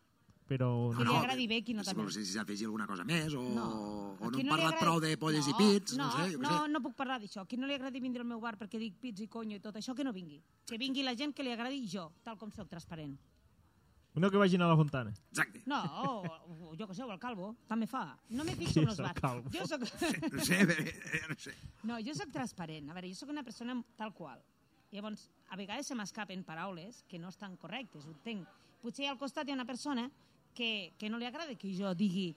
B: però...
C: Ah,
F: Que li agradi bé, qui no
C: Si
F: també.
C: vols, si s'afegir alguna cosa més, o no, o no
F: Qui
C: hem
F: li
C: parlat
F: agradi-
C: prou de polles i pits, no,
F: no
C: sé, jo
F: no,
C: què sé.
F: no puc parlar d'això. A qui no li agradi vindre al meu bar perquè dic pits i conyo i tot això, que no vingui. Que vingui la gent que li agradi jo, tal com sóc transparent.
B: No que vagin a la Fontana.
C: Exacte.
F: No, o, o jo que sé, o el calvo, també fa. No me
B: Qui
F: fixo en
B: és
F: els
B: el
F: bars.
B: calvo?
F: Jo sóc...
C: No sé, [LAUGHS] eh, no sé.
F: No, jo sóc transparent. A veure, jo sóc una persona tal qual. Llavors, a vegades se m'escapen paraules que no estan correctes, ho entenc. Potser al costat hi ha una persona que, que no li agrada que jo digui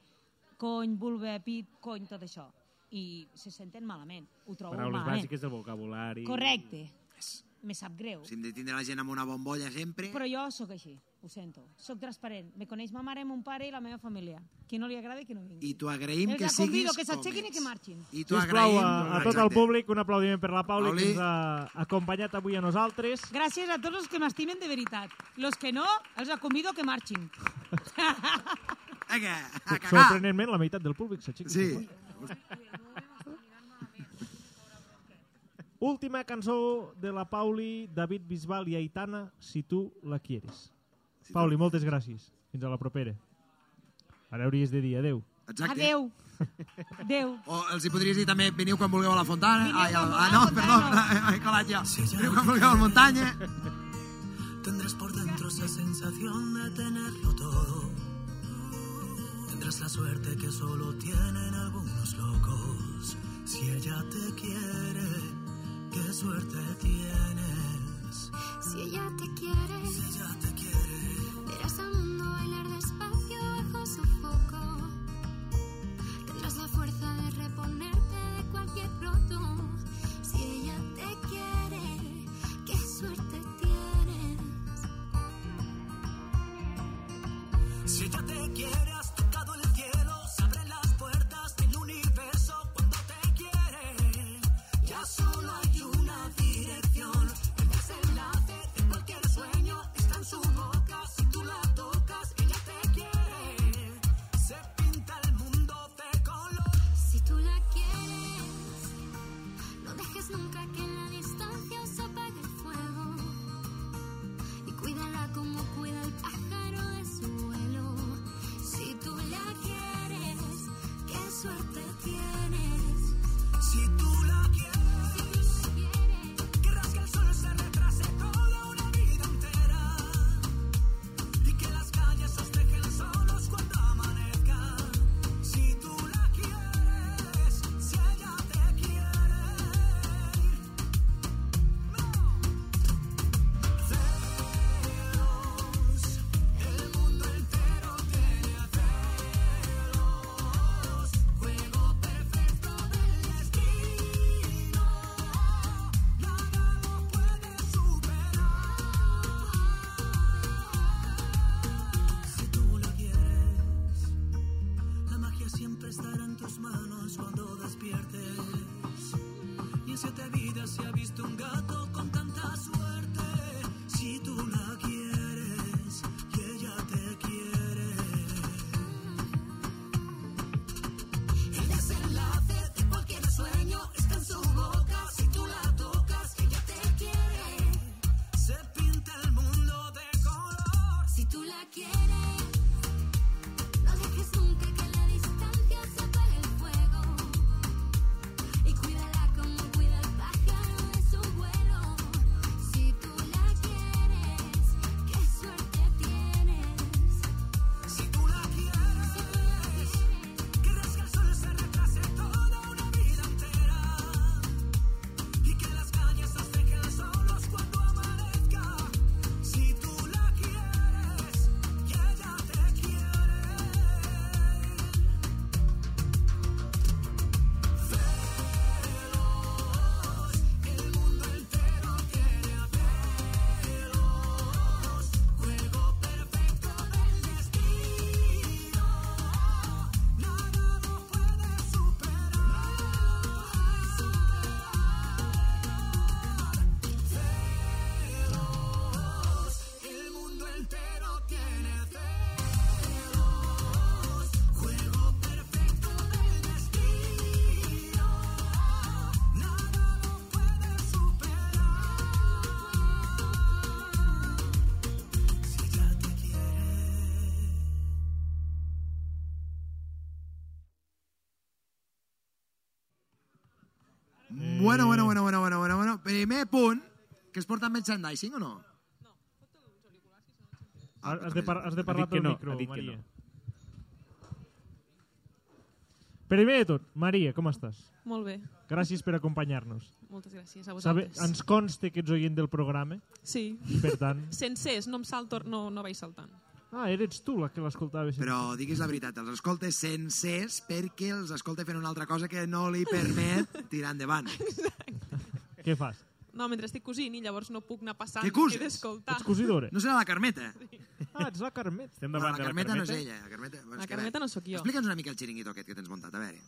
F: cony, vulva, pit, cony, tot això. I se senten malament. Ho trobo
D: Paraules
F: malament.
D: bàsiques del vocabulari.
F: Correcte. Me sap greu.
C: Si hem de tindre la gent amb una bombolla sempre...
F: Però jo sóc així, ho sento. Sóc transparent. Me coneix ma mare, mon pare i la meva família. Qui no li agrada i qui no vingui.
C: I t'ho agraïm
F: Els
C: que
F: convido
C: siguis
F: que s'aixequin
C: com
F: i que marxin.
C: I t'ho
B: Sisplau,
C: agraïm...
B: a, a tot el
C: Exacte.
B: públic, un aplaudiment per la Pauli,
C: Pauli.
B: que ens ha acompanyat avui a nosaltres.
F: Gràcies a tots els que m'estimen de veritat. Los que no, els convido que marxin.
B: Sorprenentment, la meitat del públic s'aixeca.
C: Sí.
B: Última cançó de la Pauli, David Bisbal i Aitana, Si tu la quieres. Pauli, moltes gràcies. Fins a la propera. Ara hauries de dir adeu.
C: Exacte.
F: Adeu. Adeu.
C: O els hi podries dir també, veniu quan vulgueu a la Fontana. Ai, al- ah, no, perdó, [LAUGHS] he calat ja. Veniu quan vulgueu a la muntanya.
I: Tendrás por dentro esa sensación de tenerlo todo.
H: Tendrás la suerte que solo tienen algunos locos. Si ella te quiere, qué suerte tienes.
E: Si ella te quiere, si ella te quiere, verás al mundo bailar despacio bajo su foco. Tendrás la fuerza de reponerte de cualquier roto. Si ella te quiere, qué suerte tienes.
I: Si ella te quiere, has tocado el cielo. Se abren las puertas del universo cuando te quiere. Ya solo hay una dirección. El desenlace de cualquier sueño está en su boca. Si tú la tocas, ella te quiere. Se pinta el mundo de color.
E: Si tú la quieres, no dejes nunca que en la distancia se apague el fuego. Y cuídala como cuida el pájaro de su vuelo. Si tú la quieres, qué suerte tienes.
I: Si tú la quieres, querrás que el sol se retrase toda una vida entera y que las calles os dejen solos cuando amanezca. Si tú la quieres, si ella te quiere, celos, el mundo entero tiene a celos, juego perfecto del destino, nada lo puede superar.
H: Si tú la quieres, la magia siempre estará en tus manos cuando despiertes.
I: Y en siete vidas se ha visto un gato con tanta suerte. Si tú la quieres, que ella te quiere. El desenlace de cualquier sueño está en su boca. Si tú la tocas, ella te quiere. Se pinta el mundo de color.
E: Si tú la quieres, no dejes nunca que en la distancia se apague el fuego. Y cuídala como cuida el pájaro de su vuelo. Si tú la quieres, qué suerte tienes.
I: Si tú la quieres, querrás que el sol se retrase toda una vida entera y que las calles nos dejen solos cuando amanezca. Si tú la quieres, y ella te quiere. Celos, el mundo entero tiene a celos. Juego perfecto del destino, nada lo puede superar. Celos, el mundo entero tiene celos. Juego perfecto del destino, nada lo puede superar. Si ella te quiere.
C: Bueno, bueno,
B: Mm.
C: bueno, bueno, bueno, bueno, bueno. Primer punt, que es porta merchandising o no?
D: Ah,
B: Has de, par has de
D: Ha
B: parlar
D: dit
B: pel
D: que no,
B: micro,
D: ha dit que
B: Maria.
D: no.
B: Primer de tot, Maria, com estàs?
L: Molt bé.
B: Gràcies per acompanyar-nos.
L: Moltes gràcies a
B: Sabe,
L: vosaltres.
B: ens consta que ets oient del programa.
L: Sí. [LAUGHS]
B: Per tant,
L: Sencers, no em salto, no, no vaig saltant.
B: Ah, eres tu la que l'escoltava. sempre.
C: Però diguis la veritat, els escolta sencers perquè els escolta fent una altra cosa que no li permet
B: [LAUGHS]
C: tirar endavant.
B: Què fas?
L: No, mentre estic cosint i llavors no puc anar passant.
C: Què cuses?
L: He d'escoltar.
B: Ets
L: [LAUGHS]
B: cosidora.
C: No serà la Carmeta?
B: Ah, ets la Carmeta. Estem
C: No, la
B: davant de
C: Carmeta no és ella. La Carmeta,
L: La Carmeta no sóc jo.
C: Explica'ns una mica el xiringuito aquest que tens muntat, a veure.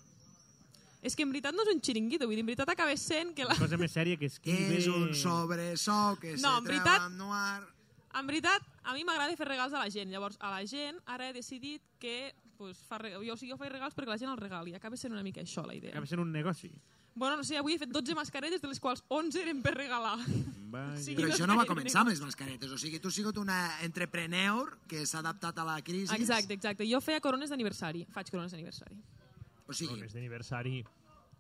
L: És que en veritat no és un xiringuito, vull dir, en veritat acabes sent que la...
J: Cosa més sèria que és...
C: És un sobresou que
L: No,
C: se
L: en
C: treu
L: veritat-
C: amb noir.
L: En veritat, a mi m'agrada fer regals a la gent. Llavors, a la gent ara he decidit que pues, fa re... jo, o sigui, jo faig regals perquè la gent els regali. Acaba sent una mica això la idea.
J: Acaba sent un negoci.
L: Bueno, no sé, avui he fet 12 mascaretes, de les quals 11 eren per regalar. Sí,
C: Però
L: no
C: això no va
L: gaire
C: començar amb
L: negoci.
C: les mascaretes, o sigui, tu has sigut una entrepreneur que s'ha adaptat a la crisi.
L: Exacte, exacte. Jo feia corones d'aniversari. Faig corones d'aniversari.
C: O sigui...
B: Corones d'aniversari,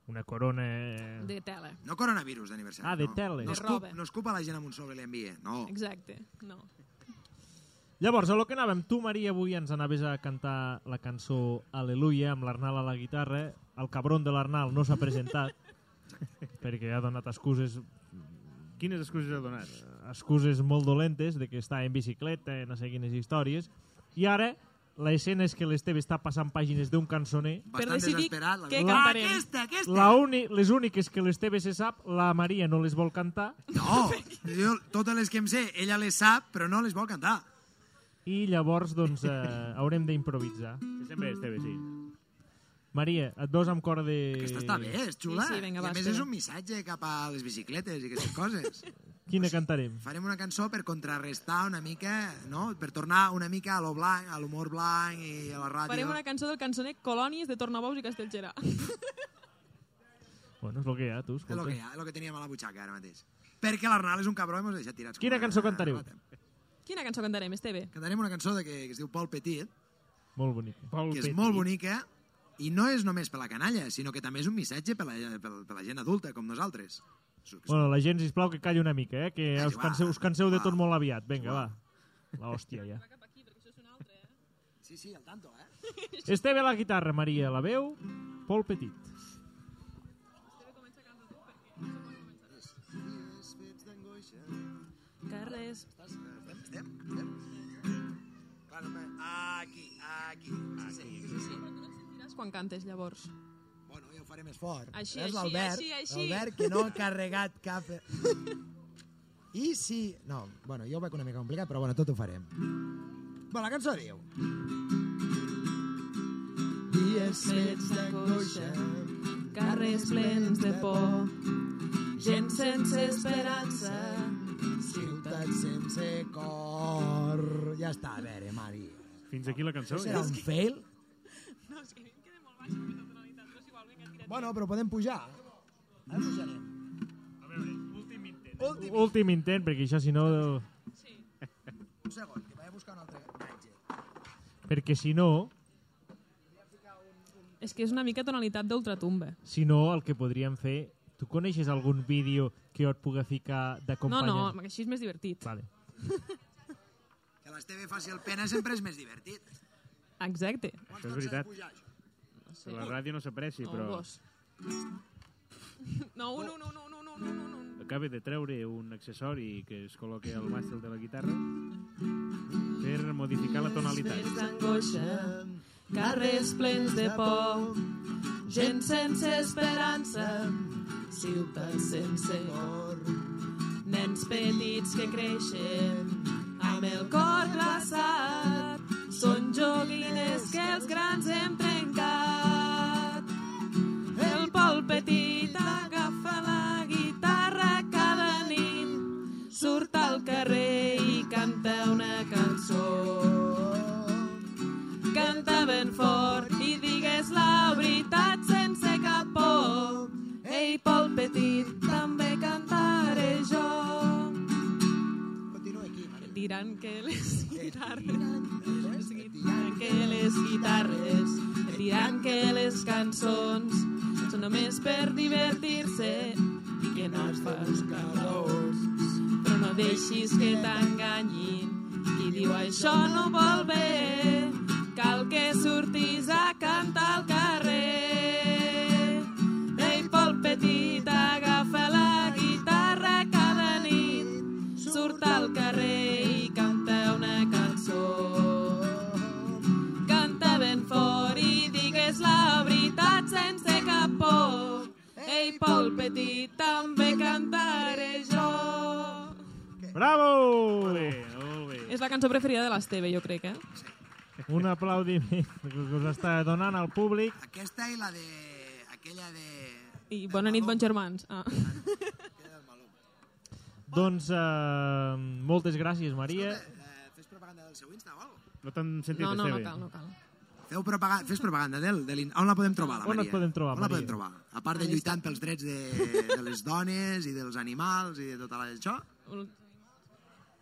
B: una corona... eh.
L: De tela.
C: No coronavirus d'aniversari.
B: Ah, de
C: no.
B: tele.
C: No,
B: De
C: escup,
B: roba.
C: no escupa la gent amb un sobre i li envia, no.
L: Exacte, no.
B: Llavors, a lo que anàvem, tu, Maria, avui ens anaves a cantar la cançó Aleluia amb l'Arnal a la guitarra. El cabron de l'Arnal no s'ha
C: [LAUGHS]
B: presentat perquè ha donat excuses...
J: Quines excuses ha donat?
B: Eh, Excuses molt dolentes de que està en bicicleta, no sé quines històries. I ara, l'escena és que l'Esteve està passant pàgines d'un cançoner...
C: Bastant desesperat.
L: què
C: veritat.
L: cantarem.
C: Ah, aquesta, aquesta!
B: La uni, les úniques que l'Esteve se sap, la Maria no les vol cantar
C: No, jo, totes les que em sé, ella les sap, però no les vol cantar.
B: i llavors doncs, eh, haurem d'improvisar.
J: Sempre Esteve, sí.
B: Maria, et veus amb cor de...
C: Aquesta està bé, és xula.
L: Sí, sí, vinga,
C: I
L: va,
C: a més
L: espera.
C: és un missatge cap a les bicicletes i aquestes coses.
B: Quina cantarem?
C: Farem una cançó per contrarrestar una mica, no? Per tornar una mica a lo blanc, a l'humor blanc i a la ràdio.
L: Farem una cançó del cançoner Colònies de Tornabous i Castellgerà. [LAUGHS]
B: Bueno, és el que hi ha, tu,
C: És el
B: escolta.
C: que, hi ha, el que teníem a la butxaca ara mateix. Perquè l'Arnal és un cabró i mos deixa tirats. com
B: Quina
C: una-
B: cançó cantareu?
L: Quina cançó cantarem, Esteve?
C: Cantarem una cançó de que, que es diu Pol Petit,
B: Molt bonica. Pol
C: que és molt bonica, i no és només per la canalla, sinó que també és un missatge per la, per, per la gent adulta, com nosaltres.
B: Bueno, la gent, sisplau, que calli una mica, eh? Que us
C: va,
B: canseu, us canseu de
C: va.
B: tot molt aviat. Vinga, va. La hòstia, ja.
C: Sí, sí, al
L: [LAUGHS]
C: tanto, eh?
B: Esteve a la guitarra, Maria, la veu, Pol Petit.
C: Dies fets d'angoixa.
L: Carles.
C: Estàs, estem, estem, estem. Clar, no, me- aquí, aquí. Sí, sí, sí, sí.
L: Diràs quan cantes, llavors.
C: Bueno, jo ho faré més fort.
L: Així,
M: És
L: així,
M: l'Albert,
L: així, així.
M: l'Albert que no ha carregat cap...
L: [LAUGHS]
M: I si... No, bueno, jo ho veig una mica complicat, però bueno, tot ho farem. Bueno, la cançó diu...
G: Dies fets d'angoixa, carrers plens de por, gent sense esperança,
M: Ciutat sense cor... Ja està, a veure, Mari.
J: Fins aquí la cançó.
M: Això serà un fail?
L: No, és que a mi em queda molt baixa aquesta tonalitat, però és igual, vinga, tira.
M: Bueno, però podem pujar. Ara pujarem.
B: Últim, Últim intent, perquè això, si no...
M: Un segon, que vaig a buscar un altre imatge.
B: Perquè si no,
L: És que és una mica tonalitat d'ultratumba.
B: si no, el que podríem fer... Tu coneixes algun vídeo que jo et puga ficar
L: No,
B: d'acompanyant?
L: no, així és més divertit.
B: Vale.
C: Que l'Esteve faci el pena sempre és més divertit.
L: Exacte.
J: Això és veritat.
L: No sé.
J: Que la ràdio no s'apreci,
L: No,
J: però...
L: Oh, gos. No, un, un, un, un, un, un, un, un, un.
J: Acaba de treure un accessori que es col·loca al màstil de la guitarra per modificar la
G: fets
J: tonalitat.
G: d'angoixa, carrers plens de por, gent sense esperança, ciutat sense cor, nens petits que creixen amb el cor glaçat, són joguines que els grans hem trencat. El Pol Petit agafa la guitarra cada nit surt al carrer i canta una cançó. Canta ben fort i digues la veritat sense cap por. Ei, Pol Petit, també cantaré jo.
L: Diran que les
I: Eh,
G: guitarres...
L: Diran que les guitarres,
G: Diran que les cançons són només per divertir-se i que no es fas calors. Però no deixis que t'enganyin. Qui diu això no ho vol bé, cal que surtis a cantar al carrer. Ei, Pol Petit, agafa la guitarra cada nit, surt al carrer i canta una cançó.
L: petit també cantaré jo.
B: Bravo! Molt bé, molt bé.
L: És la cançó preferida de l'Esteve, jo crec, eh?
B: Un aplaudiment que us està donant al públic.
C: Aquesta i la de... aquella de...
L: I bona nit, bons germans. Ah.
B: Doncs eh, moltes gràcies, Maria.
C: Eh, fes propaganda del seu Insta o alguna cosa?
B: No t'han sentit,
C: No, no, no
B: Esteve.
C: cal, no Feu propaganda, fes propaganda del, de l'Insta. On la podem trobar, la
B: On
C: Maria?
B: et podem trobar,
C: On la
B: Maria?
C: podem trobar? A part de
B: A
C: lluitant pels drets de, de les dones i dels animals i de tot això?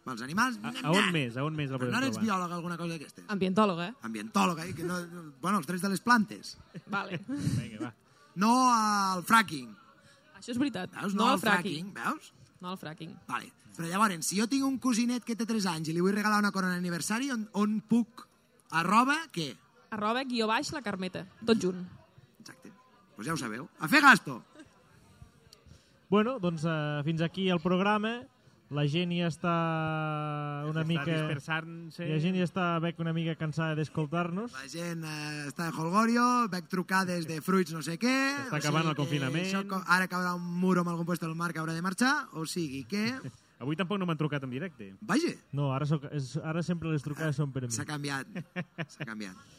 C: Pels animals?
D: A, a on més? A on més la
C: Però
D: podem
C: no eres
D: trobar?
C: biòloga alguna cosa d'aquestes?
L: Ambientòloga, eh?
C: Ambientòloga, eh? Que no, no- bueno, els drets de les plantes.
L: Vale.
B: Vinga, va.
C: No al fracking.
L: Això és veritat.
C: Veus?
L: No
C: No,
L: al
C: al fracking.
L: fracking.
C: Veus?
L: No al fracking.
C: Vale. Però llavors, si jo tinc un cosinet que té 3 anys i li vull regalar una corona d'aniversari, on, on puc? Arroba, què?
L: Arroba guió baix la Carmeta. Tot junt.
C: Pues Doncs ja ho sabeu. A fer gasto!
B: Bueno, doncs eh, fins aquí el programa. La gent ja està una
D: Està
B: mica...
D: dispersant-se.
B: La gent ja està bec una mica cansada d'escoltar-nos.
C: La gent eh, està de Holgorio, veig trucades de fruits no sé què...
B: Està acabant el
C: que
B: confinament.
C: Això, co- ara caurà un muro en algun lloc del mar que haurà de marxar, o sigui que...
D: [LAUGHS] Avui tampoc no m'han trucat en directe.
C: Vaja!
B: No, ara, soc, és, ara sempre les trucades són per mi.
C: S'ha canviat, s'ha canviat.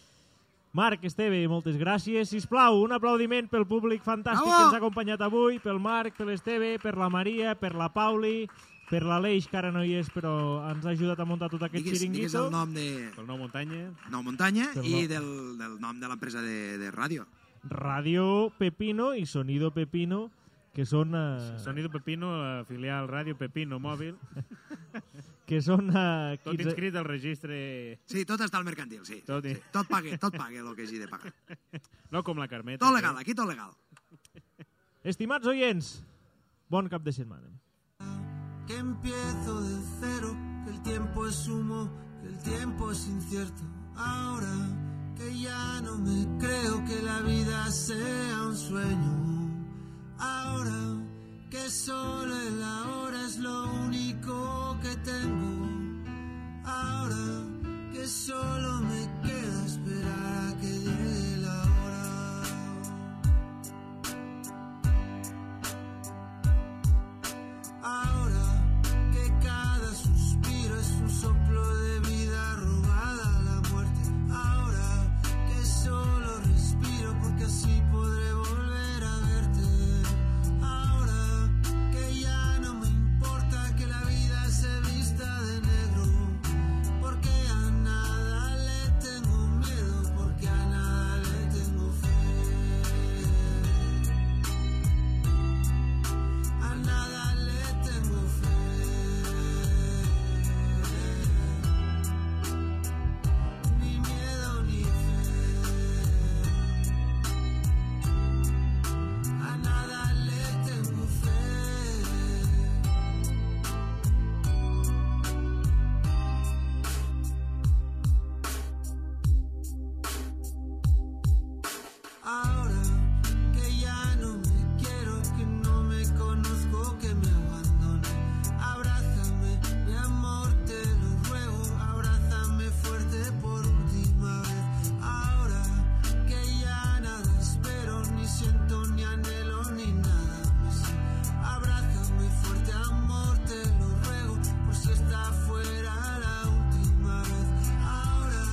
B: Marc, Esteve, moltes gràcies. Si plau, un aplaudiment pel públic fantàstic
C: Bravo!
B: que ens ha acompanyat avui, pel Marc, per l'Esteve, per la Maria, per la Pauli, per l'Aleix, que ara no hi és, però ens ha ajudat a muntar tot aquest
C: Digues,
B: xiringuito.
C: digues el nom de...
D: Del Nou Muntanya.
C: Nou Muntanya
B: Del
C: i
B: Nou-
C: del, del nom de l'empresa de, de ràdio.
B: Radio Pepino i Sonido Pepino, que són... Eh,
D: Sonido Pepino, eh, filial Ràdio Pepino Mòbil.
B: que són eh,
D: Tot
B: 15,
D: inscrit al registre...
C: Sí, tot està al mercantil, sí.
D: Tot, sí.
C: Tot pague, tot pague el que hagi de pagar.
D: [LAUGHS] No com la Carmeta. eh?
C: Tot legal, aquí tot legal.
B: Estimats oients, bon cap de setmana.
H: que empiezo de cero, que el tiempo es humo, que el tiempo es incierto. Ahora que ya no me creo que la vida sea un sueño. Ahora que solo el ahora es lo único que tengo. Ahora que solo me queda esperar a que llegue la hora. Ahora que cada suspiro es un soplo de vida robada a la muerte. Ahora que solo respiro porque así podré volver a verte. Ahora que ya no me importa que la vida se vista de negro. Porque a nada le tengo miedo, porque a nada le tengo fe. A nada le tengo fe, ni miedo ni fe. A nada le tengo fe. Ahora que ya no me quiero, que no me conozco, que me abandono. Abrázame, mi amor, te lo ruego. Abrázame fuerte por última vez. Ahora que ya nada espero, ni siento, ni anhelo, ni nada más. Abrázame fuerte, amor, te lo ruego. Por si esta fuera la última vez. Ahora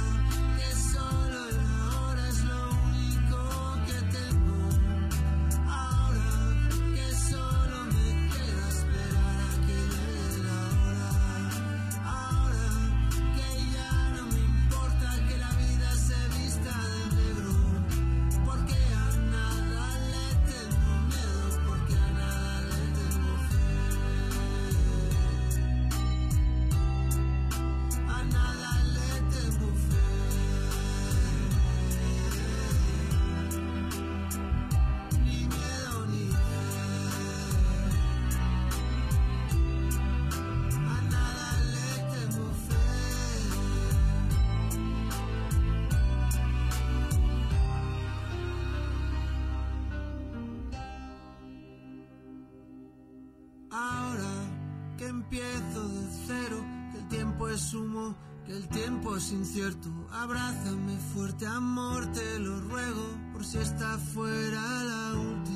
H: que solo la hora es lo único que tengo. Ahora que solo me queda esperar a que llegue la hora. Ahora que ya no me importa que la vida se vista de negro. Porque a nada le tengo miedo, porque a nada le tengo fe. A nada le tengo fe. Ni miedo ni fe. A nada le tengo fe. Ahora que empiezo de cero, que el tiempo es humo, que el tiempo es incierto. Abrázame fuerte, amor, te lo ruego, por si esta fuera la última.